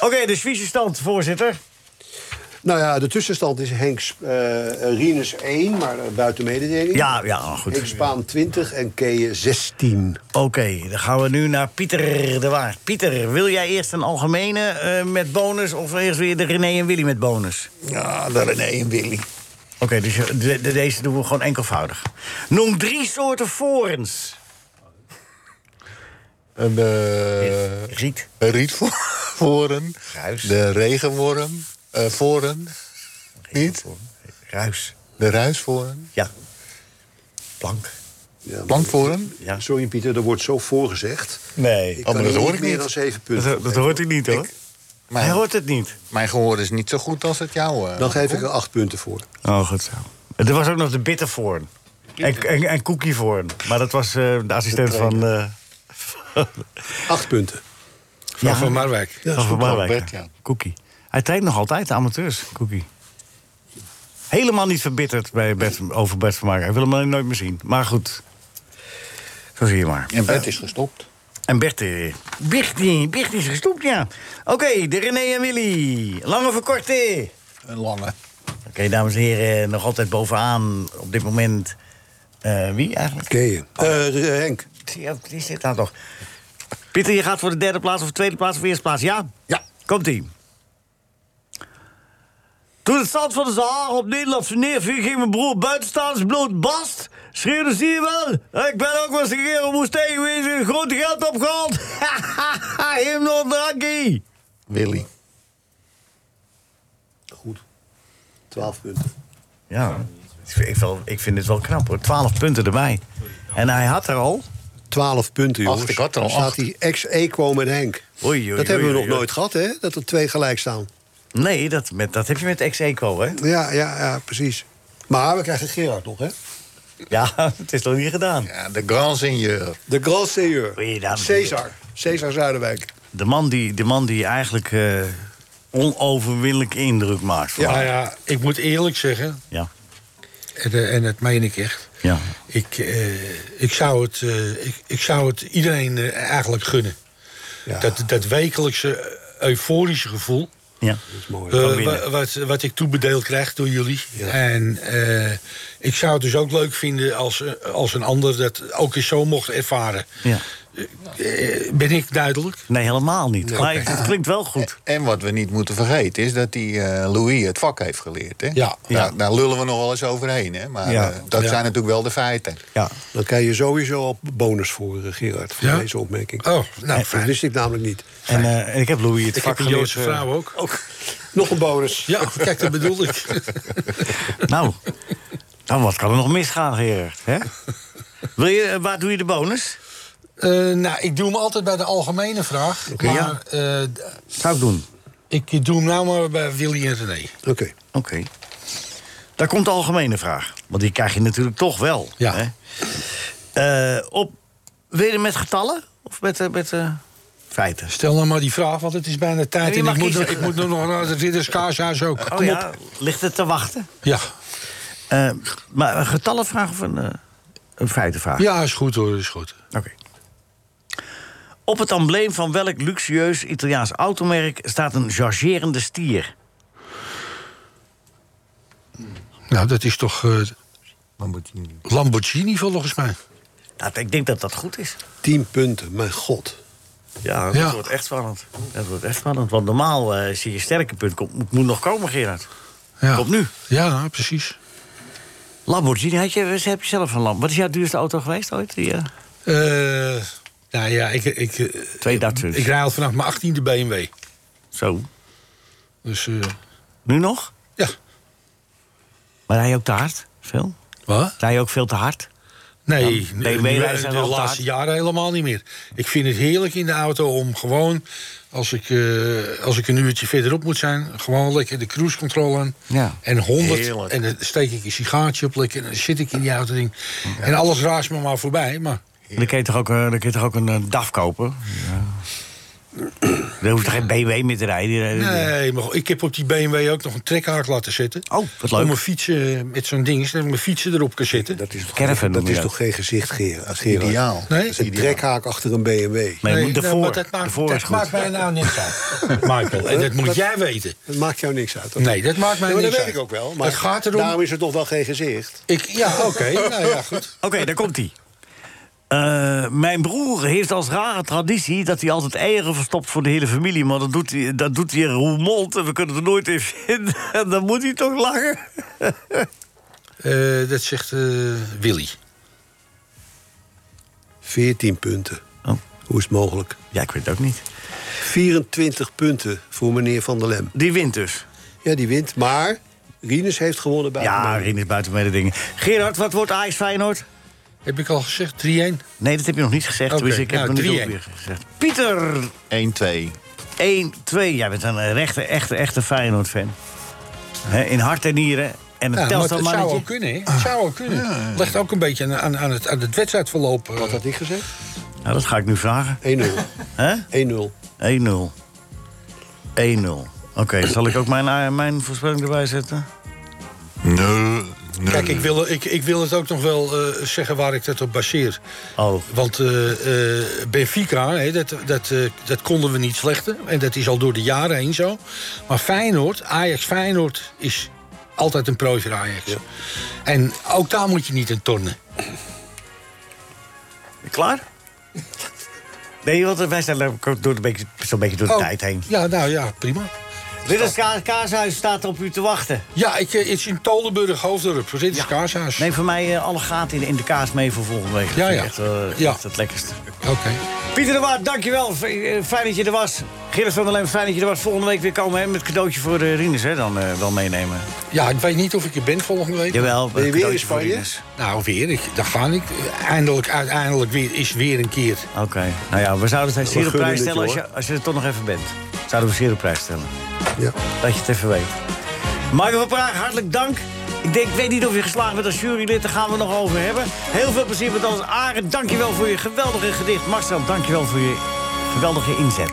Speaker 3: Oké, de Zwitserse stand, voorzitter.
Speaker 7: Nou ja, de tussenstand is Henk Sp- eh Rinus 1, maar eh, buiten mededeling.
Speaker 3: Ja, ja, goed.
Speaker 7: Henk Spaan 20 en Keeën 16.
Speaker 3: Oké, dan gaan we nu naar Pieter de Waard. Pieter, wil jij eerst een algemene eh, met bonus... of eerst weer de René en Willy met bonus?
Speaker 7: Ja, de René en Willy.
Speaker 3: Oké, dus je- de- de- deze doen we gewoon enkelvoudig. Noem drie soorten forens.
Speaker 19: Een, eh,
Speaker 3: riet.
Speaker 19: Een *laughs* rietvoren. De regenworm. eh voren. Niet?
Speaker 3: Ruis.
Speaker 19: De Oh, ruisvoren.
Speaker 3: Ja.
Speaker 7: Plank. Ja,
Speaker 19: Plankvoren?
Speaker 3: Ja.
Speaker 7: Sorry Pieter, er wordt zo voorgezegd.
Speaker 3: Nee,
Speaker 7: Ik kan hier niet meer dan zeven punten
Speaker 19: Dat-
Speaker 7: voor
Speaker 19: dat
Speaker 7: geven.
Speaker 19: hoort hij niet, hoor.
Speaker 7: Ik-
Speaker 19: Mijn,
Speaker 3: hoort het niet.
Speaker 19: Mijn gehoor is niet zo goed als het jouwe. eh,
Speaker 7: dan geef ik er acht punten voor.
Speaker 3: Oh, goed zo. Er was ook nog de bittervorn. En, en, en cookievorn. Maar dat was eh, de assistent
Speaker 7: De
Speaker 3: van...
Speaker 7: trainer.
Speaker 3: eh
Speaker 7: Acht punten.
Speaker 3: Ja.
Speaker 8: Van Marwijk.
Speaker 3: Ja, van Marwijk. ja. Cookie. Hij traint nog altijd de amateurs, Cookie. Helemaal niet verbitterd bij Bert, over Bert van Marwijk. Hij wil hem alleen nooit meer zien. Maar goed. Zo zie je maar.
Speaker 19: En Bert is gestopt.
Speaker 3: En Bert, eh, Bert, eh, Bert is gestopt, ja. Oké, de René en Willy. Lange of een korte?
Speaker 19: Een lange.
Speaker 3: Oké, dames en heren, nog altijd bovenaan op dit moment. eh, wie eigenlijk? Oh.
Speaker 7: Keeën. Eh, Henk.
Speaker 3: Ja, die zit daar toch. Pieter, je gaat voor de derde plaats of tweede plaats of eerste plaats, ja? Ja. Komt-ie. Toen het zand van de Sahara op Nederlandse neerviel... ging mijn broer buitenstaanders bloot bast. Schreeuwde, zie je wel? Ik ben ook wel eens een keer op woestijn geweest... en grote geld opgehaald. *laughs* Hem nog een drankie.
Speaker 19: Willy.
Speaker 7: Twaalf punten.
Speaker 3: Ja, ik vind, ik wel- ik vind dit wel knap hoor. Twaalf punten erbij. En hij had er al...
Speaker 7: Twaalf punten, jongens.
Speaker 3: Acht, ik had er al
Speaker 7: Dan staat
Speaker 3: acht.
Speaker 7: hij ex-equo met Henk.
Speaker 3: Oei, oei,
Speaker 7: dat hebben we
Speaker 3: oei,
Speaker 7: nog
Speaker 3: oei.
Speaker 7: nooit gehad, hè? Dat er twee gelijk staan.
Speaker 3: Nee, dat, met, dat heb je met ex-eco, hè?
Speaker 7: Ja, ja, ja, precies. Maar we krijgen Gerard nog, hè?
Speaker 3: Ja, *laughs* het is nog niet gedaan.
Speaker 19: Ja, de grand seigneur.
Speaker 7: De grand seigneur.
Speaker 3: dames en heren.
Speaker 7: Cesar. Cesar Zuiderwijk.
Speaker 3: De man die, de man die eigenlijk eh, onoverwinnelijk indruk maakt. voor
Speaker 8: Ja,
Speaker 3: mij.
Speaker 8: Nou ja, ik moet eerlijk zeggen.
Speaker 3: Ja.
Speaker 8: En, eh, en dat meen ik echt.
Speaker 3: Ja.
Speaker 8: Ik, eh, ik, zou het, eh, ik, ik zou het iedereen eh, eigenlijk gunnen. Dat, dat wekelijkse euforische gevoel.
Speaker 3: Ja.
Speaker 8: eh,
Speaker 3: Van binnen.
Speaker 8: wa- wat, wat ik toebedeeld krijg door jullie. En eh, ik zou het dus ook leuk vinden als, eh, als een ander dat ook eens zo mocht ervaren.
Speaker 3: Ja.
Speaker 8: Eh, ben ik duidelijk?
Speaker 3: Nee, helemaal niet.
Speaker 8: Nee.
Speaker 3: Maar het klinkt wel goed.
Speaker 19: En wat we niet moeten vergeten is dat die eh, Louis het vak heeft geleerd. Hè?
Speaker 8: Ja.
Speaker 19: Daar,
Speaker 3: nou,
Speaker 19: daar lullen we nog wel eens overheen. Hè? Maar
Speaker 7: Ja.
Speaker 19: eh, dat
Speaker 7: Ja.
Speaker 19: zijn natuurlijk wel de feiten.
Speaker 3: Ja.
Speaker 7: Dan krijg je sowieso al bonus voor, eh, Gerard, voor
Speaker 19: Ja?
Speaker 7: deze opmerking.
Speaker 8: Oh,
Speaker 7: nou, dat wist ik namelijk niet.
Speaker 3: En eh, ik heb Louis het
Speaker 7: Ik
Speaker 3: vak
Speaker 7: heb een
Speaker 3: geleerd,
Speaker 7: Joodse
Speaker 3: eh,
Speaker 7: vrouw
Speaker 8: ook.
Speaker 7: Nog een bonus.
Speaker 8: Ja, kijk, dat bedoel ik.
Speaker 3: *laughs* Nou, dan Nou, wat kan er nog misgaan, Gerard?
Speaker 7: *laughs*
Speaker 3: Hè? Wil je, eh, waar doe je de bonus?
Speaker 8: Eh, nou, ik doe hem altijd bij de algemene vraag.
Speaker 3: Oké,
Speaker 8: maar,
Speaker 3: ja.
Speaker 8: eh,
Speaker 3: Zou ik doen.
Speaker 8: ik doe hem nou maar bij Willy en René.
Speaker 7: Oké.
Speaker 3: Oké. Daar komt de algemene vraag. Want die krijg je natuurlijk toch wel. Ja. Hè? Eh, op, wil je met getallen? Of met, eh, met eh, feiten?
Speaker 8: Stel nou maar die vraag, want het is bijna tijd.
Speaker 3: Je
Speaker 8: En
Speaker 3: mag
Speaker 8: ik, moet,
Speaker 3: kiezen.
Speaker 8: ik moet nog naar het Ridderskaarshuis ook. Kom
Speaker 3: Oh ja,
Speaker 8: op.
Speaker 3: ligt het te wachten? Eh,
Speaker 8: Ja.
Speaker 3: maar een getallenvraag of een, eh, een feitenvraag?
Speaker 8: Ja, is goed hoor, is goed.
Speaker 3: Oké. Op het embleem van welk luxueus Italiaans automerk staat een chargerende stier?
Speaker 8: Nou, dat is toch eh,
Speaker 7: Lamborghini.
Speaker 8: Lamborghini volgens mij.
Speaker 3: ik denk dat dat goed is.
Speaker 7: Tien punten, mijn god.
Speaker 3: Ja, dat wordt echt spannend. Dat wordt echt spannend. Want normaal eh, zie je sterke punt. Komt, moet, moet nog komen, Gerard.
Speaker 8: Ja.
Speaker 3: Komt nu.
Speaker 8: Ja, nou, precies.
Speaker 3: Lamborghini, had je, heb je zelf een Lamborghini? Wat is jouw duurste auto geweest ooit? Die, eh,
Speaker 8: Eh, nou ja, ik, ik, eh, ik rijd al vanaf mijn 18e BMW.
Speaker 3: Zo.
Speaker 8: Dus,
Speaker 3: nu nog?
Speaker 8: Ja.
Speaker 3: Maar rij je ook te hard? Veel?
Speaker 8: Wat?
Speaker 3: Rij je ook veel te hard?
Speaker 8: Nee,
Speaker 3: Ja,
Speaker 8: nu-
Speaker 3: BMW
Speaker 8: nu-
Speaker 3: rijden
Speaker 8: de,
Speaker 3: zijn wel te
Speaker 8: laatste
Speaker 3: hard.
Speaker 8: jaren helemaal niet meer. Ik vind het heerlijk in de auto om gewoon, als ik, eh, als ik een uurtje verderop moet zijn, gewoon lekker de cruise control aan.
Speaker 3: Ja.
Speaker 8: En 100.
Speaker 3: Heerlijk.
Speaker 8: En dan steek ik een sigaartje op lekker en dan zit ik in die auto. Ding. En alles raast me maar voorbij. Maar
Speaker 3: Dan kun je toch ook, eh, dan kun je toch ook een eh, DAF kopen? Dan hoeft er geen BMW meer te rijden. Die rijden-
Speaker 8: Nee, maar ik heb op die BMW ook nog een trekhaak laten zitten.
Speaker 3: Oh, wat leuk.
Speaker 8: Om mijn fietsen eh, met zo'n ding, zodat ik mijn fietsen erop kan zitten. Dat
Speaker 7: is,
Speaker 3: Caravan
Speaker 7: dat
Speaker 3: eh, noem je
Speaker 7: is
Speaker 3: dat.
Speaker 7: toch geen gezicht, Gerard? Als Gerard.
Speaker 8: Ideaal. Nee?
Speaker 7: Dat is een trekhaak achter een BMW.
Speaker 8: nee, maar dat maakt, dat maakt mij nou niks uit, Michael. En dat moet jij weten.
Speaker 7: Dat maakt jou niks uit. hoor.
Speaker 8: Nee, dat maakt mij
Speaker 7: Ja, maar
Speaker 8: niks
Speaker 7: dat
Speaker 8: uit.
Speaker 7: weet ik ook wel. Maar
Speaker 8: het gaat erom...
Speaker 7: Daarom is het nog wel geen gezicht.
Speaker 8: Ik, ja, oké.
Speaker 3: *laughs*
Speaker 8: nou ja, goed.
Speaker 3: Oké, daar komt hij. Eh, mijn broer heeft als rare traditie dat hij altijd eieren verstopt voor de hele familie. Maar dat doet hij, dat doet hij in Roermond en we kunnen er nooit in vinden. *laughs* En dan moet hij toch lachen.
Speaker 8: Eh, dat zegt eh, Willy.
Speaker 7: 14 punten. Hoe is het mogelijk?
Speaker 3: Oh. Ja, ik weet het ook niet.
Speaker 7: 24 punten voor meneer Van der Lem.
Speaker 3: Die wint dus.
Speaker 7: Ja, die wint. Maar Rinus heeft gewonnen bij
Speaker 3: Ja, Rien is buiten mij de dingen. Gerard, wat wordt Ajax Feyenoord?
Speaker 8: Heb ik al gezegd, 3-1?
Speaker 3: Nee, dat heb je nog niet gezegd.
Speaker 8: Oké,
Speaker 3: Tenminste, ik heb
Speaker 8: nou,
Speaker 3: het nog niet
Speaker 8: 3-1.
Speaker 3: weer gezegd. Pieter! 1-2. 1-2. Jij bent een eh, rechte, echte, echte Feyenoord-fan. Hè, in hart en nieren. En een
Speaker 8: Ja, maar het zou
Speaker 3: telstelmannetje.
Speaker 8: ook kunnen, hè? Het zou ook kunnen.
Speaker 3: Ah.
Speaker 8: Ligt ook een beetje aan, aan, aan, het, aan het wedstrijdverloop. Wat
Speaker 7: had ik gezegd?
Speaker 3: Nou, dat ga ik nu vragen. 1-0. *laughs* Hè?
Speaker 7: 1-0.
Speaker 3: 1-0. 1-0. Oké, zal ik ook mijn, eh, mijn voorspelling erbij zetten? Eh,
Speaker 20: Nee.
Speaker 8: Kijk, ik wil, ik, ik wil het ook nog wel eh, zeggen waar ik dat op baseer.
Speaker 3: Oh.
Speaker 8: Want eh, eh, Benfica, hè, dat, dat, eh, dat konden we niet slechten. En dat is al door de jaren heen zo. Maar Feyenoord, Ajax Feyenoord is altijd een prooi voor Ajax. En ook daar moet je niet in tornen.
Speaker 3: Klaar? Nee, want wij zijn door een beetje, zo'n beetje door de
Speaker 8: Oh,
Speaker 3: tijd heen.
Speaker 8: Ja, nou ja, prima.
Speaker 3: Ridders Ka Kaashuis staat op u te wachten.
Speaker 8: Ja, ik, eh, het is in Tolenburg, Hoofddorp. Ridders Kaashuis.
Speaker 3: Neem voor mij eh, alle gaten in, in de kaas mee voor volgende week.
Speaker 8: Ja,
Speaker 3: Dat vind
Speaker 8: ja.
Speaker 3: ik Echt, eh,
Speaker 8: Ja.
Speaker 3: echt het lekkerste.
Speaker 8: Oké.
Speaker 3: Pieter de Waard, dankjewel. F- eh, Fijn dat je er was. Gerrit van der Leem, fijn dat je er was. Volgende week weer komen hè, met cadeautje voor de Rinus hè, dan eh, wel meenemen.
Speaker 8: Ja, ik weet niet of ik er ben volgende week.
Speaker 3: Jawel, Ben je een weer in cadeautje voor dus. Spanje? Ines.
Speaker 8: Nou, weer. Ik, daar ga ik. Eindelijk, uiteindelijk weer, is weer een keer.
Speaker 3: Oké. Nou ja, we zouden zijn zeer op
Speaker 8: gunnen
Speaker 3: prijs
Speaker 8: dit,
Speaker 3: stellen als
Speaker 8: joh.
Speaker 3: je, als je er toch nog even bent. Zouden we zeer op prijs stellen.
Speaker 7: Ja.
Speaker 3: Dat je het even weet. Michael van Praag, hartelijk dank. Ik, denk, ik weet niet of je geslaagd bent als jurylid, daar gaan we het nog over hebben. Heel veel plezier met alles. Arend, dankjewel voor je geweldige gedicht. Marcel, dankjewel voor je geweldige inzet.